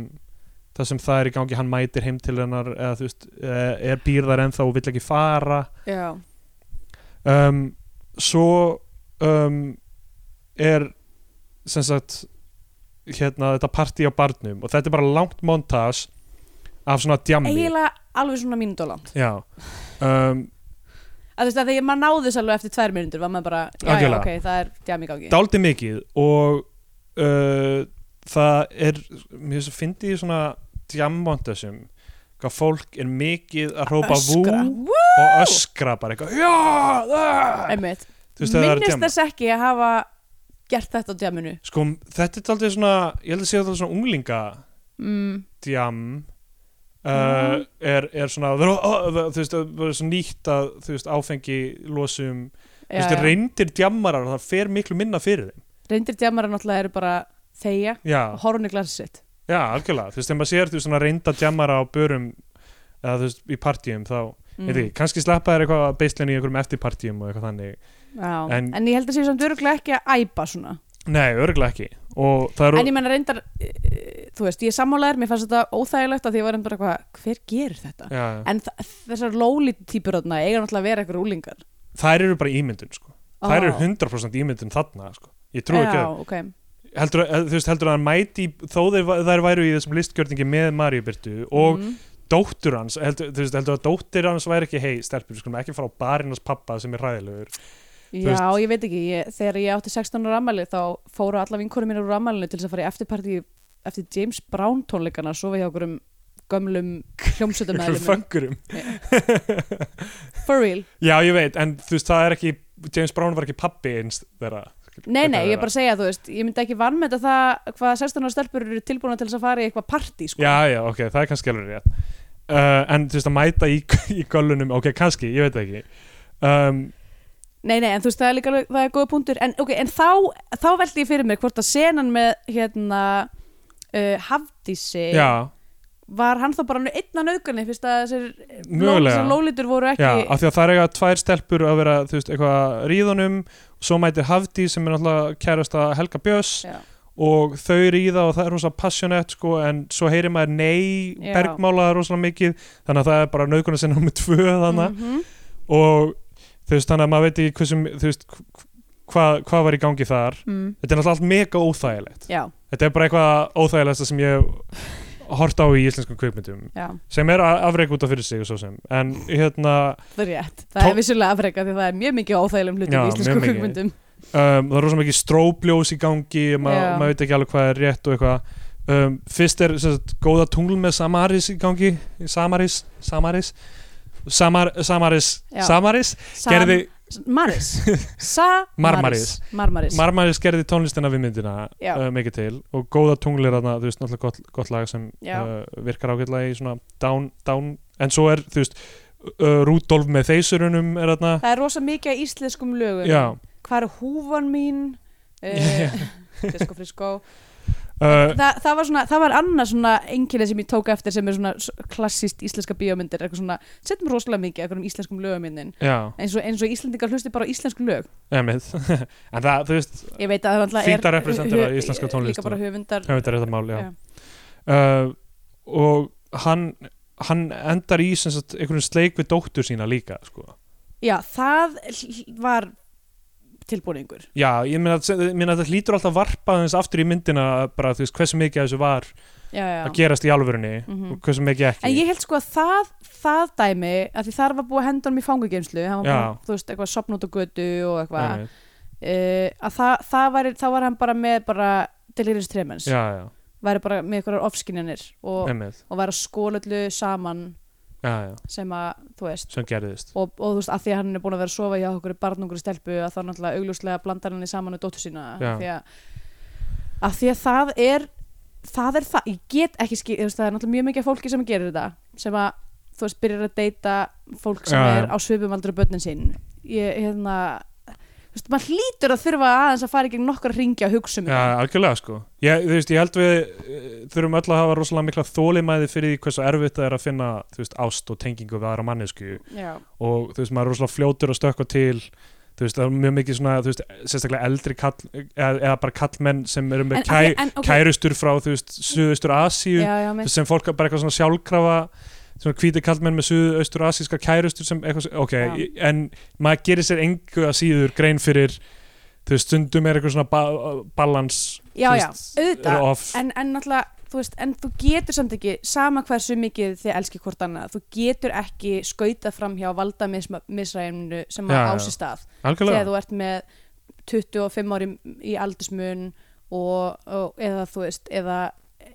[SPEAKER 2] það sem það er í gangi, hann mætir heim til hennar eða þú veist, eh, er býrðar ennþá og vill ekki fara
[SPEAKER 3] já,
[SPEAKER 2] um, svo um, er sem sagt hérna þetta partí á barnum og þetta er bara langt montage af svona djammi
[SPEAKER 3] eiginlega alveg svona mínútóland
[SPEAKER 2] já um,
[SPEAKER 3] að þú veist að þegar maður náði þess alveg eftir tvær mínútur var maður bara, já já
[SPEAKER 2] Algjörlega.
[SPEAKER 3] ok, það er djam í gangi
[SPEAKER 2] dálítið mikið og uh, það er mér finnst að fyndi í svona djammondasum hvað fólk er mikið að hrópa vú
[SPEAKER 3] Öskra. Woo!
[SPEAKER 2] og öskra bara eitthvað já, ah!"
[SPEAKER 3] einmitt,
[SPEAKER 2] Þú veist, það er
[SPEAKER 3] minnist
[SPEAKER 2] djamm.
[SPEAKER 3] þess ekki að hafa gert þetta á djaminu
[SPEAKER 2] sko þetta er dálítið svona ég held að segja þetta svona unglinga
[SPEAKER 3] mm.
[SPEAKER 2] djam Uh,
[SPEAKER 3] Mhm.
[SPEAKER 2] er, er svona oh, oh, þú veist, það er svona nýtt að þú veist, áfengi losum þú
[SPEAKER 3] já,
[SPEAKER 2] veist,
[SPEAKER 3] já.
[SPEAKER 2] reyndir djammarar það fer miklu minna fyrir þeim
[SPEAKER 3] reyndir djamarar náttúrulega eru bara þeia
[SPEAKER 2] já,
[SPEAKER 3] og horfun í glasið sitt
[SPEAKER 2] Já, algjörlega, þú veist, þegar maður sér þú svona reynda djammara á börum eða þú veist, í partíum þá, mm. eitthvað, kannski sleppa þér eitthvað að beislinu í einhverjum eftirpartíum og eitthvað þannig
[SPEAKER 3] Já, en,
[SPEAKER 2] En-
[SPEAKER 3] ég held að sé samt öruglega ekki að æpa svona
[SPEAKER 2] Nei, örgulega ekki og það eru,
[SPEAKER 3] en ég menna reyndar, e, e, þú veist, ég sammálaður mér fannst þetta óþægilegt að því ég var einhver bara eitthvað hver gerir þetta?
[SPEAKER 2] já,
[SPEAKER 3] En þa- þessar lóli típur þarna eiga náttúrulega að vera eitthvað úlingar
[SPEAKER 2] þær eru bara ímyndun sko. þær eru
[SPEAKER 3] Ó.
[SPEAKER 2] 100% ímyndun þarna sko. ég trú ekki
[SPEAKER 3] Já,
[SPEAKER 2] að,
[SPEAKER 3] ok
[SPEAKER 2] heldur, eh, þú veist, heldur að hann mæti í- þó þeir, va- þær væru í þessum listgjörningi með Maríubyrtu og
[SPEAKER 3] mm.
[SPEAKER 2] dóttur hans heldur, þú veist, heldur að dóttir hans væri ekki hei, stelpur, við skulum ekki fara á barinn hans pappa sem er ræðilegur
[SPEAKER 3] Já, ég veit ekki, ég, þegar ég átti 16 ára ammæli þá fóru alla vinkonum mínar úr ammælinu til þess að fara í eftirparti eftir James Brown tónleikana að sofa hjá okkur um gömlum hljómsveitamæðlum
[SPEAKER 2] föngurum
[SPEAKER 3] For real
[SPEAKER 2] Já, ég veit, en þú veist, það er ekki James Brown var ekki pappi eins þeirra
[SPEAKER 3] Nei,
[SPEAKER 2] Þetta
[SPEAKER 3] nei,
[SPEAKER 2] er
[SPEAKER 3] ég er bara að segja, þú veist, ég myndi ekki vannmeta það hvað 16 ára stelpur eru tilbúin til þess að fara í eitthvað partí, sko.
[SPEAKER 2] Já, já, ok, það er kannski alveg rétt uh, En þú veist, að mæta í, í göllunum Ok, kannski, ég veit það ekki um,
[SPEAKER 3] Nei, nei, en þú veist, það er líka alveg, það er góða punktur. En ok, en þá, þá veldi ég fyrir mér hvort að senan með, hérna, uh, Hafdísi,
[SPEAKER 2] Já,
[SPEAKER 3] var hann þá bara einn á naukunni, fyrst að þessir
[SPEAKER 2] Mögulega.
[SPEAKER 3] þessar lólitur voru ekki...
[SPEAKER 2] já, af því að það er eitthvað tvær stelpur að vera, þú veist, eitthvað að ríðunum Svo mætir Hafdís sem er náttúrulega kærasta Helga Björns
[SPEAKER 3] Já.
[SPEAKER 2] og þau ríða og það er rosa passionett sko, en svo heyrir maður nei
[SPEAKER 3] Já.
[SPEAKER 2] bergmála rosalega mikið þannig að það er bara naukunar sinna með tvö þannig
[SPEAKER 3] Mhm.
[SPEAKER 2] og þú veist þannig að maður veit ekki hversum þú veist hvað hva var í gangi þar
[SPEAKER 3] Mm.
[SPEAKER 2] þetta er náttúrulega allt mega óþægilegt
[SPEAKER 3] Já,
[SPEAKER 2] þetta er bara eitthvað óþægilegsta sem ég hef hort á í íslenskum kvikmyndum
[SPEAKER 3] já,
[SPEAKER 2] sem er a- afrek út af fyrir sig og svo sem en hérna
[SPEAKER 3] það er rétt. Það
[SPEAKER 2] Tó-
[SPEAKER 3] er vissulega afreka því það er mjög mikið áþægilegum
[SPEAKER 2] Já,
[SPEAKER 3] hlutum í
[SPEAKER 2] mjög
[SPEAKER 3] íslensku
[SPEAKER 2] mikið.
[SPEAKER 3] kvikmyndum.
[SPEAKER 2] um, það er rosa mikið stróbljós í gangi ma
[SPEAKER 3] Já.
[SPEAKER 2] maður veit ekki alveg hvað er rétt og eitthvað um, fyrst er sem sagt, góða tungl með Samaris í gangi Samaris Samaris Samar, Samaris
[SPEAKER 3] Já.
[SPEAKER 2] Samaris
[SPEAKER 3] Sam-
[SPEAKER 2] gerði
[SPEAKER 3] Maris. Sa...
[SPEAKER 2] Marmaris.
[SPEAKER 3] Marmaris.
[SPEAKER 2] Marmaris gerði tónlistina við myndina
[SPEAKER 3] Já.
[SPEAKER 2] uh, mikið til og góða tunglir þarna, þú veist, náttúrulega gott, gott lag sem eh,
[SPEAKER 3] Já.
[SPEAKER 2] uh, virkar ágætlega í svona down, down en svo er, þú veist, uh, Rúdolf með þeysurunum er þarna
[SPEAKER 3] það er rosa mikið af íslenskum lögum
[SPEAKER 2] já,
[SPEAKER 3] hvað er húfan mín
[SPEAKER 2] Já.
[SPEAKER 3] uh, disko frisko
[SPEAKER 2] uh,
[SPEAKER 3] Þa, það var svona, það var annað svona enginnið sem ég tók eftir sem er svona s- klassískt íslenska bíómyndir, eitthvað svona setjum rosalega mikið eitthvað um íslenskum lögumynnin
[SPEAKER 2] já
[SPEAKER 3] eins og, eins og íslendingar hlusti bara á íslensk lög
[SPEAKER 2] emið en það, þú veist,
[SPEAKER 3] ég veit að það náttúrulega
[SPEAKER 2] Fínt að representera
[SPEAKER 3] hu- hu-
[SPEAKER 2] íslenska tónlist
[SPEAKER 3] líka bara höfundar
[SPEAKER 2] höfum þetta mál, já uh, og hann hann endar í sem sagt einhvern sleik við dóttur sína líka sko.
[SPEAKER 3] já, það hl- var tilbúningur
[SPEAKER 2] já, ég meina ég meina að þetta hlýtur alltaf varpað þess aftur í myndina bara þú veist hversu mikið af þessu var
[SPEAKER 3] já, já.
[SPEAKER 2] að gerast í alvörunni
[SPEAKER 3] Mhm.
[SPEAKER 2] og hversu mikið ekki
[SPEAKER 3] En ég held sko að það, það dæmi að því þar var búið að henda honum í fangugeimslu hann var
[SPEAKER 2] Já.
[SPEAKER 3] búið, þú veist, eitthvað sopnút og götu og eitthvað uh,
[SPEAKER 2] Einmitt.
[SPEAKER 3] Eh, að það, það var, þá var hann bara með bara delirious tremens
[SPEAKER 2] já, já,
[SPEAKER 3] væri bara með eitthvað ofskinjanir og,
[SPEAKER 2] emið
[SPEAKER 3] og væri að skóla öllu saman
[SPEAKER 2] já, já,
[SPEAKER 3] sem að, þú veist
[SPEAKER 2] sem gerðist
[SPEAKER 3] og, og þú veist, að því að hann er búin að vera að sofa hjá okkur barnungur stelpu að þá náttúrulega augljóslega blandar hann í saman og dóttu sína
[SPEAKER 2] Já.
[SPEAKER 3] af því að, að því að það er það er það, ég get ekki skil veist, það er náttúrulega mjög mikið af fólki sem gerir þetta sem að, þú veist, byrjar að deyta fólk sem
[SPEAKER 2] Já, já.
[SPEAKER 3] er á svipum aldrei börnin sín ég, hérna þú veist, maður hlýtur að þurfa aðeins að fara í gegn nokkra ringja og hugsa um
[SPEAKER 2] já, algjörlega sko ég, þú veist, ég held við eh, þurfum öll að hafa rosalega mikla þólimæði fyrir því hversu erfitt það er að finna þú veist, ást og tengingu við aðra mannesku
[SPEAKER 3] þetta já,
[SPEAKER 2] og þú veist, maður er rosalega fljótur að stökkva til þú veist, það er mjög mikið svona þú veist, sérstaklega eldri kall eða, eða bara kallmenn sem eru með
[SPEAKER 3] En-
[SPEAKER 2] kæ,
[SPEAKER 3] en- ok.
[SPEAKER 2] kærustur frá, þú veist, suðaustur Asíu
[SPEAKER 3] já, já,
[SPEAKER 2] þú
[SPEAKER 3] með,
[SPEAKER 2] veist, sem fólk bara eitthvað svona sjálfkrafa svona hvíti kallmenn með suðaustur asískar kærustur sem eitthvað, s- ok,
[SPEAKER 3] Já.
[SPEAKER 2] í- en maður gerir sér engu að síður grein fyrir þú veist, stundum er eitthvað svona ba balans
[SPEAKER 3] já,
[SPEAKER 2] þú
[SPEAKER 3] já,
[SPEAKER 2] veist,
[SPEAKER 3] auðvitað
[SPEAKER 2] er off,
[SPEAKER 3] en, en náttúrulega, þú veist, en þú getur samt ekki sama hversu mikið þið elski hvort annað þú getur ekki skautað fram hjá valda misræðinu
[SPEAKER 2] Já,
[SPEAKER 3] sem að
[SPEAKER 2] já.
[SPEAKER 3] ási stað
[SPEAKER 2] algjörlega
[SPEAKER 3] þegar þú ert með 25 ári í aldursmun og, og eða þú veist, eða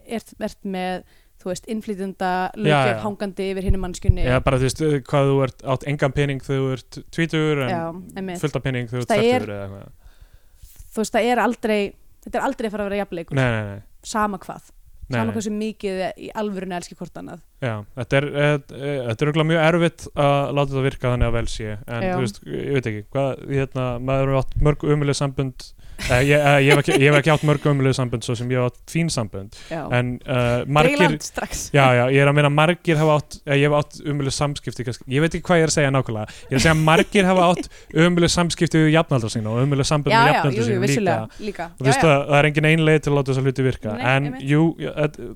[SPEAKER 3] ert, ert með, þú veist, innflytjenda
[SPEAKER 2] Já,
[SPEAKER 3] lögjöf
[SPEAKER 2] já.
[SPEAKER 3] hangandi yfir hinni mannskunni
[SPEAKER 2] eða bara þú veist, hvað þú ert átt engan pening þegar þú ert tvítur en
[SPEAKER 3] Já, einmitt.
[SPEAKER 2] um fullt af pening þegar þú ert
[SPEAKER 3] Það er-
[SPEAKER 2] tvertur eða eitthvað
[SPEAKER 3] þú veist, það er aldrei þetta er aldrei að fara að vera jafnleikur
[SPEAKER 2] nei, nei, nei,
[SPEAKER 3] sama hvað,
[SPEAKER 2] nei,
[SPEAKER 3] sama
[SPEAKER 2] nei.
[SPEAKER 3] hversu mikið þið í alvörinu elski hvort annað
[SPEAKER 2] Já, þetta er, eh, eh, þetta er örugglega mjög erfitt að láta þetta virka þannig að vel sé en
[SPEAKER 3] Já.
[SPEAKER 2] þú veist, ég veit ekki hvað, hérna, maður hefur átt mörg umulig sambund eh, ég, eh, ég, hef ekki, ég hef ekki átt mörg umulig sambund svo sem ég hef átt fín sambund
[SPEAKER 3] já,
[SPEAKER 2] en uh, margir
[SPEAKER 3] Grænland strax
[SPEAKER 2] já, já, ég er að meina margir hafa átt eh, ég hef átt umulig samskipti kannski, ég veit ekki hvað ég er að segja nákvæmlega ég er að segja að margir hafa átt umulig samskipti við jafnaldra sína og umulig sambund
[SPEAKER 3] já,
[SPEAKER 2] með
[SPEAKER 3] já,
[SPEAKER 2] jafnaldra
[SPEAKER 3] jú, jú,
[SPEAKER 2] sína líka
[SPEAKER 3] vissulega, líka,
[SPEAKER 2] og þú veist
[SPEAKER 3] já, já.
[SPEAKER 2] að það er engin ein leið til að láta þessa hluti virka
[SPEAKER 3] Nei,
[SPEAKER 2] en
[SPEAKER 3] einmitt.
[SPEAKER 2] jú, ja, þetta-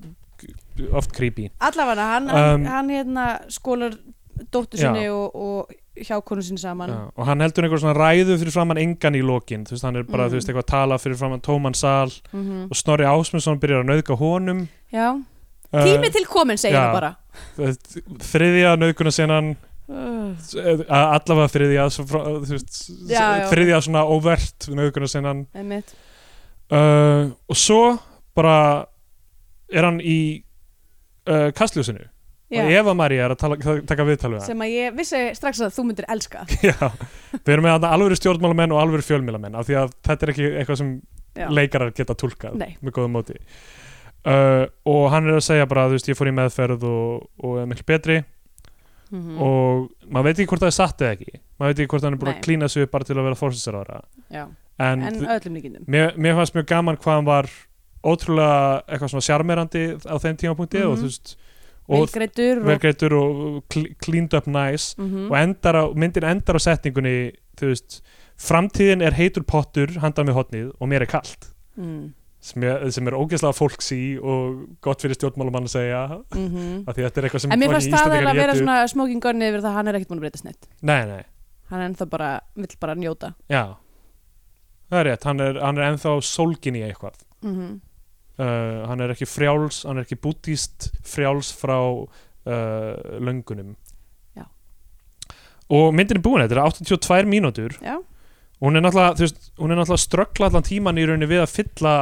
[SPEAKER 2] oft creepy
[SPEAKER 3] allavega hann,
[SPEAKER 2] Um,
[SPEAKER 3] hann, hann hérna skólar dóttur
[SPEAKER 2] Já.
[SPEAKER 3] sinni og, og hjá konu sinni saman
[SPEAKER 2] Já, og hann heldur einhver svona ræðu fyrir framann engan í lokin, þú veist, hann er bara,
[SPEAKER 3] Mm.
[SPEAKER 2] þú veist, eitthvað að tala fyrir framann tóman sal
[SPEAKER 3] mm
[SPEAKER 2] og Snorri Ásmundsson byrjar að nauðga honum
[SPEAKER 3] já. tími til komin
[SPEAKER 2] Uh,
[SPEAKER 3] segir
[SPEAKER 2] já.
[SPEAKER 3] hann bara
[SPEAKER 2] til þriðja nauðguna senan allavega þriðja svo frá, eh, þú veist,
[SPEAKER 3] Já, já.
[SPEAKER 2] þriðja svona óvert nauðguna senan
[SPEAKER 3] einmitt
[SPEAKER 2] uh, og svo bara er hann í uh, kastljósinu
[SPEAKER 3] já.
[SPEAKER 2] og Eva María er að tala, taka viðtal við hann
[SPEAKER 3] sem að ég vissi strax að þú myndir elska
[SPEAKER 2] Já, við erum með þarna alvöru stjórnmálamenn og alvöru fjölmílamenn af því að þetta er ekki eitthvað sem
[SPEAKER 3] Já.
[SPEAKER 2] leikarar geta tólkað
[SPEAKER 3] Nei.
[SPEAKER 2] með góðum móti uh, og hann er að segja bara, þú veist, ég fór í meðferð og, og er miklu betri
[SPEAKER 3] Mm. Mhm.
[SPEAKER 2] og maður veit ekki hvort það er satt eða ekki maður veit ekki hvort hann er búin
[SPEAKER 3] Nei.
[SPEAKER 2] að klína sig upp bara til að vera fórsinsarvara
[SPEAKER 3] já.
[SPEAKER 2] en,
[SPEAKER 3] en
[SPEAKER 2] en
[SPEAKER 3] öllum líkindum
[SPEAKER 2] mér, mér fannst mjög gaman hvað hann var ótrúlega eitthvað svona sjarmerandi á þeim tímapunkti og
[SPEAKER 3] Mhm.
[SPEAKER 2] þú veist og
[SPEAKER 3] velgreitur og,
[SPEAKER 2] velgreitur og cl- cleaned up nice
[SPEAKER 3] Mhm.
[SPEAKER 2] og endar á, myndin endar á setningunni þú veist, framtíðin er heitur pottur handan við hotnið og mér er kalt
[SPEAKER 3] mm
[SPEAKER 2] sem, ég, sem er ógeðslega fólks í og gott fyrir stjórnmálumann að segja af
[SPEAKER 3] -hmm.
[SPEAKER 2] því þetta er eitthvað sem
[SPEAKER 3] en mér
[SPEAKER 2] fucking
[SPEAKER 3] fannst það eiginlega
[SPEAKER 2] Íslendingar
[SPEAKER 3] að vera
[SPEAKER 2] étu.
[SPEAKER 3] svona smoking gunni yfir það að hann er ekkert búin að breyta snett
[SPEAKER 2] nei, nei,
[SPEAKER 3] hann er ennþá bara, vill bara njóta
[SPEAKER 2] já það er rétt, hann er, hann er ennþá sólgin í eitthvað
[SPEAKER 3] mm
[SPEAKER 2] uh, hann er ekki frjáls, hann er ekki búttíst frjáls frá uh, löngunum
[SPEAKER 3] Já.
[SPEAKER 2] og myndin er búin, þetta er 82 mínútur
[SPEAKER 3] já,
[SPEAKER 2] Og hún er náttúrulega, þú veist, hún er náttúrulega að ströggla allan tíman í rauninni við að fylla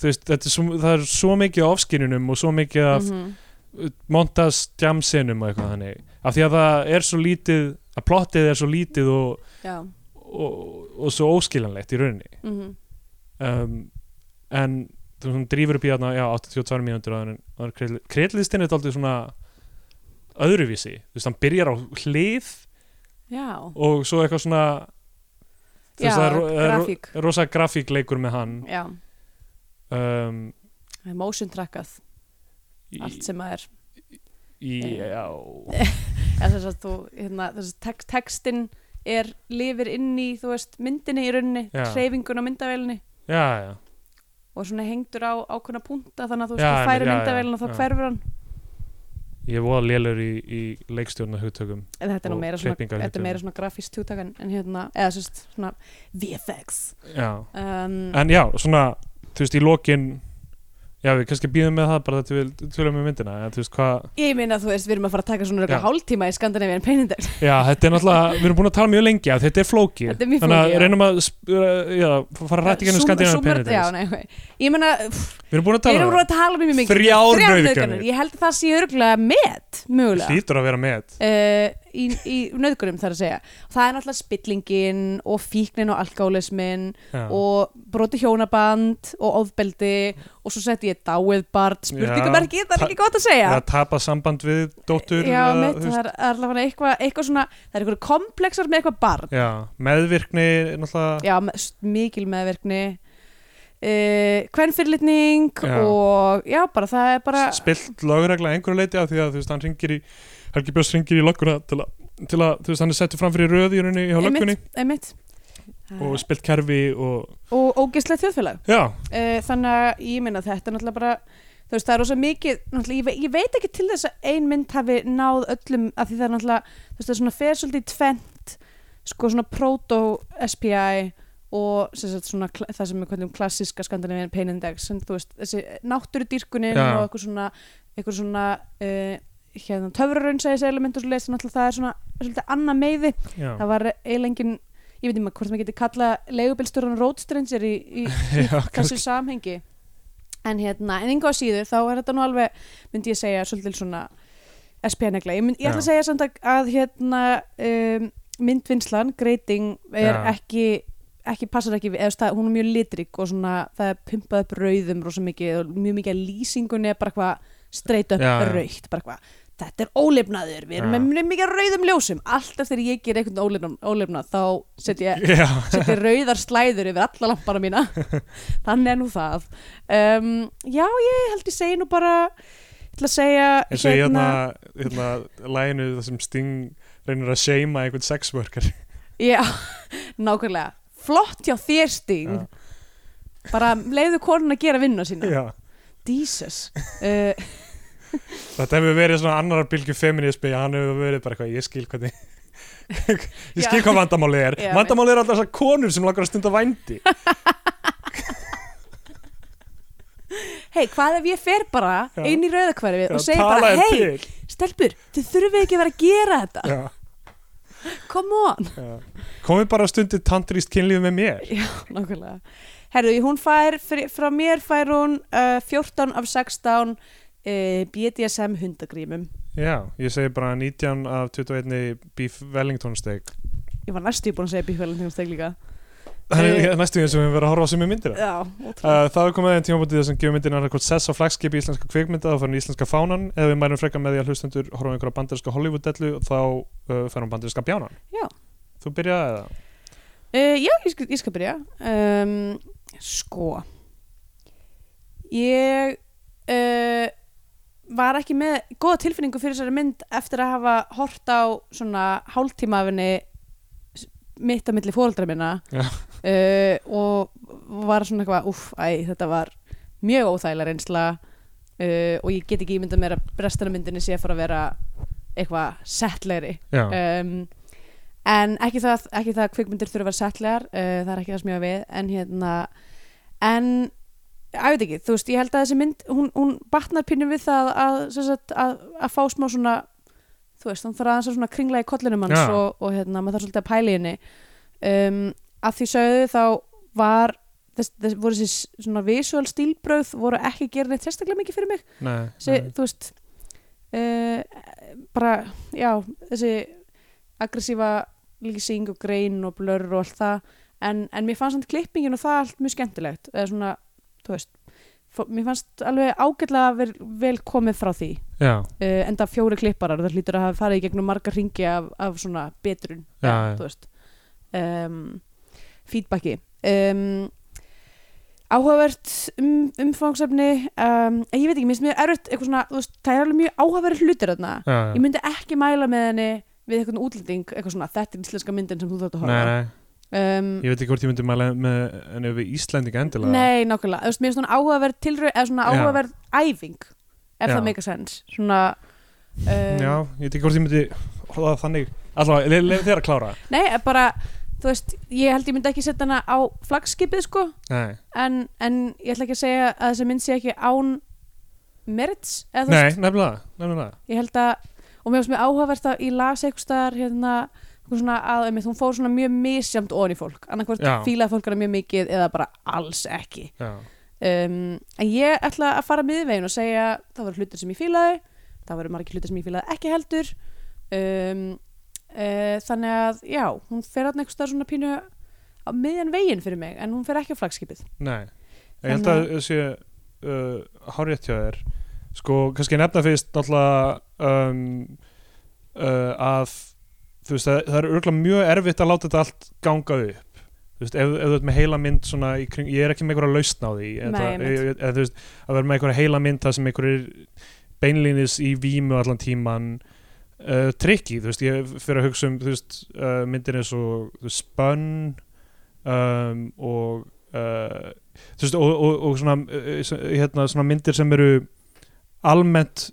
[SPEAKER 2] þú veist, þetta er svo, það er svo mikið af ofskinunum og svo mikið af mm
[SPEAKER 3] Mhm.
[SPEAKER 2] -hmm. montas djamsinum og eitthvað þannig af því að það er svo lítið að plottið er svo lítið og,
[SPEAKER 3] já.
[SPEAKER 2] og, og svo óskiljanlegt í rauninni
[SPEAKER 3] Mm
[SPEAKER 2] um, en þú veist, hún drýfur upp í þarna já, 82 mínútur og þannig kreitlistin er aldrei svona öðruvísi þú veist, hann byrjar á hlið
[SPEAKER 3] já,
[SPEAKER 2] og svo eitthvað svona þú
[SPEAKER 3] já
[SPEAKER 2] veist, það er, ro- það er, ro-
[SPEAKER 3] grafík
[SPEAKER 2] er rosa grafíkleikur með hann
[SPEAKER 3] já,
[SPEAKER 2] um,
[SPEAKER 3] það er motion trackað
[SPEAKER 2] í,
[SPEAKER 3] allt sem að er
[SPEAKER 2] í, já,
[SPEAKER 3] eða þess að þú, hérna, þess að tek, textin er, lifir inn í þú veist, myndinni í rauninni,
[SPEAKER 2] Já.
[SPEAKER 3] hreyfingun á myndavélinni
[SPEAKER 2] já, já
[SPEAKER 3] og svona hengdur á ákveðna punta þannig að þú veist,
[SPEAKER 2] Já,
[SPEAKER 3] þú færi
[SPEAKER 2] já, já,
[SPEAKER 3] myndavélina og þá
[SPEAKER 2] já.
[SPEAKER 3] hverfur hann
[SPEAKER 2] ég er voða lélur í, í leikstjórna hugtökum
[SPEAKER 3] eða þetta er nú
[SPEAKER 2] Og
[SPEAKER 3] meira svona,
[SPEAKER 2] klippingar,
[SPEAKER 3] þetta er meira svona grafískt hugtak en, en hérna, eða sérst svona VFX
[SPEAKER 2] já.
[SPEAKER 3] um,
[SPEAKER 2] en já, svona þú veist, í lokin já, við kannski býðum með það bara þetta við tölum með myndina en þú veist hvað,
[SPEAKER 3] Ég meina þú veist, við erum að fara að taka svona
[SPEAKER 2] Já.
[SPEAKER 3] röglega hálftíma í Skandinavíðan penindex
[SPEAKER 2] já, þetta er náttúrulega við erum búin að tala mjög lengi að þetta er flókið
[SPEAKER 3] Þetta er mjög
[SPEAKER 2] þannig
[SPEAKER 3] flókið,
[SPEAKER 2] að
[SPEAKER 3] já.
[SPEAKER 2] reynum að sp- uh, já, fara rætt í gennum skandinavíu
[SPEAKER 3] Já,
[SPEAKER 2] penitens
[SPEAKER 3] nei, ok. ég meina pff,
[SPEAKER 2] við erum búin að
[SPEAKER 3] Við erum
[SPEAKER 2] tala
[SPEAKER 3] að tala um mjög mikið
[SPEAKER 2] Þrjár nauðganir.
[SPEAKER 3] nauðganir. Ég held að það sé örgulega met,
[SPEAKER 2] um
[SPEAKER 3] mögulega
[SPEAKER 2] það hlýtur að vera með
[SPEAKER 3] uh, í, í nöðgurum þar að segja það er náttúrulega spillingin og fíknin og alkálismin
[SPEAKER 2] já,
[SPEAKER 3] og broti hjónaband og ofbeldi og svo setti ég dáið barn spurningamerki, það er ekki gott að segja
[SPEAKER 2] eða tapa samband við dóttur
[SPEAKER 3] já,
[SPEAKER 2] eða,
[SPEAKER 3] mitt,
[SPEAKER 2] þú
[SPEAKER 3] það er allavega eitthvað eitthvað svona, það er eitthvað komplexar með eitthvað barn
[SPEAKER 2] já, meðvirkni er náttúrulega
[SPEAKER 3] já, me- s- mikil meðverkni uh, hvernfyrirlitning
[SPEAKER 2] Já.
[SPEAKER 3] og já, bara það er bara
[SPEAKER 2] spilt lögregla að einhverju leiti af því að þú veist, hann ringir í Helgi Björns ringir í lögguna til að, til að, þú veist, hann er settur fram fyrir röð í rauninni hjá löggunni
[SPEAKER 3] einmitt, einmitt.
[SPEAKER 2] og
[SPEAKER 3] Og,
[SPEAKER 2] spilt kerfi og,
[SPEAKER 3] og ógeðslegt þjóðfélag
[SPEAKER 2] já,
[SPEAKER 3] Eh, þannig að ég minna þetta er náttúrulega bara þú veist það er rosa mikið náttúrulega, ég, ve- ég veit ekki til þess að ein mynd hafi náð öllum að því það er náttúrulega þú veist það er svona fer svolítið í tvent sko svona proto-SPI og sem sagt, svona, kla- það sem er hvernig um klassíska skandinavíðan peinindex sem þú veist þessi náttúrudýrkunin
[SPEAKER 2] Já.
[SPEAKER 3] og eitthvað svona, eitthvað svona uh, hérna töfrarun segis element og svo leist náttúrulega það er svona svolítið annað meiði
[SPEAKER 2] já.
[SPEAKER 3] það var eiginlega engin ég veit ekki maður hvort maður geti kalla leigubilstjóran roadstranger í, í, í
[SPEAKER 2] Já,
[SPEAKER 3] þessu samhengi en hérna, en yngu á síður þá er þetta nú alveg, myndi ég segja svolítil svona SPN-egla, ég, mynd- ég ætla að
[SPEAKER 2] Já.
[SPEAKER 3] segja samt að, að hérna um, myndvinnslan, greiting er
[SPEAKER 2] Já.
[SPEAKER 3] ekki ekki passar ekki við, eða þú veist, það- hún er mjög litrík og svona það er pumpað upp rauðum rosa mikið og mjög mikið að lýsingunni er bara hvað straight up
[SPEAKER 2] Já, já.
[SPEAKER 3] raukt, bara hvað þetta er ólefnaður, við erum
[SPEAKER 2] Já.
[SPEAKER 3] með mjög mikið af rauðum ljósum, alltaf þegar ég ger einhvern ólefnað, ólefnað þá set ég
[SPEAKER 2] já,
[SPEAKER 3] setja rauðar slæður yfir alla lampana mína þannig er nú það um, já ég held ég segi nú bara ég ætla að segja
[SPEAKER 2] eins og ég hérna hérna læginu það sem Sting reynir að seima einhvern sexworker
[SPEAKER 3] já, nákvæmlega flott hjá þér Sting
[SPEAKER 2] Já.
[SPEAKER 3] bara leiðu konun að gera vinnuna sína
[SPEAKER 2] já.
[SPEAKER 3] Jesus uh,
[SPEAKER 2] þetta hefur verið svona annar bylgu feminismi hann hefur verið bara eitthvað, ég skil hvernig ég skil
[SPEAKER 3] Já.
[SPEAKER 2] hvað vandamálið er
[SPEAKER 3] Já,
[SPEAKER 2] vandamálið er alltaf þessar konur sem langar að stunda vændi
[SPEAKER 3] hei hvað ef ég fer bara
[SPEAKER 2] Já.
[SPEAKER 3] inn í rauðakverfið og segi
[SPEAKER 2] tala um
[SPEAKER 3] bara
[SPEAKER 2] er
[SPEAKER 3] hei
[SPEAKER 2] til
[SPEAKER 3] stelpur þið þurfið ekki að vera að gera þetta
[SPEAKER 2] já,
[SPEAKER 3] come on
[SPEAKER 2] já. komið bara stundið tantríst kynlíf með mér
[SPEAKER 3] Nákvæmlega. Herðu, hún fær, fri- frá mér fær hún uh, 14 af 16 uh, BDSM hundagrímum.
[SPEAKER 2] já, ég segi bara 19 af 21 beef Wellington steak
[SPEAKER 3] Ég var næstu búin að segja bíkvælinn þegar steg um líka.
[SPEAKER 2] þannig
[SPEAKER 3] Eh.
[SPEAKER 2] að næstu því sem við verðum að horfa á sem er myndir
[SPEAKER 3] Já, ótrúlega.
[SPEAKER 2] Uh, það er komið aðeins tímabútið sem gefur myndin annarkvort sess á flagskipi íslenska kvikmynda þá fær hún íslenska fánan eða við mærum frekka með því að hlustendur horfum einhverja bandarinska Hollywood-dellu þá uh, fær hún bandarinska bjánan
[SPEAKER 3] Já.
[SPEAKER 2] Þú byrjaði það
[SPEAKER 3] Uh, já, ég skal, ég skal byrja. Um, sko. Ég uh, var ekki með góða tilfinningu fyrir þessari mynd eftir að hafa hort á svona hálftíma af henni s- mitt að milli fóreldra minna
[SPEAKER 2] Já.
[SPEAKER 3] uh, og var svona eitthvað uff, æ, þetta var mjög óþægilega reynsla uh, og ég get ekki ímyndað mér að restana myndinni sé að fara að vera eitthvað settlegri
[SPEAKER 2] Já,
[SPEAKER 3] um, en ekki það, ekki það að kvikmyndir þurfa að vera settlegar uh, það er ekki það sem ég á við en hérna en ég veit ekki, þú veist, ég held að þessi mynd hún, hún batnar pínum við það að, sem sagt, að, að fá smá svona þú veist, hún þarf aðeins að svona kringla í kollinum hans
[SPEAKER 2] Já.
[SPEAKER 3] og, og hérna, maður þarf svolítið að pæla í henni um, að því sögðu þá var þess, þess, voru þessi svona visual stílbröð voru ekki gerðið neitt sérstaklega mikið fyrir mig
[SPEAKER 2] nei,
[SPEAKER 3] þessi,
[SPEAKER 2] nei.
[SPEAKER 3] þú veist uh, bara, já þessi aggressífa lýsing og grein og blör og allt það en, en mér fannst hann klippingin og það allt mjög skemmtilegt eða svona, þú veist fó- mér fannst alveg ágætlega vel, vel komið frá því
[SPEAKER 2] já,
[SPEAKER 3] uh, enda fjóri klipparar, það hlýtur að hafa farið í gegnum marga ringi af, af svona betrun
[SPEAKER 2] Já,
[SPEAKER 3] eða,
[SPEAKER 2] já.
[SPEAKER 3] þú veist um, feedbacki um, áhugavert um, umfangsefni um, en ég veit ekki, mér finnst mjög erfitt eitthvað svona, þú veist, það er alveg mjög áhugaverð hlutir þarna,
[SPEAKER 2] já,
[SPEAKER 3] ég myndi ekki mæla með henni við eitthvað útlending, eitthvað svona þetta er íslenska myndin sem þú þátt að
[SPEAKER 2] nei,
[SPEAKER 3] horfa
[SPEAKER 2] nei,
[SPEAKER 3] um,
[SPEAKER 2] ég veit ekki hvort ég myndi mæla með en ef við Íslendinga endilega
[SPEAKER 3] Nei, nákvæmlega, þú veist, mér er svona áhugaverð tilröð eða svona
[SPEAKER 2] Já.
[SPEAKER 3] áhugaverð æfing ef
[SPEAKER 2] Já.
[SPEAKER 3] það make a sense svona um,
[SPEAKER 2] já, ég veit ekki hvort ég myndi orða það þannig, allavega, le- leið þér að klára
[SPEAKER 3] Nei, eh, bara, þú veist, ég held ég myndi ekki setja hana á flaggskipið, sko
[SPEAKER 2] nei,
[SPEAKER 3] en, en ég ætla ekki að segja að þessi mynd sé ekki án merits, eða þú
[SPEAKER 2] nei,
[SPEAKER 3] veist,
[SPEAKER 2] nefnilega nefnilega,
[SPEAKER 3] ég held að og mér finnst mjög áhugavert að ég las eitthvað staðar hérna, eitthvað svona að einmitt, hún fór svona mjög misjamt ofan í fólk annarkvort
[SPEAKER 2] Já.
[SPEAKER 3] fílaði fólk hana mjög mikið eða bara alls ekki
[SPEAKER 2] já,
[SPEAKER 3] um, en ég ætla að fara miðvegin og segja það voru hlutir sem ég fílaði það voru margir hlutir sem ég fílaði ekki heldur um, uh, þannig að já, hún fer hann eitthvað svona pínu á miðjan veginn fyrir mig en hún fer ekki á flagskipið
[SPEAKER 2] nei ég held að það sé uh, hárétt hjá þér sko, kannski nefna fyrst náttúrulega um, uh, að þú veist, það, það er örgulega mjög erfitt að láta þetta allt ganga upp þú veist, ef, ef þú ert með heila mynd svona í kring, ég er ekki með einhverja lausn á því en
[SPEAKER 3] Nei,
[SPEAKER 2] það-
[SPEAKER 3] einmitt.
[SPEAKER 2] ég- en þú veist, að vera með einhverja heila mynd það sem einhverjir beinlínis í vímu allan tíman uh, trikki, þú veist, ég fyrir að hugsa um þú veist, uh, myndir eins og þú veist, spönn um, og uh, þú veist, og, og, og svona, uh, s- hérna, svona myndir sem eru almennt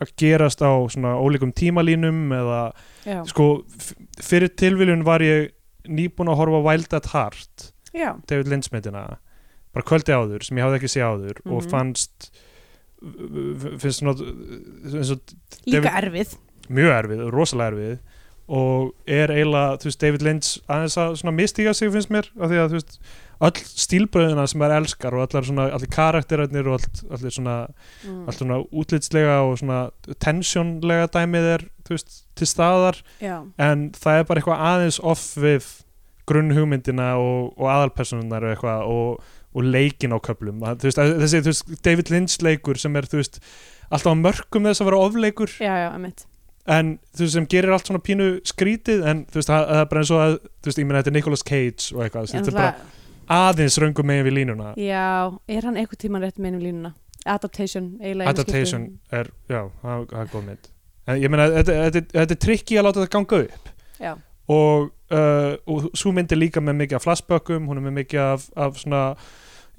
[SPEAKER 2] að gerast á svona ólíkum tímalínum eða
[SPEAKER 3] já,
[SPEAKER 2] sko, f- fyrir tilviljun var ég nýbúin að horfa á Wild at Heart
[SPEAKER 3] já,
[SPEAKER 2] David Lynch myndina bara kvöldi áður sem ég hafði ekki séð áður og
[SPEAKER 3] Mhm.
[SPEAKER 2] fannst f- finnst svona eins og
[SPEAKER 3] líka erfið
[SPEAKER 2] mjög erfið, rosalega erfið og er eiginlega, þú veist, David Lynch aðeins að svona mistíga sig finnst mér af því að, þú veist, öll stílbröðina sem maður elskar og allar svona, allir karakterarnir og allt, allir svona,
[SPEAKER 3] Mm,
[SPEAKER 2] allt svona útlitslega og svona tensjónlega dæmið er, þú veist, til staðar
[SPEAKER 3] já,
[SPEAKER 2] en það er bara eitthvað aðeins off við grunnhugmyndina og, og aðalpersonunar og eitthvað og, og leikin á köplum Það- þú veist, að- þessi þú veist, David Lynch leikur sem er þú veist, alltaf á mörkum þess að vera ofleikur
[SPEAKER 3] já, já, emitt
[SPEAKER 2] en þú veist sem gerir allt svona pínu skrítið en þú veist það, það er bara eins og að þú veist ég meina þetta er Nicolas Cage og eitthvað þú veist, þetta er
[SPEAKER 3] bara...
[SPEAKER 2] bara aðeins röngum megin við línuna
[SPEAKER 3] já, er hann eitthvað tíman rétt með einum línuna adaptation, eiginlega einu
[SPEAKER 2] Adaptation
[SPEAKER 3] skipti.
[SPEAKER 2] er, já, það það er góð mynd en ég meina þetta, þetta, þetta er trikki að láta þetta ganga upp
[SPEAKER 3] já,
[SPEAKER 2] og, uh, og svo myndir líka með mikið af flashbökkum, hún er með mikið af, af svona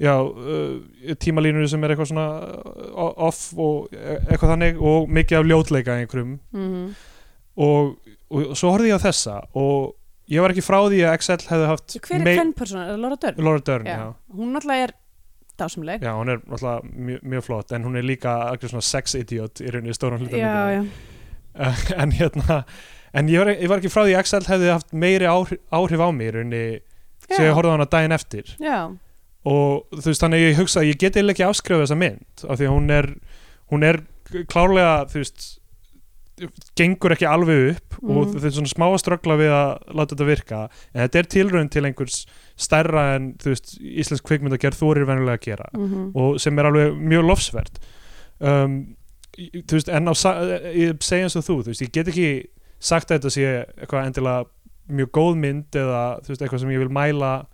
[SPEAKER 2] já, uh, tímalínur sem er eitthvað svona uh, off og e- eitthvað þannig og mikið af ljótleika einhverjum
[SPEAKER 3] mhm.
[SPEAKER 2] og, og svo horfði ég á þessa og ég var ekki frá því að XL hefði haft
[SPEAKER 3] hver er
[SPEAKER 2] mei-
[SPEAKER 3] kvennpersona, er það Laura Dörn?
[SPEAKER 2] Laura Dern, já.
[SPEAKER 3] Já. hún náttúrulega er dásamleg
[SPEAKER 2] já hún er alltaf mjög, mjög flott en hún er líka algjör svona sex idiot í rauninni stóran hluta
[SPEAKER 3] já,
[SPEAKER 2] myndinni.
[SPEAKER 3] já.
[SPEAKER 2] Uh, en hérna en ég var, ég var ekki frá því að XL hefði haft meiri áhrif, áhrif á mig í rauninni sem
[SPEAKER 3] Já.
[SPEAKER 2] ég horfði á hana daginn eftir
[SPEAKER 3] Já,
[SPEAKER 2] og þú veist þannig að ég hugsa að ég get eiginlega ekki afskrifað þessa mynd af því að hún er, hún er klárlega þú veist gengur ekki alveg upp og
[SPEAKER 3] Mhm.
[SPEAKER 2] þetta er svona smá að ströggla við að láta þetta virka en þetta er tilraun til einhvers stærra en þú veist íslensk kvikmynd að gera þorir venjulega að gera
[SPEAKER 3] mm
[SPEAKER 2] og sem er alveg mjög lofsvert um, í- þú veist en á sa- ég segja eins og þú, þú veist ég get ekki sagt að þetta sé eitthvað endilega mjög góð mynd eða þú veist eitthvað sem ég vil mæla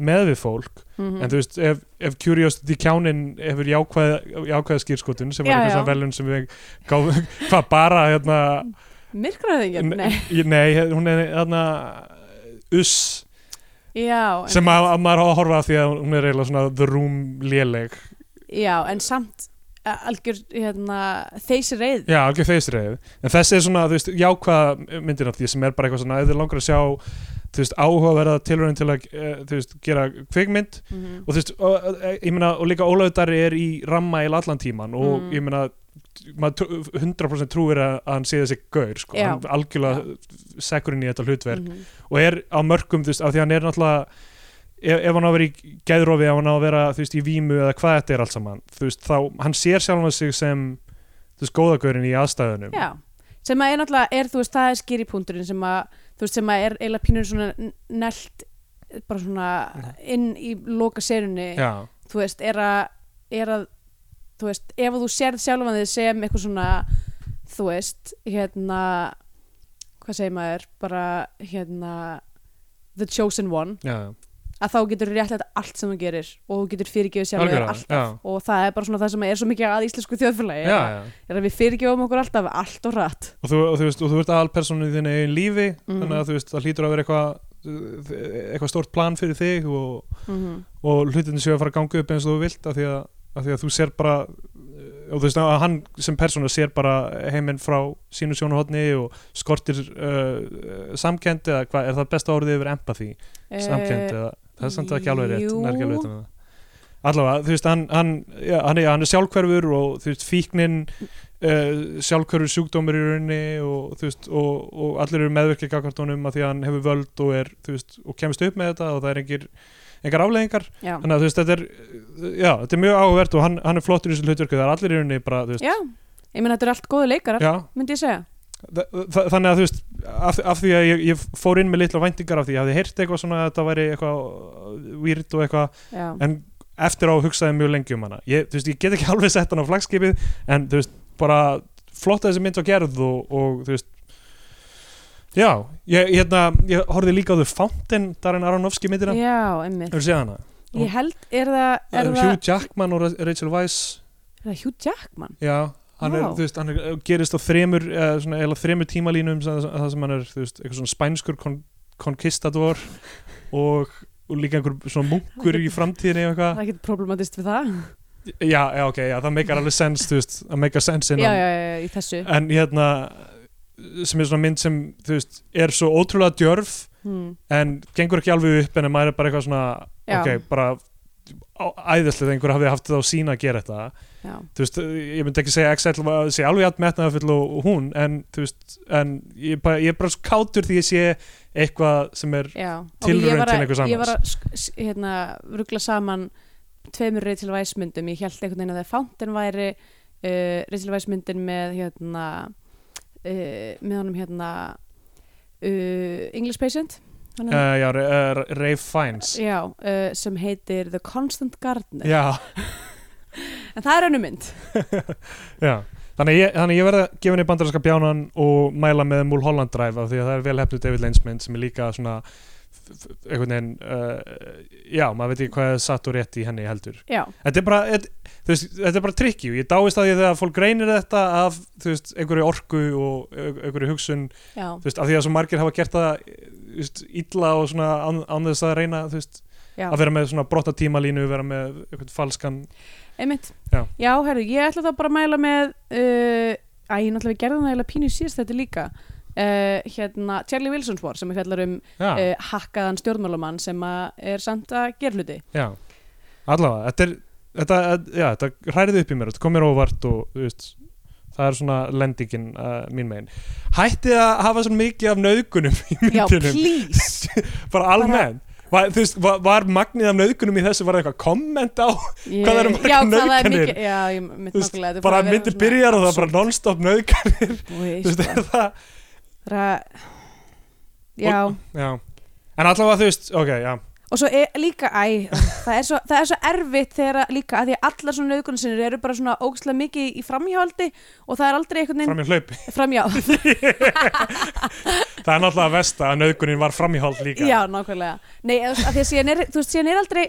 [SPEAKER 2] með við fólk
[SPEAKER 3] Mhm. Mm.
[SPEAKER 2] en þú veist, ef, ef Curiosity kjánin hefur jákvæð, jákvæða skýrskotun sem var
[SPEAKER 3] Já,
[SPEAKER 2] eitthvað
[SPEAKER 3] já.
[SPEAKER 2] svona velun sem við gáðum, hvað bara hérna,
[SPEAKER 3] Myrkraðingin, nei
[SPEAKER 2] nei. hún er hérna uss
[SPEAKER 3] Já, en,
[SPEAKER 2] sem að, að maður á að horfa á því að hún er eiginlega svona the room léleg
[SPEAKER 3] já, en samt eh, algjör hérna, þeysi reið
[SPEAKER 2] já, algjör feisreið, en þessi er svona þú veist, jákvæða myndin af því sem er bara eitthvað svona, ef þið langar að sjá þú veist, áhugaverða tilröðin til að eh, þú veist, gera kvikmynd
[SPEAKER 3] Mhm.
[SPEAKER 2] og þú veist, og, og- eh, ég meina og líka Ólafur Darri er í ramma í allan tíman og
[SPEAKER 3] Mm.
[SPEAKER 2] ég meina maður trú- 100% trúir að, að hann sé þessi gaur sko,
[SPEAKER 3] Já.
[SPEAKER 2] hann algjörlega sekkur inn í þetta hlutverk
[SPEAKER 3] Mhm.
[SPEAKER 2] og er á mörgum, þú veist, af því hann er náttúrulega ef, ef hann á að vera í geðrofi ef hann á að vera, þú veist, í vímu eða hvað þetta er allt saman, þú veist, þá, hann sér sjálfan sig sem, þú veist, góðagaurin í aðstæðunum
[SPEAKER 3] Já, sem að er náttúrulega er, þú veist, það er skýripúndurinn sem að þú veist, sem að er eiginlega pínur svona n- nelt bara svona inn í loka serunni,
[SPEAKER 2] Já,
[SPEAKER 3] þú veist, er að er að þú veist, ef þú sérð sjálfan þig sem eitthvað svona, þú veist hérna, hvað segir maður bara, hérna the chosen one,
[SPEAKER 2] já, já.
[SPEAKER 3] að þá getur réttlega allt sem þú gerir og þú getur fyrirgefið sjálfan þig
[SPEAKER 2] Algjörlega,
[SPEAKER 3] allt og það er bara svona það sem er svo mikið að íslensku þjóðfélagi
[SPEAKER 2] já, já, já.
[SPEAKER 3] er að við fyrirgefum okkur alltaf allt og rætt
[SPEAKER 2] og þú, og þú veist, og þú ert aðalpersonu í þinni eigin lífi
[SPEAKER 3] Mhm.
[SPEAKER 2] þannig að þú veist, það hlýtur að vera eitthvað eitthvað stórt plan fyrir þig og,
[SPEAKER 3] mm
[SPEAKER 2] og hlutin séu að fara að ganga upp eins og þú vilt af því að, af því að þú sér bara eh, og þú veist, að hann sem persóna sér bara heiminn frá sínu sjónahotni og skortir uh, samkend eða hvað, er það besta orðið yfir empathy, samkend eða það er samt ekki alveg rétt,
[SPEAKER 3] Eh, jú.
[SPEAKER 2] nær ekki alveg rétt um það allavega, þú veist, hann, hann, já, hann, er, hann er sjálfhverfur og þú veist, fíknin uh, sjálfhverfur sjúkdómur í rauninni og þú veist, og, og allir eru meðverkið gagvart honum að því að hann hefur völd og er, þú veist, og kemst upp með þetta og það er engir, engar afleðingar
[SPEAKER 3] já,
[SPEAKER 2] þannig að þú veist, þetta er, já, þetta er mjög áhugavert og hann, hann er flottur í þessu hlutverku, það er allir í rauninni bara, þú veist,
[SPEAKER 3] já, ég meina þetta er allt góðu leikarar
[SPEAKER 2] já,
[SPEAKER 3] myndi ég segja
[SPEAKER 2] Þa- þa- þannig að þú veist af, af því að ég, ég fór inn með litla væntingar af því, ég hafði heyrt eitthvað svona að þetta væri eitthvað weird og eitthvað
[SPEAKER 3] já.
[SPEAKER 2] en eftir á hugsaði mjög lengi um hana ég, þú veist, ég get ekki alveg sett hann á flagskipið en þú veist, bara flott að þessi mynd var gerð og, og þú veist já, ég, hérna ég horfði líka á þau Fountain Darren Aronofsky myndina,
[SPEAKER 3] já, einmitt
[SPEAKER 2] hefur séð hana
[SPEAKER 3] ég held, er það, er það,
[SPEAKER 2] Hugh Jackman og Ra- Rachel Weisz
[SPEAKER 3] er það Hugh Jackman
[SPEAKER 2] Já, hann er,
[SPEAKER 3] Vá.
[SPEAKER 2] þú veist, hann er, eh, gerist á þremur, eða svona, eða þremur tímalínum það, það sem hann er, þú veist, eitthvað svona spænskur kon, konkistador og, og líka einhver svona munkur í framtíðinni og
[SPEAKER 3] það
[SPEAKER 2] eitthvað.
[SPEAKER 3] er ekkert problematist við það
[SPEAKER 2] Já, já, ok, já, það meikar alveg sens, þú veist, það meikar sens
[SPEAKER 3] já,
[SPEAKER 2] innan.
[SPEAKER 3] já, já, í þessu
[SPEAKER 2] En hérna, sem er svona mynd sem, þú veist, er svo ótrúlega djörf
[SPEAKER 3] hmm.
[SPEAKER 2] en gengur ekki alveg upp en maður er bara eitthvað svona,
[SPEAKER 3] Já.
[SPEAKER 2] ok, bara á- æðislegt að einhver hafi haft það á sína að gera þetta.
[SPEAKER 3] já,
[SPEAKER 2] þú veist, ég myndi ekki segja Excel að sé alveg allt metnaðarfull og, og hún en þú veist, en ég, bara, ég er bara svo kátur því ég sé eitthvað sem er,
[SPEAKER 3] já Og
[SPEAKER 2] Tilraun
[SPEAKER 3] ég var að-
[SPEAKER 2] til einhvers
[SPEAKER 3] ég var að sk- s- hérna, ruggla saman tveimur Rachel Weisz myndum ég held einhvern veginn að það Fountain væri uh, Rachel Weisz myndin með hérna uh, með honum hérna uh, English Patient hann er-
[SPEAKER 2] uh, já, uh, Ray Fiennes
[SPEAKER 3] Mm. já, uh, sem heitir The Constant Gardener
[SPEAKER 2] já,
[SPEAKER 3] en það er önnu mynd
[SPEAKER 2] já þannig að ég, þannig að ég verða að gefa henni bandarinska bjánan og mæla með Mulholland Drive af því að það er vel hefnu David Lynch mynd sem er líka svona f- f- einhvern veginn uh, já, maður veit ekki hvað er satt og rétt í henni heldur
[SPEAKER 3] já,
[SPEAKER 2] þetta er bara, þetta, þú veist, þetta er bara trikki ég dáist að því þegar fólk reynir þetta af þú veist, einhverju orku og einhverju hugsun
[SPEAKER 3] já,
[SPEAKER 2] þú veist, af því að svo margir hafa gert það eh, þú veist, illa og svona án, án þess að reyna þú veist,
[SPEAKER 3] já
[SPEAKER 2] að vera með svona brotta tímalínu vera með eitthvað falskan
[SPEAKER 3] einmitt,
[SPEAKER 2] Já.
[SPEAKER 3] já herru, ég ætla þá bara að mæla með uh, æ, ég náttúrulega við gerðum það eiginlega pínu síðast þetta líka uh, hérna, Charlie Wilson's War sem við fjallar um
[SPEAKER 2] já,
[SPEAKER 3] uh, hakkaðan stjórnmálamann sem að er samt að gera hluti
[SPEAKER 2] já, allavega þetta, er, þetta, eh, já, þetta hræriði upp í mér þetta kom mér óvart og þú veist, það er svona lendingin uh, mín megin hættið að hafa svona mikið af nöðgunum í
[SPEAKER 3] já,
[SPEAKER 2] myndunum,
[SPEAKER 3] please
[SPEAKER 2] bara almenn Var, þú veist, var, var magnið af nöðgunum í þessu var það eitthvað komment á
[SPEAKER 3] Ég-
[SPEAKER 2] Hvað það eru margar
[SPEAKER 3] já, hvað það er
[SPEAKER 2] nauðganir?
[SPEAKER 3] mikið- já, ég mynd
[SPEAKER 2] Þú veist,
[SPEAKER 3] nokkulega þetta er
[SPEAKER 2] bara
[SPEAKER 3] að vera
[SPEAKER 2] myndi
[SPEAKER 3] svona-
[SPEAKER 2] byrjar og það er bara non-stop nöðgan
[SPEAKER 3] Þú veist,
[SPEAKER 2] þú veist,
[SPEAKER 3] bara-
[SPEAKER 2] er það
[SPEAKER 3] bara- já
[SPEAKER 2] Já, en allavega þú veist, ok, já
[SPEAKER 3] Og svo er líka, æ, það er svo, það er svo erfitt þegar að- líka að því að allar svona nöðgunarsinnur eru bara svona ógstlega mikið í framhjáhaldi og það er aldrei einhvern veginn
[SPEAKER 2] fram í hlaupi
[SPEAKER 3] framhjá.
[SPEAKER 2] Það er náttúrulega vest að nöðgunin var fram í hald líka
[SPEAKER 3] Já, nákvæmlega. Nei, eða þú veist, af því að síðan er, þú veist, síðan er aldrei,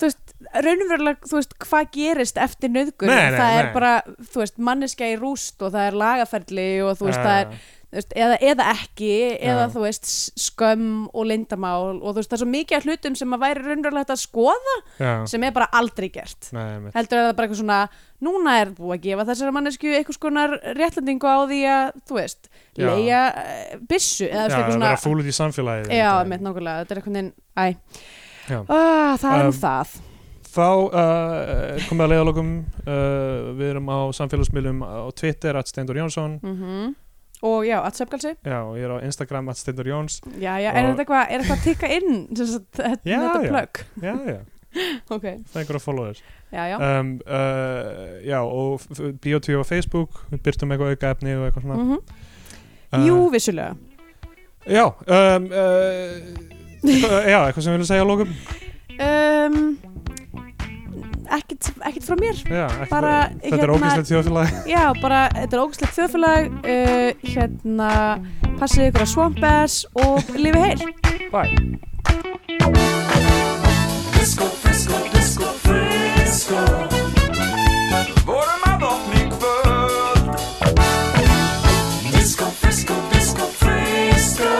[SPEAKER 3] þú veist, raunverulega, þú veist, hvað gerist eftir nöðgun?
[SPEAKER 2] Nei, nei,
[SPEAKER 3] það er
[SPEAKER 2] nei.
[SPEAKER 3] bara, þú veist, manneskja í rúst og það er lagaferli og þú veist, það er, þú veist, eða, eða ekki, eða
[SPEAKER 2] Já.
[SPEAKER 3] þú veist, s- skömm og lindamál og þú veist, það er svo mikið af hlutum sem að væri raunverulega hægt að skoða
[SPEAKER 2] Já,
[SPEAKER 3] sem er bara aldrei gert.
[SPEAKER 2] nei, einmitt.
[SPEAKER 3] heldur er það bara eitthvað svona núna er búið að gefa þessari mannesku eitthvað skonar réttlendingu á því að þú veist,
[SPEAKER 2] Já.
[SPEAKER 3] leia uh, byssu eða
[SPEAKER 2] já
[SPEAKER 3] þú veist,
[SPEAKER 2] að vera
[SPEAKER 3] eitthvað svona
[SPEAKER 2] fúl út í samfélagið
[SPEAKER 3] Já,
[SPEAKER 2] Þetta er-
[SPEAKER 3] með nákvæmlega, þetta er eitthvað neginn, æ,
[SPEAKER 2] Já.
[SPEAKER 3] ah, það er um
[SPEAKER 2] Um,
[SPEAKER 3] það,
[SPEAKER 2] Þá uh, komum við að leiðalokum uh, Við erum á samfélagsmiðlum á Twitter, at Steindor Jónsson
[SPEAKER 3] mm og já, að söpgalsi,
[SPEAKER 2] Já, og ég er á Instagram, at Steindor Jóns
[SPEAKER 3] já, já, er
[SPEAKER 2] Og-
[SPEAKER 3] þetta eitthvað, er eitthvað að tikka inn, sem sagt, þetta,
[SPEAKER 2] Já,
[SPEAKER 3] þetta
[SPEAKER 2] já.
[SPEAKER 3] plögg,
[SPEAKER 2] Já, já,
[SPEAKER 3] ok,
[SPEAKER 2] það er einhverja followers
[SPEAKER 3] já, já,
[SPEAKER 2] um, uh, Já, og Bio2 á Facebook Við byrtum eitthvað auka efni og eitthvað svona
[SPEAKER 3] mhm,
[SPEAKER 2] Um, Uh,
[SPEAKER 3] Mm. jú, vissulega,
[SPEAKER 2] Já, um, uh, eitthvað- já, eitthvað sem við viljum segja á lókum
[SPEAKER 3] um, ekkit, ekkit Um, frá mér
[SPEAKER 2] Já, ekki,
[SPEAKER 3] Bara,
[SPEAKER 2] þetta er
[SPEAKER 3] hérna-
[SPEAKER 2] ógæslegt þjóðfélag
[SPEAKER 3] Já, bara, þetta er ógæslegt þjóðfélag uh, hérna, passið ykkur að svampers og lifi heil
[SPEAKER 2] Bye
[SPEAKER 4] Våra mamma flickvän Disco, frisco, disco, frisco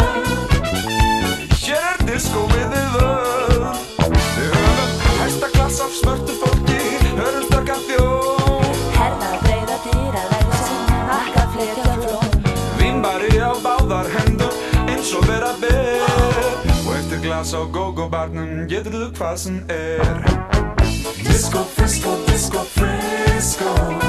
[SPEAKER 4] Hér er disco við þið öll Við höfum hæsta klass af svörtu fólki Hörum stökka þjóð
[SPEAKER 5] Herða, breyða, týra, læsa, akka, flytja, flóm
[SPEAKER 4] Vimbari á báðar hendur eins og vera ber Og eftir glas á go-go-barnum getur þú hvað sem er Disco, frisco, disco, frisco